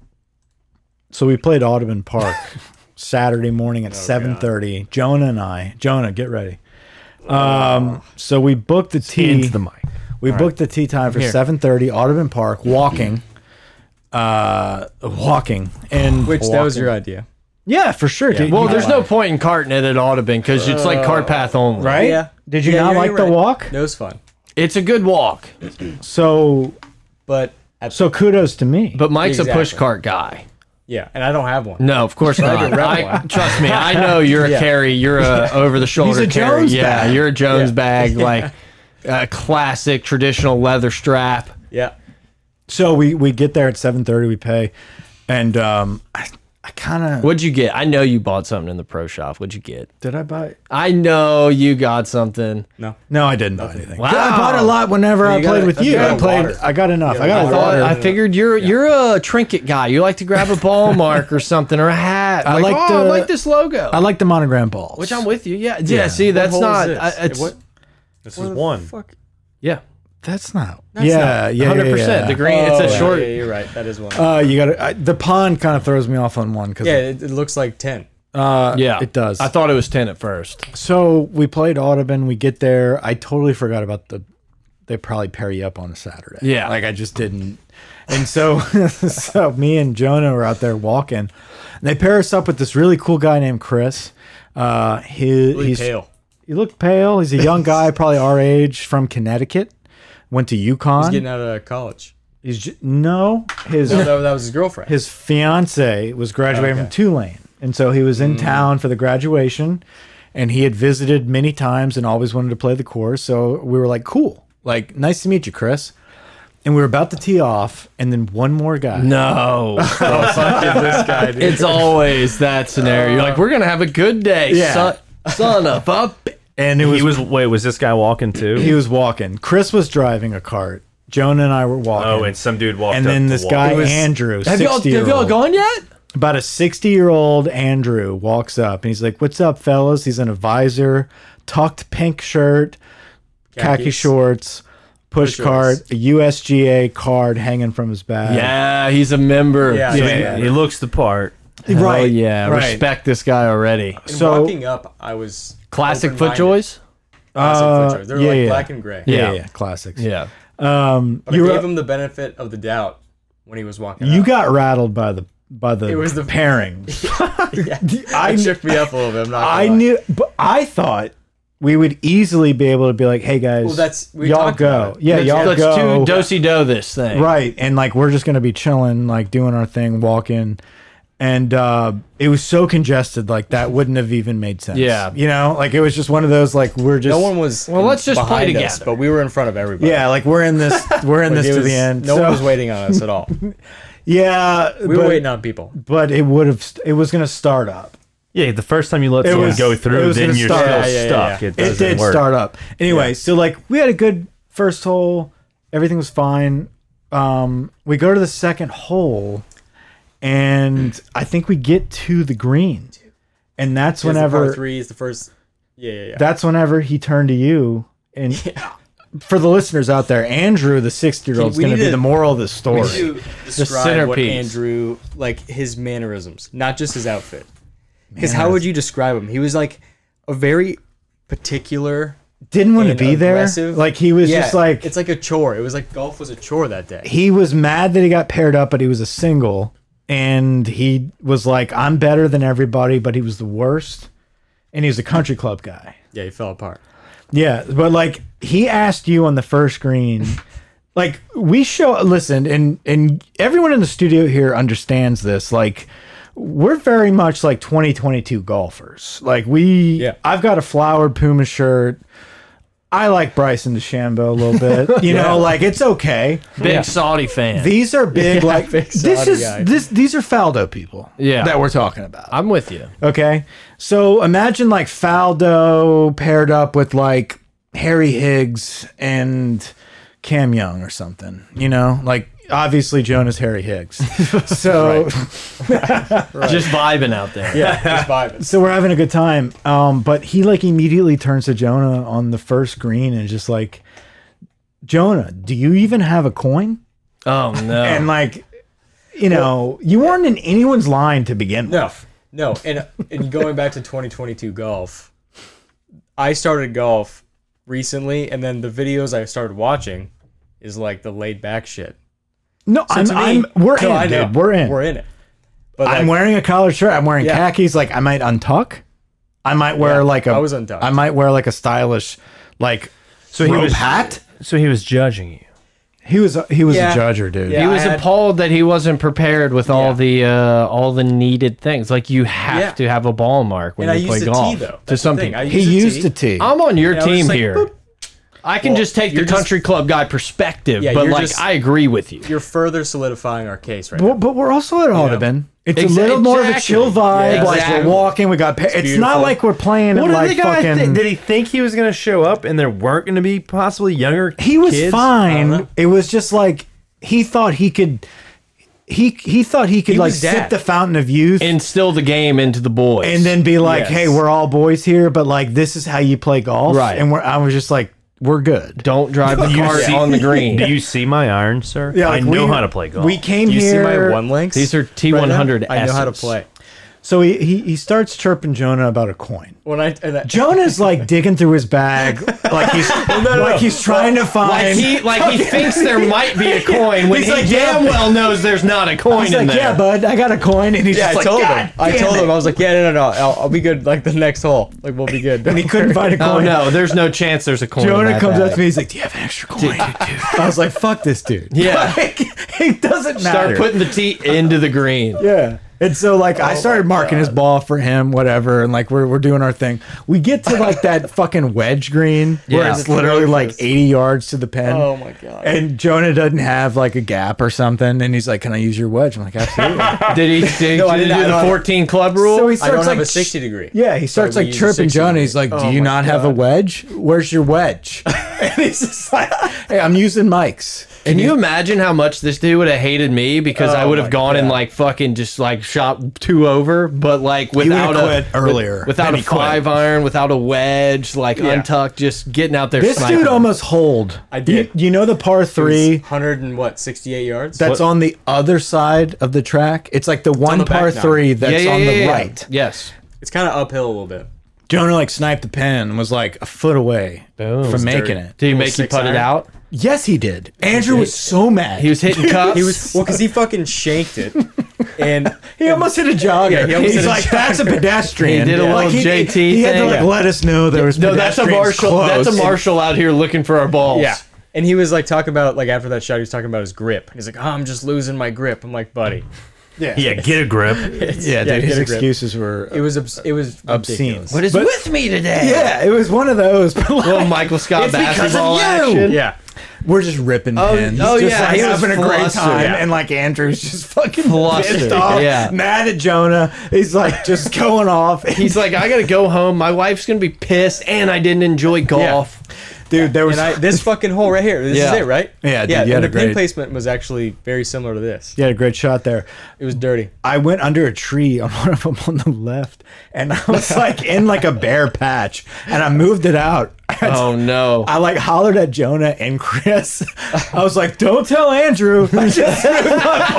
Speaker 2: So we played Audubon Park Saturday morning
Speaker 3: Oh,
Speaker 2: at seven thirty. Jonah and I. Jonah, get ready. Um, so we booked the tea.
Speaker 3: Into the mic.
Speaker 2: we booked the tea time for seven thirty. Audubon Park, walking. uh, walking and
Speaker 6: Which that was your idea.
Speaker 2: yeah for sure. dude.
Speaker 1: Well,
Speaker 2: You-
Speaker 1: there's no point in carting it. It ought to been because it's
Speaker 3: Uh,
Speaker 1: like cart path only.
Speaker 2: right.
Speaker 6: Yeah.
Speaker 2: Did you
Speaker 6: Yeah,
Speaker 2: not
Speaker 6: you're-
Speaker 2: like
Speaker 6: you're
Speaker 2: the
Speaker 6: right.
Speaker 2: walk?
Speaker 6: That was fun,
Speaker 1: It's a good walk,
Speaker 2: So
Speaker 6: but at,
Speaker 2: so kudos to me.
Speaker 1: but Mike's
Speaker 6: Exactly.
Speaker 1: a push cart guy.
Speaker 6: yeah, and I don't have one.
Speaker 1: No, of course not. I, trust me, I know you're a carry. You're a over the shoulder
Speaker 2: He's a
Speaker 1: carry.
Speaker 2: Jones
Speaker 1: yeah,
Speaker 2: bag.
Speaker 1: you're a Jones bag, like a classic traditional leather strap.
Speaker 6: Yeah,
Speaker 2: so we we get there at seven thirty. We pay, and um, I I kind of
Speaker 1: What'd you get? I know you bought something in the pro shop. What'd you get?
Speaker 2: did I buy.
Speaker 1: I know you got something.
Speaker 2: No, I didn't buy anything.
Speaker 1: Wow.
Speaker 2: I bought a lot whenever I
Speaker 6: You got
Speaker 2: played
Speaker 6: a-
Speaker 2: with
Speaker 6: you
Speaker 2: you.
Speaker 6: got
Speaker 2: I
Speaker 6: a
Speaker 2: played.
Speaker 6: water.
Speaker 2: I got enough. I got
Speaker 1: I
Speaker 2: a
Speaker 1: thought
Speaker 2: water.
Speaker 1: I figured you're you're a trinket guy. You like to grab a ball mark or something or a hat.
Speaker 2: I
Speaker 1: Like,
Speaker 2: like
Speaker 1: oh, I
Speaker 2: the-
Speaker 1: like this logo.
Speaker 2: I like the monogram balls.
Speaker 1: which I'm with you. Yeah, yeah. see, that's
Speaker 6: hole
Speaker 1: not.
Speaker 6: is
Speaker 1: I,
Speaker 6: this?
Speaker 1: it's
Speaker 6: What-
Speaker 3: This is one.
Speaker 6: Fuck.
Speaker 1: yeah,
Speaker 2: That's not. yeah, yeah,
Speaker 1: hundred
Speaker 2: yeah,
Speaker 1: percent.
Speaker 2: yeah.
Speaker 1: The green. it's a
Speaker 6: Oh, yeah,
Speaker 1: short.
Speaker 6: Yeah, you're right. That is one.
Speaker 2: Uh, you got to the pond kind of throws me off on one because
Speaker 6: yeah, it, it looks like ten.
Speaker 2: uh,
Speaker 1: Yeah,
Speaker 2: it does.
Speaker 1: I thought it was ten at first.
Speaker 2: so we played Audubon. We get there. I totally forgot about the. They probably pair you up on a Saturday.
Speaker 1: Yeah.
Speaker 2: like I just didn't. And so, so me and Jonah were out there walking. And they pair us up with this really cool guy named Chris. Uh, he, he's
Speaker 6: pale.
Speaker 2: He looked pale. He's a young guy, probably our age, from Connecticut. Went to UConn. He's,
Speaker 6: Getting out of college.
Speaker 2: ju- no, his
Speaker 6: No, that, that was his girlfriend.
Speaker 2: his fiance was graduating from Tulane, and so he was in
Speaker 1: Mm.
Speaker 2: town for the graduation, and he had visited many times and always wanted to play the course. So we were like, "Cool, like nice to meet you, Chris." And we were about to tee off, and then one more guy.
Speaker 1: No, it's always that scenario. You're like, we're gonna have a good day,
Speaker 2: Yeah.
Speaker 1: son, son of a. bi-"
Speaker 2: and it was
Speaker 3: He was wait, was this guy walking too?
Speaker 2: he was walking. Chris was driving a cart. Jonah and I were walking.
Speaker 3: oh, and some dude walked.
Speaker 2: and
Speaker 3: up
Speaker 2: then
Speaker 3: the
Speaker 2: this
Speaker 3: wall.
Speaker 2: guy
Speaker 1: was-
Speaker 2: Andrew,
Speaker 1: Have y'all, have
Speaker 2: 60-year-old.
Speaker 1: y'all gone yet?
Speaker 2: about a 60 year old Andrew walks up and he's like, What's up, fellas? He's in a visor, tucked pink shirt, khaki
Speaker 6: Khakis.
Speaker 2: shorts, push
Speaker 6: Push
Speaker 2: cart,
Speaker 6: orders.
Speaker 2: a USGA card hanging from his bag.
Speaker 1: Yeah, he's a member.
Speaker 6: Yeah.
Speaker 3: So
Speaker 6: Yeah.
Speaker 3: he, he looks the part.
Speaker 2: right.
Speaker 1: Oh yeah,
Speaker 2: right.
Speaker 1: respect this guy already.
Speaker 6: And
Speaker 2: so-
Speaker 6: walking up, I was
Speaker 1: Classic foot
Speaker 6: open-minded.
Speaker 1: joys.
Speaker 6: Classic
Speaker 2: Uh,
Speaker 6: foot joys. They're
Speaker 2: yeah,
Speaker 6: like
Speaker 2: yeah.
Speaker 6: black and gray.
Speaker 2: Yeah,
Speaker 1: Yeah.
Speaker 2: yeah, classics.
Speaker 1: Yeah,
Speaker 2: Um,
Speaker 6: But
Speaker 2: you,
Speaker 6: I
Speaker 2: were-
Speaker 6: gave him the benefit of the doubt when he was walking.
Speaker 2: you
Speaker 6: out.
Speaker 2: got rattled by the by the,
Speaker 6: It was the-
Speaker 2: pairing.
Speaker 6: I shook me up a little bit. I'm not. Gonna
Speaker 2: I
Speaker 6: lie.
Speaker 2: knew, but I thought we would easily be able to be like, "Hey guys,
Speaker 6: Well, that's- we
Speaker 2: y'all
Speaker 6: talked about
Speaker 2: go,
Speaker 6: it.
Speaker 2: yeah,
Speaker 1: let's,
Speaker 2: y'all
Speaker 1: let's
Speaker 2: go."
Speaker 1: two dosey do this thing.
Speaker 2: right and like we're just gonna be chilling like doing our thing walking and uh it was so congested like that wouldn't have even made sense
Speaker 1: Yeah.
Speaker 2: you know like it was just one of those like we're just
Speaker 6: No one was.
Speaker 1: Well, let's just play
Speaker 6: behind us,
Speaker 1: together.
Speaker 6: but we were in front of everybody.
Speaker 2: yeah like we're in this we're in
Speaker 6: Like,
Speaker 2: this
Speaker 6: it
Speaker 2: to
Speaker 6: was-
Speaker 2: the end
Speaker 6: No
Speaker 2: so,
Speaker 6: one was waiting on us at all.
Speaker 2: yeah
Speaker 6: We
Speaker 2: but,
Speaker 6: were waiting on people.
Speaker 2: but it would have st- it was gonna start up
Speaker 3: Yeah, the first time you let
Speaker 2: It
Speaker 3: someone
Speaker 2: was-
Speaker 3: go
Speaker 2: it
Speaker 3: through,
Speaker 2: was
Speaker 3: then
Speaker 2: gonna
Speaker 3: you're
Speaker 2: start-
Speaker 3: still
Speaker 2: yeah,
Speaker 6: yeah,
Speaker 3: stuck. It,
Speaker 2: it
Speaker 3: doesn't
Speaker 2: did
Speaker 3: work.
Speaker 2: start up anyway so like we had a good first hole everything was fine um we go to the second hole and i think we get to the green and that's
Speaker 6: Because the
Speaker 2: whenever
Speaker 6: par three is the first. Yeah, yeah, yeah.
Speaker 2: that's whenever he turned to you and for the listeners out there andrew the 60 year old is
Speaker 6: We
Speaker 2: going to
Speaker 6: need
Speaker 2: be
Speaker 6: to-
Speaker 2: the moral of this story
Speaker 6: to describe what
Speaker 1: centerpiece.
Speaker 6: Andrew like his mannerisms, not just his outfit. Because how would you describe him? He was like a very particular.
Speaker 2: didn't want to
Speaker 6: and
Speaker 2: be there
Speaker 6: aggressive-
Speaker 2: like he was
Speaker 6: Yeah,
Speaker 2: just like
Speaker 6: it's like a chore. It was like golf was a chore that day.
Speaker 2: he was mad that he got paired up but he was a single and he was like i'm better than everybody but he was the worst and he was a country club guy
Speaker 6: Yeah, he fell apart.
Speaker 2: Yeah, but like he asked you on the first green. like we show listen and and everyone in the studio here understands this like we're very much like 2022 golfers. Like we
Speaker 6: Yeah.
Speaker 2: I've got a flowered Puma shirt. I like Bryson DeChambeau a little bit. You know, like it's okay.
Speaker 1: Big Saudi fan.
Speaker 2: These are big like
Speaker 6: big
Speaker 2: this
Speaker 6: Saudi
Speaker 2: is
Speaker 6: guy.
Speaker 2: this these are Faldo people.
Speaker 1: Yeah.
Speaker 2: That we're talking about.
Speaker 1: I'm with you.
Speaker 2: Okay. So imagine like Faldo paired up with like Harry Higgs and Cam Young or something, you know? Like obviously Jonah's Harry Higgs. So
Speaker 1: Just vibing out there.
Speaker 6: Yeah, just vibing.
Speaker 2: so we're having a good time. Um but he like immediately turns to Jonah on the first green and just like Jonah, do you even have a coin?
Speaker 1: Oh no.
Speaker 2: And like you know, you weren't in anyone's line to begin with.
Speaker 6: No, no. And and going back to 2022 golf, I started golf recently, and then the videos I started watching is like the laid back shit.
Speaker 2: No,
Speaker 6: So
Speaker 2: I'm,
Speaker 6: to me-
Speaker 2: I'm, we're
Speaker 6: No, I
Speaker 2: in,
Speaker 6: know.
Speaker 2: dude. We're in.
Speaker 6: We're in it. But
Speaker 2: I'm
Speaker 6: like,
Speaker 2: wearing a collared shirt. I'm wearing
Speaker 6: Yeah.
Speaker 2: khakis. Like I might untuck. I might wear
Speaker 6: Yeah,
Speaker 2: like a.
Speaker 6: I was untucked.
Speaker 2: I might wear like a stylish, like
Speaker 3: So
Speaker 2: rope hat.
Speaker 3: So he was judging you.
Speaker 2: He was a- he was
Speaker 6: Yeah.
Speaker 2: a judger, dude.
Speaker 6: Yeah.
Speaker 1: he was
Speaker 6: I had-
Speaker 1: appalled that he wasn't prepared with all
Speaker 6: Yeah.
Speaker 1: the uh, all the needed things. Like you have
Speaker 6: Yeah.
Speaker 1: to have a ball mark when
Speaker 6: and I
Speaker 1: you
Speaker 6: used
Speaker 1: play
Speaker 6: a T
Speaker 1: golf.
Speaker 6: though.
Speaker 1: To
Speaker 6: That's the
Speaker 1: some
Speaker 6: thing. I
Speaker 1: people,
Speaker 2: He used a T.
Speaker 6: T.
Speaker 1: I'm on your
Speaker 6: And I was
Speaker 1: team
Speaker 6: like,
Speaker 1: here.
Speaker 6: boop.
Speaker 1: I can
Speaker 6: Well,
Speaker 1: just take the
Speaker 6: you're just-
Speaker 1: country club guy perspective,
Speaker 6: Yeah,
Speaker 1: but
Speaker 6: you're
Speaker 1: like
Speaker 6: just-
Speaker 1: I agree with you.
Speaker 6: You're further solidifying our case right now.
Speaker 2: Well, but we're also at Audubon. It's
Speaker 1: Exa-
Speaker 2: a little more of a
Speaker 1: exactly.
Speaker 2: chill vibe.
Speaker 1: Yeah,
Speaker 2: Like
Speaker 1: exactly.
Speaker 2: we're walking. We got. Pa- it's not
Speaker 6: beautiful.
Speaker 2: like we're playing.
Speaker 3: What
Speaker 2: What
Speaker 3: did
Speaker 2: like
Speaker 3: the guy
Speaker 2: fucking,
Speaker 3: think? Did he think he was going to show up and there weren't going to be possibly younger?
Speaker 2: he was
Speaker 3: kids?
Speaker 2: fine. It was just like he thought he could. He he thought he could like
Speaker 6: was
Speaker 2: sip
Speaker 6: that.
Speaker 2: the fountain of youth.
Speaker 1: Instill the game into the boys,
Speaker 2: and then be like,
Speaker 6: Yes.
Speaker 2: "Hey, we're all boys here, but like this is how you play golf."
Speaker 1: Right.
Speaker 2: And we're, I was just like, "We're good."
Speaker 1: don't drive the cart
Speaker 3: see-
Speaker 1: on the green.
Speaker 3: Do you see my iron, sir? I
Speaker 2: like,
Speaker 3: know
Speaker 2: we-
Speaker 3: how to play golf.
Speaker 2: We came
Speaker 6: Do you
Speaker 2: here.
Speaker 6: see my one links?
Speaker 1: These are
Speaker 6: right now?
Speaker 1: T100
Speaker 6: I know how to
Speaker 1: S's.
Speaker 6: play.
Speaker 2: So he, he he starts chirping Jonah about a coin.
Speaker 6: When I, and I
Speaker 2: Jonah's like digging through his bag, like he's like he's trying to
Speaker 1: Like
Speaker 2: find.
Speaker 1: he, like he thinks there might be a coin when
Speaker 2: He's
Speaker 1: he
Speaker 2: like, yeah,
Speaker 1: damn
Speaker 2: but-
Speaker 1: well knows there's not a coin
Speaker 2: He's
Speaker 1: in
Speaker 2: like,
Speaker 1: there.
Speaker 2: yeah, bud, I got a coin, and he's
Speaker 6: yeah, I
Speaker 2: just
Speaker 6: told
Speaker 2: like,
Speaker 6: him.
Speaker 2: "God
Speaker 6: I
Speaker 2: damn
Speaker 6: told
Speaker 2: it."
Speaker 6: him. I was like, yeah, no, no, no. I'll, I'll be good. Like the next hole. Like we'll be good.
Speaker 2: And he couldn't find a
Speaker 1: oh
Speaker 2: coin.
Speaker 1: no, there's no chance there's a coin. in
Speaker 2: Jonah
Speaker 1: that
Speaker 2: comes up
Speaker 1: bag.
Speaker 2: to me. He's like, "Do you have an extra coin?" I was like, "Fuck this dude."
Speaker 1: Yeah.
Speaker 2: like, it doesn't matter.
Speaker 1: Start putting the tee into the green.
Speaker 2: Yeah. And so like
Speaker 6: Oh
Speaker 2: I started marking his ball for him, whatever, and like we're we're doing our thing. We get to like that fucking wedge green where
Speaker 1: Yeah.
Speaker 2: it's literally like 80 yards to the pen.
Speaker 6: Oh my god.
Speaker 2: And Jonah doesn't have like a gap or something, and he's like, "Can I use your wedge?" I'm like, "Absolutely."
Speaker 1: Did he, did he
Speaker 6: No, I
Speaker 1: do
Speaker 6: did not. I
Speaker 1: the
Speaker 6: don't-
Speaker 1: 14 club rule?
Speaker 2: so he
Speaker 6: I
Speaker 2: starts
Speaker 6: don't
Speaker 2: like
Speaker 6: have a 60 degree.
Speaker 2: Yeah, he starts
Speaker 6: we
Speaker 2: like
Speaker 6: use a
Speaker 2: chirping
Speaker 6: 60
Speaker 2: Jonah.
Speaker 6: degree.
Speaker 2: He's like, "Do
Speaker 6: Oh
Speaker 2: you
Speaker 6: my
Speaker 2: not have a
Speaker 6: God.
Speaker 2: wedge? Where's your wedge?" and he's just like, "Hey, I'm using mics."
Speaker 1: Can you imagine how much this dude would have hated me because I
Speaker 6: Oh
Speaker 1: would have
Speaker 6: my
Speaker 1: gone and like fucking just like shot two over, but like
Speaker 2: would've
Speaker 1: without a
Speaker 2: quit earlier.
Speaker 1: with- without
Speaker 2: Then
Speaker 1: a
Speaker 2: he quit.
Speaker 1: five iron, without a wedge, like untucked, just getting out there.
Speaker 2: This
Speaker 1: sniping.
Speaker 2: dude almost holed.
Speaker 6: I did.
Speaker 2: You, you know the par three.
Speaker 6: Hundred and what? Sixty-eight yards.
Speaker 2: that's on the other side of the track. It's like the one
Speaker 6: the back
Speaker 2: par
Speaker 6: nine.
Speaker 2: three that's
Speaker 1: yeah, yeah,
Speaker 2: on
Speaker 1: yeah,
Speaker 2: the
Speaker 1: yeah.
Speaker 2: right.
Speaker 1: Yes,
Speaker 6: it's kind of uphill a little bit.
Speaker 2: Jonah like sniped the pin and was like a foot away from making it.
Speaker 1: did he
Speaker 6: Little
Speaker 1: make you
Speaker 6: six
Speaker 1: put it
Speaker 6: iron.
Speaker 1: out?
Speaker 2: Yes, he did. Andrew was so mad.
Speaker 1: He was hitting cups.
Speaker 6: He was well because he fucking shanked it, and
Speaker 2: He almost hit a jogger.
Speaker 6: Yeah, he almost
Speaker 2: He's
Speaker 6: hit a
Speaker 2: like, that's a pedestrian.
Speaker 1: He did a little JT
Speaker 2: He, had to
Speaker 1: thing.
Speaker 2: like let us know there was
Speaker 1: no, that's a
Speaker 2: pedestrians
Speaker 1: marshal. That's
Speaker 2: close.
Speaker 1: a marshal out here looking for our balls.
Speaker 6: yeah. And he was like talking about like after that shot, he was talking about his grip. He's like, oh, I'm just losing my grip. I'm like, buddy,
Speaker 3: yeah, get a grip.
Speaker 2: Yeah, dude,
Speaker 6: get
Speaker 2: his
Speaker 6: a grip.
Speaker 2: excuses were
Speaker 6: it was obs- it was
Speaker 2: obscene.
Speaker 6: ridiculous.
Speaker 1: what is
Speaker 2: But-
Speaker 1: with me today?
Speaker 2: Yeah, it was one of those. But like,
Speaker 1: Little Michael Scott
Speaker 2: it's because of
Speaker 1: basketball
Speaker 2: you.
Speaker 1: action.
Speaker 6: Yeah,
Speaker 2: we're just ripping
Speaker 1: Oh,
Speaker 2: pins.
Speaker 1: oh,
Speaker 2: just
Speaker 1: yeah,
Speaker 2: like
Speaker 1: he was
Speaker 2: having a great
Speaker 1: flustered.
Speaker 2: time,
Speaker 1: Yeah.
Speaker 2: and like Andrew's just fucking
Speaker 1: Flustered,
Speaker 2: pissed off,
Speaker 1: yeah.
Speaker 2: mad at Jonah. He's like just going off.
Speaker 1: He's like, I gotta go home. My wife's gonna be pissed, and I didn't enjoy golf.
Speaker 2: dude, there was
Speaker 6: and I this fucking hole right here. This
Speaker 1: Yeah.
Speaker 6: is it, right?
Speaker 2: Yeah, dude,
Speaker 6: yeah.
Speaker 2: you had
Speaker 6: and
Speaker 2: a
Speaker 6: the
Speaker 2: great-
Speaker 6: pin placement was actually very similar to this.
Speaker 2: you had a great shot there.
Speaker 6: It was dirty.
Speaker 2: I went under a tree on one of them on the left, and I was like in like a bare patch, and I moved it out.
Speaker 1: Oh no!
Speaker 2: I like hollered at Jonah and Chris. I was like, "Don't tell Andrew." I just moved my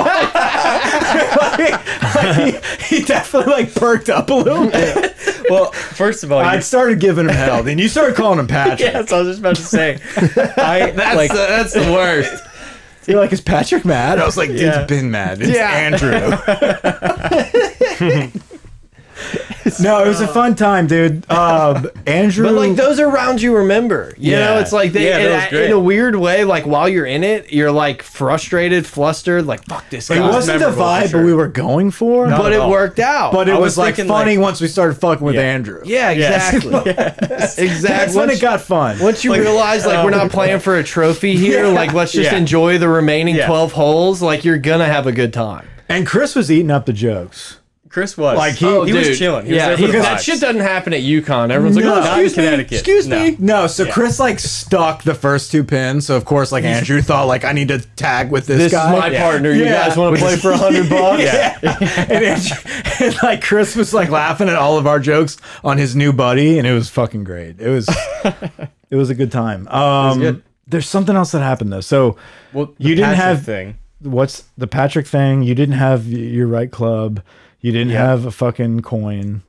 Speaker 2: ball. like, like, he, he definitely like perked up a little bit.
Speaker 6: Well, first of all,
Speaker 2: I
Speaker 6: you,
Speaker 2: started giving him hell. Then you started calling him Patrick.
Speaker 6: yeah, that's what I was just about to say. I
Speaker 1: That's
Speaker 6: like
Speaker 1: the, that's the worst.
Speaker 2: You're like, "Is Patrick mad?" I was like, "Dude's
Speaker 6: Yeah.
Speaker 2: been mad. It's
Speaker 1: Yeah.
Speaker 2: Andrew." no, it was a fun time, dude. Um, Andrew,
Speaker 1: But like those are rounds you remember. You
Speaker 2: Yeah.
Speaker 1: know, it's like they
Speaker 6: Yeah, that
Speaker 1: and
Speaker 6: was
Speaker 1: I-
Speaker 6: great.
Speaker 1: in a weird way, like while you're in it, you're like frustrated, flustered, like fuck this guy.
Speaker 2: it wasn't the
Speaker 6: memorable for
Speaker 2: vibe
Speaker 6: sure.
Speaker 2: we were going for,
Speaker 1: but
Speaker 6: at
Speaker 1: it
Speaker 6: all.
Speaker 1: worked out.
Speaker 2: but it
Speaker 6: I
Speaker 2: was,
Speaker 6: was
Speaker 2: like
Speaker 6: thinking, like-
Speaker 2: funny once we started fucking with Andrew.
Speaker 1: yeah, exactly. Exactly.
Speaker 2: That's when
Speaker 1: Once-
Speaker 2: it got fun.
Speaker 1: Once you realize like we're not playing for a trophy here, like let's just
Speaker 6: Yeah.
Speaker 1: enjoy the remaining
Speaker 6: Yeah.
Speaker 1: 12 holes, like you're gonna have a good time.
Speaker 2: And Chris was eating up the jokes.
Speaker 6: Chris was Oh,
Speaker 2: Like, he-
Speaker 6: he was chilling. He was
Speaker 1: yeah,
Speaker 6: there for the
Speaker 1: he- that
Speaker 6: vibes.
Speaker 1: shit doesn't happen at UConn. Everyone's
Speaker 2: No.
Speaker 1: like, oh,
Speaker 6: Not in
Speaker 1: excuse me,
Speaker 6: Connecticut.
Speaker 1: excuse
Speaker 6: No.
Speaker 1: me.
Speaker 2: No, so Chris like stuck the first two pins. So of course, like Andrew thought, like I need to tag with this,
Speaker 1: This
Speaker 2: guy.
Speaker 1: is my partner. You
Speaker 2: Yeah.
Speaker 1: guys want
Speaker 2: Which
Speaker 1: to play
Speaker 2: is-
Speaker 1: for a hundred bucks?
Speaker 2: yeah. and, Andrew, and like Chris was like laughing at all of our jokes on his new buddy, and it was fucking great. It was, it was a good time. Um,
Speaker 6: good.
Speaker 2: there's something else that happened though. So
Speaker 6: Well,
Speaker 2: you didn't have
Speaker 6: thing.
Speaker 2: what's the Patrick thing? You didn't have y- your right club. You didn't have a fucking coin.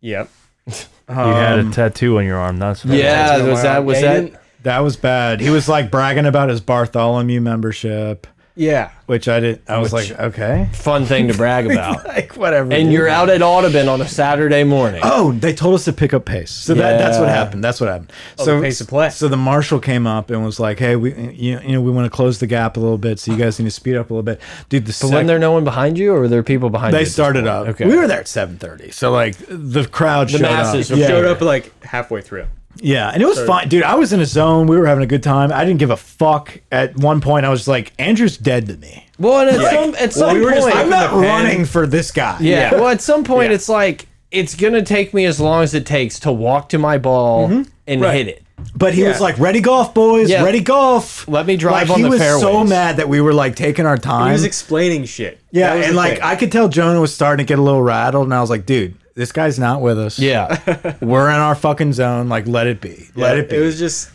Speaker 6: Yep.
Speaker 3: you had a tattoo on your arm. That's what it was.
Speaker 1: Yeah, was that was
Speaker 6: Yeah, he
Speaker 1: that
Speaker 6: didn't-
Speaker 2: That was bad. He was like bragging about his Bartholomew membership.
Speaker 6: Yeah.
Speaker 2: which I did. I was like, okay,
Speaker 1: Fun thing to brag about.
Speaker 2: like whatever.
Speaker 1: and
Speaker 2: dude.
Speaker 1: you're out at Audubon on a Saturday morning.
Speaker 2: Oh, they told us to pick up pace. So that, that's what
Speaker 1: Yeah.
Speaker 2: happened. That's what happened.
Speaker 6: the pace of play.
Speaker 2: So the marshal came up and was like, "Hey, we you, you know we want to close the gap a little bit, so you guys need to speed up a little bit." Dude, the
Speaker 1: Wasn't
Speaker 2: second
Speaker 1: there no one behind you, or were there people behind you?
Speaker 2: they
Speaker 1: at this
Speaker 2: started
Speaker 1: point?
Speaker 2: up,
Speaker 1: Okay.
Speaker 2: we were there at seven thirty. So like the crowd showed
Speaker 1: masses
Speaker 2: up.
Speaker 1: were-
Speaker 2: Yeah,
Speaker 6: Showed up like halfway through.
Speaker 2: yeah, and it was fine, dude. I was in a zone. We were having a good time. I didn't give a fuck. At one point, I was just like, "Andrew's dead to me.
Speaker 1: Well, and at some at some
Speaker 6: we were just
Speaker 1: point,
Speaker 6: like-
Speaker 2: I'm not
Speaker 6: the pen.
Speaker 2: running for this guy."
Speaker 1: yeah.
Speaker 6: Yeah.
Speaker 1: Well, at some point,
Speaker 6: Yeah.
Speaker 1: it's like it's gonna take me as long as it takes to walk to my ball and
Speaker 2: Mm-hmm. Right.
Speaker 1: hit it.
Speaker 2: But he
Speaker 6: Yeah.
Speaker 2: was like, "Ready golf, boys.
Speaker 1: Yeah.
Speaker 2: Ready golf."
Speaker 1: Let me drive on
Speaker 2: like, he
Speaker 1: the
Speaker 2: was so
Speaker 1: fairways.
Speaker 2: mad that we were like taking our
Speaker 6: He
Speaker 2: time.
Speaker 6: was explaining shit.
Speaker 2: yeah,
Speaker 6: That was
Speaker 2: and
Speaker 6: the
Speaker 2: like
Speaker 6: thing.
Speaker 2: I could tell Jonah was starting to get a little rattled, and I was like, "Dude, this guy's not with us.
Speaker 1: Yeah.
Speaker 2: we're in our fucking zone. Like, let it be.
Speaker 6: Yeah,
Speaker 2: Let it be."
Speaker 6: It was just.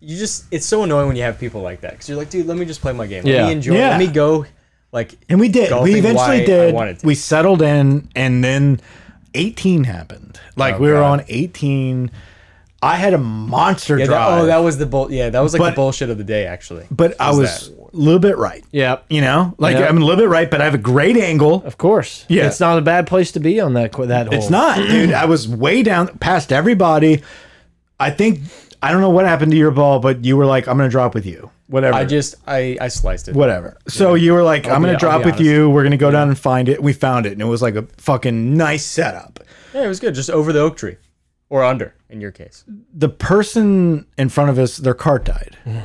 Speaker 6: You just. It's so annoying when you have people like that because you're like, dude, let me just play my game. Let
Speaker 1: Yeah.
Speaker 6: me enjoy.
Speaker 2: Yeah.
Speaker 6: Let me go. Like.
Speaker 2: and we did.
Speaker 6: golfing
Speaker 2: We
Speaker 6: why
Speaker 2: eventually
Speaker 6: I wanted
Speaker 2: did.
Speaker 6: to.
Speaker 2: We settled in, and then 18 happened. Like we were on 18. I had a monster
Speaker 6: Yeah, that,
Speaker 2: drive.
Speaker 6: oh, that was the bull. Yeah, that was like
Speaker 2: But-
Speaker 6: the bullshit of the day, actually.
Speaker 2: but I was a little bit right.
Speaker 1: Yep.
Speaker 2: You know, like
Speaker 1: Yeah.
Speaker 2: I'm a little bit right, but I have a great angle.
Speaker 1: Of course.
Speaker 2: Yeah.
Speaker 1: It's not a bad place to be on that qu- that hole.
Speaker 2: It's not, dude. I was way down past everybody. I think I don't know what happened to your ball, but you were like, "I'm gonna drop with you." Whatever.
Speaker 6: I just I I sliced it.
Speaker 2: whatever. So you were like, "I'm gonna
Speaker 6: I'll
Speaker 2: drop
Speaker 6: be
Speaker 2: with you. We're gonna go down and find it." We found it, and it was like a fucking nice setup.
Speaker 6: Yeah, it was good. Just over the oak tree, or under in your case.
Speaker 2: The person in front of us, their cart died.
Speaker 6: Mm.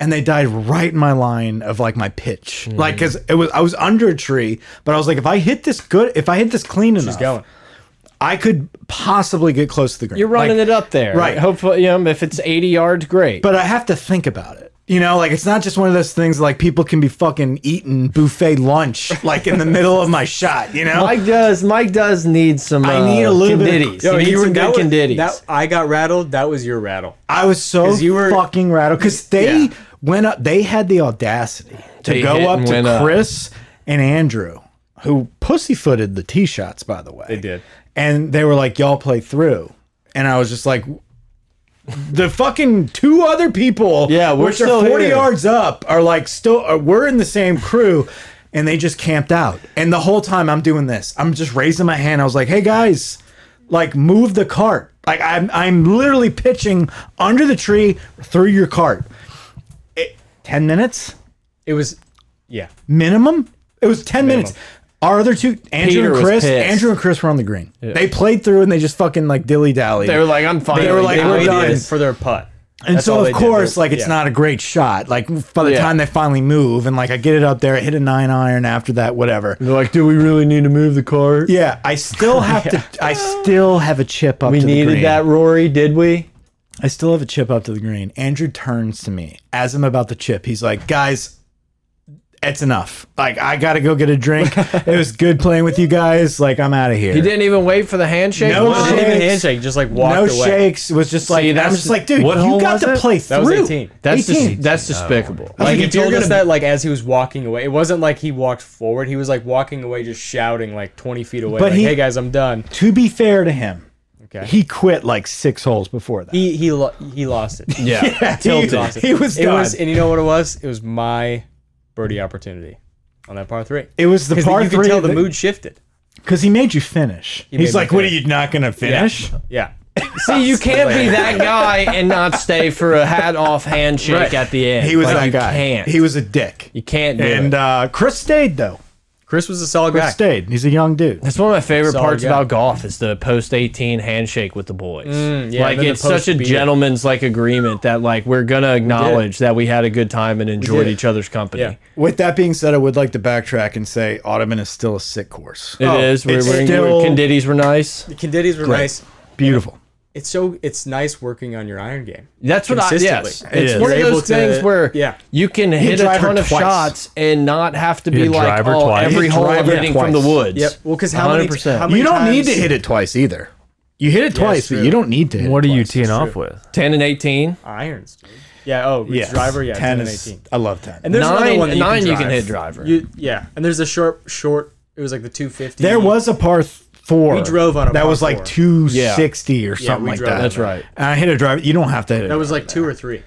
Speaker 2: And they died right in my line of like my pitch,
Speaker 6: Mm.
Speaker 2: like because it was I was under a tree, but I was like, if I hit this good, if I hit this clean enough,
Speaker 6: Just going.
Speaker 2: I could possibly get close to the green.
Speaker 1: You're running
Speaker 2: Like,
Speaker 1: it up there,
Speaker 2: right.
Speaker 1: Hopefully, you know, if it's 80 yards, great.
Speaker 2: but I have to think about it. You know, like it's not just one of those things like people can be fucking eating buffet lunch like in the middle of my shot, you know?
Speaker 1: Mike does. Mike does need some.
Speaker 2: I
Speaker 1: uh,
Speaker 2: need a little bit of-
Speaker 1: Conditties. He needs some
Speaker 6: that
Speaker 1: good
Speaker 6: was-
Speaker 1: Conditties.
Speaker 6: that- I got rattled. That was your rattle.
Speaker 2: I was so
Speaker 6: 'Cause you were-
Speaker 2: fucking rattled cuz they
Speaker 6: Yeah.
Speaker 2: went up they had the audacity to
Speaker 1: They hit
Speaker 2: go up
Speaker 1: and went
Speaker 2: to
Speaker 1: up.
Speaker 2: Chris and Andrew who pussyfooted the tee shots by the way.
Speaker 6: They did.
Speaker 2: And they were like y'all play through. And I was just like the fucking two other people
Speaker 1: Yeah, we're
Speaker 2: which are
Speaker 1: still
Speaker 2: 40
Speaker 1: here.
Speaker 2: yards up are like still are, we're in the same crew and they just camped out and the whole time i'm doing this i'm just raising my hand i was like hey guys like move the cart like i'm, I'm literally pitching under the tree through your cart It- 10 minutes
Speaker 6: It was. Yeah.
Speaker 2: minimum it was 10 minutes our other two andrew
Speaker 1: Peter
Speaker 2: and
Speaker 1: was
Speaker 2: chris
Speaker 1: pissed.
Speaker 2: andrew and chris were on the green they played through and they just fucking like dilly-dally
Speaker 1: they were like, "I'm fine."
Speaker 2: They were like, we're
Speaker 6: They
Speaker 2: done.
Speaker 6: did for their putt.
Speaker 2: And
Speaker 6: That's
Speaker 2: so,
Speaker 6: all
Speaker 2: of
Speaker 6: they did.
Speaker 2: course,
Speaker 6: They-
Speaker 2: like it's
Speaker 6: yeah.
Speaker 2: not a great shot. Like by the
Speaker 1: Yeah.
Speaker 2: time they finally move, and like I get it up there, I hit a nine iron after that, whatever.
Speaker 1: They're like, "Do we really need to move the cart?"
Speaker 2: Yeah, I still have to. I still have a chip up.
Speaker 1: We
Speaker 2: to the green.
Speaker 1: needed that, Rory. Did we?
Speaker 2: I still have a chip up to the green. Andrew turns to me as I'm about to chip. He's like, "Guys, it's enough. Like I gotta go get a drink. it was good playing with you guys. Like I'm out of here."
Speaker 1: He didn't even wait for the handshake.
Speaker 2: No
Speaker 1: Wow.
Speaker 6: Didn't
Speaker 2: shakes.
Speaker 6: even handshake. Just like walked
Speaker 2: No
Speaker 6: away.
Speaker 2: shakes. It was just like I'm
Speaker 1: that's-
Speaker 2: just like, dude,
Speaker 3: what
Speaker 2: you
Speaker 3: hole
Speaker 2: got
Speaker 3: was
Speaker 2: to
Speaker 3: it?
Speaker 2: play
Speaker 6: That
Speaker 2: through.
Speaker 6: was 18.
Speaker 1: That's dis
Speaker 2: 18.
Speaker 1: that's despicable.
Speaker 6: Like
Speaker 2: Like,
Speaker 6: he
Speaker 2: if you're
Speaker 6: told us
Speaker 2: gonna-
Speaker 6: that like as he was walking away. It wasn't like he walked forward. He was like walking away, just shouting like twenty feet away.
Speaker 2: But
Speaker 6: like,
Speaker 2: he-
Speaker 6: hey guys, I'm done.
Speaker 2: to be fair to him,
Speaker 6: Okay.
Speaker 2: he quit like six holes before that.
Speaker 6: He he lo- he lost it.
Speaker 1: yeah,
Speaker 2: He
Speaker 1: tilted.
Speaker 2: lost it. He was
Speaker 6: It
Speaker 2: done.
Speaker 6: was, and you know what it was? It was my birdie opportunity on that par three.
Speaker 2: It was the
Speaker 6: Because
Speaker 2: par
Speaker 6: you
Speaker 2: three
Speaker 6: could tell the
Speaker 2: that-
Speaker 6: mood shifted.
Speaker 2: because he made you finish. He's
Speaker 6: made
Speaker 2: like,
Speaker 6: me
Speaker 2: "What are
Speaker 6: finish.
Speaker 2: you not gonna finish?"
Speaker 6: Yeah.
Speaker 1: See, you can't be that guy and not stay for a hat off handshake
Speaker 2: Right.
Speaker 1: at the end.
Speaker 2: He was
Speaker 1: Like,
Speaker 2: that
Speaker 1: you
Speaker 2: guy.
Speaker 1: Can't.
Speaker 2: He was a dick.
Speaker 1: you can't do
Speaker 2: And
Speaker 1: it.
Speaker 2: uh, Chris stayed though.
Speaker 6: Chris was a solid
Speaker 2: Chris
Speaker 6: guy.
Speaker 2: stayed. He's a young dude.
Speaker 1: That's one of my favorite
Speaker 6: Solid
Speaker 1: parts
Speaker 6: guy.
Speaker 1: about golf is the post eighteen handshake with the boys.
Speaker 6: yeah,
Speaker 1: like
Speaker 6: and then the
Speaker 1: it's such a
Speaker 6: post-beer.
Speaker 1: gentleman's like agreement that like we're gonna acknowledge that we had a good time and enjoyed
Speaker 6: did.
Speaker 1: each other's company.
Speaker 6: Yeah.
Speaker 2: With that being said, I would like to backtrack and say Ottoman is still a sick course.
Speaker 1: It
Speaker 6: Oh,
Speaker 1: is. We're,
Speaker 2: it's
Speaker 1: we're
Speaker 2: still-
Speaker 1: Conditties were nice.
Speaker 6: The Condittis were nice.
Speaker 2: Beautiful.
Speaker 6: It's so it's nice working on your iron game.
Speaker 1: That's what I.
Speaker 6: Consistently.
Speaker 1: Yes,
Speaker 6: It
Speaker 1: it's
Speaker 2: is.
Speaker 1: one of
Speaker 6: You're able
Speaker 1: those things
Speaker 6: to-
Speaker 1: where
Speaker 6: yeah.
Speaker 1: you can hit a
Speaker 2: drive her
Speaker 1: ton of
Speaker 2: twice.
Speaker 1: shots and not have to be
Speaker 3: a
Speaker 1: like
Speaker 3: driver
Speaker 1: oh,
Speaker 3: twice.
Speaker 1: every
Speaker 2: You
Speaker 1: hole
Speaker 2: drive
Speaker 1: I'm
Speaker 2: her
Speaker 1: hitting from the
Speaker 2: twice.
Speaker 1: woods.
Speaker 6: Yep. Well, because how many
Speaker 1: 100%.
Speaker 6: how many
Speaker 2: You don't need
Speaker 6: times-
Speaker 2: to hit it twice either. You hit it twice, but
Speaker 6: true.
Speaker 2: you don't need to. Hit
Speaker 3: What
Speaker 2: it
Speaker 3: are you
Speaker 2: twice.
Speaker 3: teeing off with?
Speaker 1: Ten and eighteen.
Speaker 6: irons, dude. Yeah. Oh, it's driver. Yeah.
Speaker 2: ten
Speaker 6: and
Speaker 2: is-
Speaker 6: 18.
Speaker 2: I love ten.
Speaker 6: And there's another
Speaker 1: Nine-
Speaker 6: one. That you
Speaker 1: nine
Speaker 6: can
Speaker 1: you can
Speaker 6: drive.
Speaker 1: hit driver.
Speaker 6: You, yeah. And there's a short short. It was like the 250.
Speaker 2: There was a par th- four.
Speaker 6: We drove on a
Speaker 2: that
Speaker 6: par
Speaker 2: was like
Speaker 6: four.
Speaker 2: two sixty or something
Speaker 6: we
Speaker 2: like
Speaker 6: drove
Speaker 2: that.
Speaker 6: on
Speaker 1: That's right.
Speaker 2: And I hit a drive. You don't have to hit it.
Speaker 6: That was like two or three.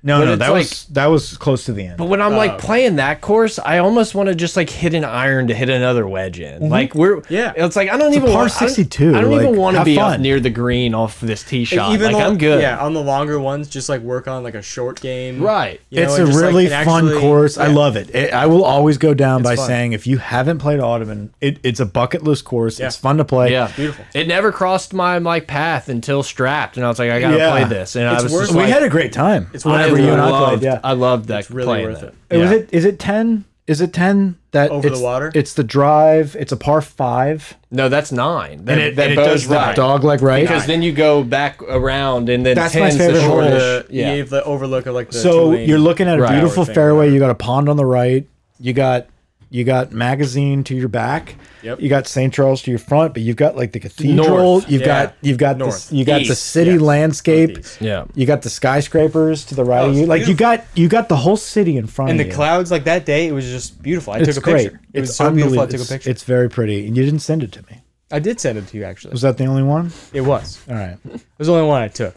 Speaker 2: No,
Speaker 1: But
Speaker 2: no,
Speaker 1: it's
Speaker 2: that
Speaker 1: like-
Speaker 2: was that was close to the end.
Speaker 1: But when I'm like playing that course, I almost want to just like hit an iron to hit another wedge in. Like we're
Speaker 6: Yeah.
Speaker 1: It's like I don't
Speaker 2: a
Speaker 1: even
Speaker 2: par
Speaker 1: want- I don't-
Speaker 2: 62,
Speaker 1: I don't even
Speaker 2: like,
Speaker 1: want to
Speaker 2: have
Speaker 1: be up
Speaker 2: fun.
Speaker 1: near the green off this tee shot.
Speaker 6: Even
Speaker 1: like
Speaker 6: on-
Speaker 1: I'm good.
Speaker 6: Yeah, on the longer ones, just like work on like a short game.
Speaker 1: Right.
Speaker 6: you know,
Speaker 2: it's
Speaker 6: and
Speaker 2: a
Speaker 6: just, like,
Speaker 2: really
Speaker 6: and
Speaker 2: fun
Speaker 6: actually-
Speaker 2: course. I
Speaker 6: yeah.
Speaker 2: love it. It- I will always go down by
Speaker 6: fun.
Speaker 2: saying if you haven't played Ottoman, it, it's a bucket list course. It's fun to play.
Speaker 1: Yeah,
Speaker 6: Beautiful.
Speaker 1: It never crossed my like path until strapped, and I was like, I gotta
Speaker 2: Yeah.
Speaker 1: play this, and I
Speaker 6: It's
Speaker 1: was
Speaker 6: worth
Speaker 1: just
Speaker 2: we
Speaker 1: like,
Speaker 2: had a great time.
Speaker 6: It's
Speaker 1: I loved,
Speaker 6: whatever you
Speaker 2: and
Speaker 6: and
Speaker 2: I
Speaker 6: I
Speaker 2: played, yeah.
Speaker 1: I loved that.
Speaker 6: It's really
Speaker 1: playing
Speaker 6: worth
Speaker 1: that.
Speaker 6: it.
Speaker 2: Hey, Was
Speaker 1: Yeah.
Speaker 2: it is it ten? Is it ten that
Speaker 6: Over the
Speaker 2: it's-
Speaker 6: water?
Speaker 2: It's the drive. It's a par five,
Speaker 1: No, that's nine. That,
Speaker 2: it,
Speaker 1: that
Speaker 2: and it
Speaker 1: bow's
Speaker 2: does
Speaker 1: right.
Speaker 2: the dog leg right.
Speaker 1: Because then you go back around, and then
Speaker 2: That's my
Speaker 1: 10's the
Speaker 2: favorite
Speaker 6: Or
Speaker 2: hole.
Speaker 1: shortest.
Speaker 6: the,
Speaker 1: Yeah.
Speaker 6: you have the overlook of like the
Speaker 2: so
Speaker 6: two-lane-
Speaker 2: you're looking at a
Speaker 1: Right.
Speaker 2: beautiful
Speaker 6: Hour thing,
Speaker 2: fairway. You got a pond on the right. You got you got magazine to your back.
Speaker 6: Yep.
Speaker 2: You got St. Charles to your front, but you've got like the cathedral.
Speaker 1: North.
Speaker 2: You've
Speaker 6: Yeah.
Speaker 2: got you've got
Speaker 6: North.
Speaker 2: this you got the
Speaker 1: East.
Speaker 2: city
Speaker 6: Yes.
Speaker 2: landscape.
Speaker 6: Northeast.
Speaker 1: Yeah.
Speaker 2: You got the skyscrapers to the right
Speaker 6: Oh,
Speaker 2: of
Speaker 6: it's
Speaker 2: you. Like you
Speaker 6: beautiful.
Speaker 2: got you got the whole city in front
Speaker 6: and
Speaker 2: of
Speaker 6: the
Speaker 2: you.
Speaker 6: clouds like that day, it was just beautiful. I
Speaker 2: It's
Speaker 6: took a
Speaker 2: great.
Speaker 6: picture. It was
Speaker 2: It's
Speaker 6: so beautiful. I took a
Speaker 2: unbelievable. It's-
Speaker 6: picture.
Speaker 2: It's very pretty, and you didn't send it to me.
Speaker 6: I did send it to you actually.
Speaker 2: Was that the only one?
Speaker 6: It was. It
Speaker 2: All right.
Speaker 6: was the only one I took.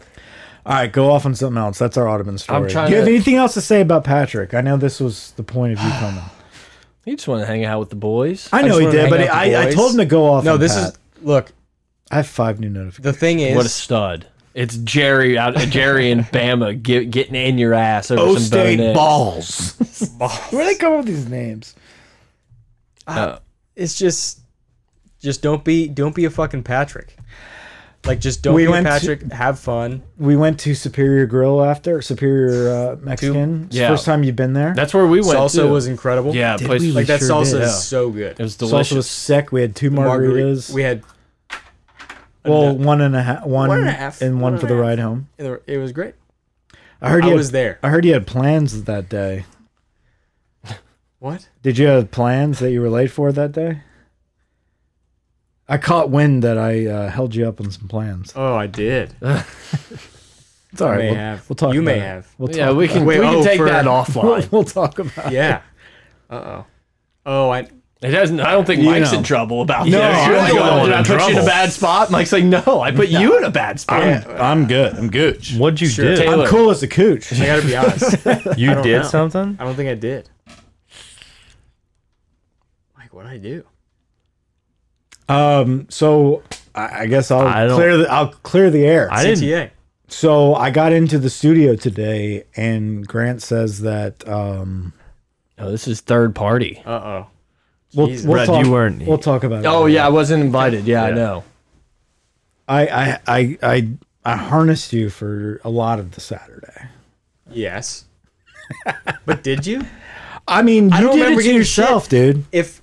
Speaker 2: All right, go off on something else. That's our Ottoman story.
Speaker 1: I'm trying
Speaker 2: Do you have
Speaker 1: to-
Speaker 2: anything else to say about Patrick? I know this was the point of you coming.
Speaker 1: You just want to hang out with the boys.
Speaker 2: I know
Speaker 6: just
Speaker 2: he
Speaker 6: wanted to
Speaker 2: did,
Speaker 6: hang
Speaker 2: but
Speaker 6: out with the
Speaker 2: I, I
Speaker 6: boys.
Speaker 2: told him to go off.
Speaker 6: No,
Speaker 2: on
Speaker 6: this
Speaker 2: Pat.
Speaker 6: is look.
Speaker 2: I have five new notifications.
Speaker 6: The thing is,
Speaker 1: What a stud! It's Jerry out, uh, Jerry and Bama get, getting in your ass over some Bo Nix.
Speaker 2: balls. Where they come up with these names?
Speaker 6: it's just just don't be don't be a fucking Patrick. Like just don't
Speaker 2: We
Speaker 6: be a
Speaker 2: went to-
Speaker 6: Patrick. have fun.
Speaker 2: We went to Superior Grill after Superior uh, Mexican. It's the
Speaker 1: Yeah.
Speaker 2: First time you've been there.
Speaker 1: That's where we went.
Speaker 6: salsa
Speaker 1: too.
Speaker 6: was incredible.
Speaker 1: yeah,
Speaker 2: Did
Speaker 1: place
Speaker 2: we-
Speaker 1: like
Speaker 6: like that
Speaker 2: sure
Speaker 6: salsa
Speaker 2: did. Yeah.
Speaker 6: is so good.
Speaker 1: it was
Speaker 2: Salsa was
Speaker 1: delicious.
Speaker 2: sick. We had two margaritas.
Speaker 6: Margarita- We had
Speaker 2: well, one and a half, one,
Speaker 6: One and a half.
Speaker 2: and one,
Speaker 6: One
Speaker 2: for
Speaker 6: and a
Speaker 2: the
Speaker 6: half.
Speaker 2: ride home.
Speaker 6: it was great.
Speaker 2: I heard
Speaker 6: I
Speaker 2: you had-
Speaker 6: was there.
Speaker 2: I heard you had plans that day.
Speaker 6: What?
Speaker 2: Did you have plans that you were late for that day? I caught wind that I uh, held you up on some plans.
Speaker 6: Oh, I did.
Speaker 2: It's all right.
Speaker 6: may
Speaker 2: we'll,
Speaker 6: have.
Speaker 2: we'll talk.
Speaker 6: You may
Speaker 2: about it.
Speaker 6: have.
Speaker 2: We'll talk
Speaker 1: yeah, we
Speaker 2: about
Speaker 1: can
Speaker 2: it.
Speaker 6: Wait,
Speaker 1: we can
Speaker 6: oh,
Speaker 1: take
Speaker 6: for-
Speaker 1: that
Speaker 2: We'll,
Speaker 1: offline.
Speaker 2: we'll talk about. it.
Speaker 6: Yeah. Uh oh. Oh, I.
Speaker 1: It doesn't. I don't think
Speaker 2: You
Speaker 1: Mike's
Speaker 2: know.
Speaker 1: in trouble about
Speaker 2: No,
Speaker 1: this.
Speaker 2: I'm
Speaker 1: You're like,
Speaker 2: the
Speaker 1: oh,
Speaker 2: one
Speaker 1: did I
Speaker 3: in
Speaker 1: put you in a
Speaker 3: trouble.
Speaker 1: bad spot? Mike's like, no, I put you in a bad spot.
Speaker 2: I'm good. I'm good.
Speaker 3: What'd you do?
Speaker 6: Sure.
Speaker 1: Taylor.
Speaker 2: I'm cool as a cooch.
Speaker 6: I gotta be honest.
Speaker 3: You
Speaker 6: don't
Speaker 3: did
Speaker 6: know.
Speaker 3: something?
Speaker 6: I don't think I did. Like what I do?
Speaker 2: Um, so I, I guess I'll
Speaker 3: I don't-
Speaker 2: clear. The, I'll clear the air.
Speaker 3: I didn't.
Speaker 6: CTA.
Speaker 2: so I got into the studio today, and Grant says that. Um,
Speaker 1: No, this is third party.
Speaker 6: Uh oh.
Speaker 2: we'll,
Speaker 6: Jesus.
Speaker 2: we'll
Speaker 3: Brad,
Speaker 2: talk,
Speaker 3: you weren't-
Speaker 2: We'll talk about. it
Speaker 1: Oh
Speaker 2: later.
Speaker 1: yeah, I wasn't invited. Yeah, I
Speaker 3: Yeah.
Speaker 1: know.
Speaker 2: I I I I I harnessed you for a lot of the Saturday.
Speaker 6: Yes. but did you?
Speaker 2: I mean, you did
Speaker 6: don't remember
Speaker 2: it to
Speaker 6: getting
Speaker 2: yourself, dude.
Speaker 6: If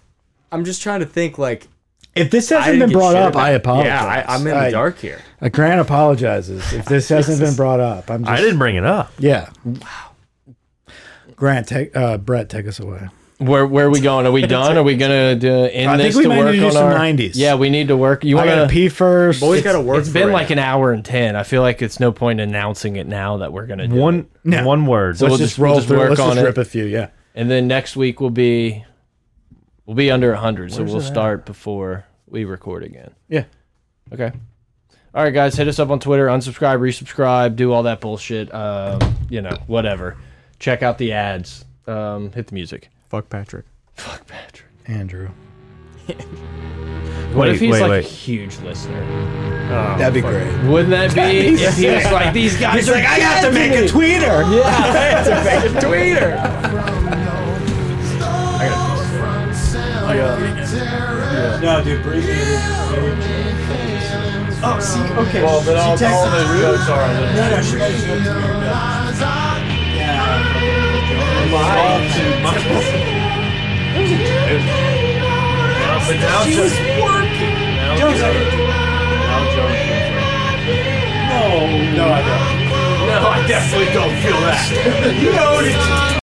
Speaker 6: I'm just trying to think, like
Speaker 2: If this
Speaker 6: I
Speaker 2: hasn't
Speaker 6: didn't
Speaker 2: been
Speaker 6: get
Speaker 2: brought
Speaker 6: shit
Speaker 2: up,
Speaker 6: about-
Speaker 2: I apologize.
Speaker 6: Yeah, I, I'm in the dark here.
Speaker 2: I, Grant apologizes if this hasn't been brought up. I'm just,
Speaker 3: I didn't bring it up.
Speaker 2: Yeah. Wow. Grant, take uh, Brett, take us away.
Speaker 1: Where where are we going? Are we done? Are we gonna do, end
Speaker 2: I think
Speaker 1: this
Speaker 2: we
Speaker 1: to
Speaker 2: might
Speaker 1: work
Speaker 2: need to do
Speaker 1: on
Speaker 2: some
Speaker 1: our
Speaker 2: 90s.
Speaker 1: Yeah, we need to work. You
Speaker 2: I
Speaker 1: want
Speaker 2: gotta pee first.
Speaker 6: Boys got to work.
Speaker 1: It's
Speaker 6: for
Speaker 1: been
Speaker 6: it.
Speaker 1: like an hour and ten. I feel like it's no point announcing it now that we're gonna do it.
Speaker 3: One
Speaker 2: No.
Speaker 3: one word.
Speaker 1: So
Speaker 2: Let's
Speaker 1: we'll
Speaker 2: just
Speaker 1: just- we'll
Speaker 2: roll
Speaker 1: just
Speaker 2: through.
Speaker 1: work
Speaker 2: Let's
Speaker 1: on
Speaker 2: just
Speaker 1: it.
Speaker 2: rip a few. Yeah.
Speaker 1: and then next week will be we'll be under hundred, so we'll start before we record again.
Speaker 2: Yeah.
Speaker 1: Okay. All right, guys, hit us up on Twitter, unsubscribe, resubscribe, do all that bullshit. Um, you know, whatever. Check out the ads. Um, hit the music.
Speaker 6: fuck Patrick.
Speaker 1: Fuck Patrick.
Speaker 2: Andrew.
Speaker 1: What
Speaker 3: Wait,
Speaker 1: if he's
Speaker 3: wait,
Speaker 1: like
Speaker 3: wait.
Speaker 1: a huge listener?
Speaker 2: That'd be great.
Speaker 1: Wouldn't that be if he was like these guys? are dead to me."
Speaker 2: tweeter.
Speaker 6: Tweeter.
Speaker 4: No, dude, breathe in.
Speaker 2: Oh, see, okay.
Speaker 1: Well, but all, all those jokes are a little- But now it's just- now it's just- now it's just- No, I don't. No, I definitely don't feel that. you know it.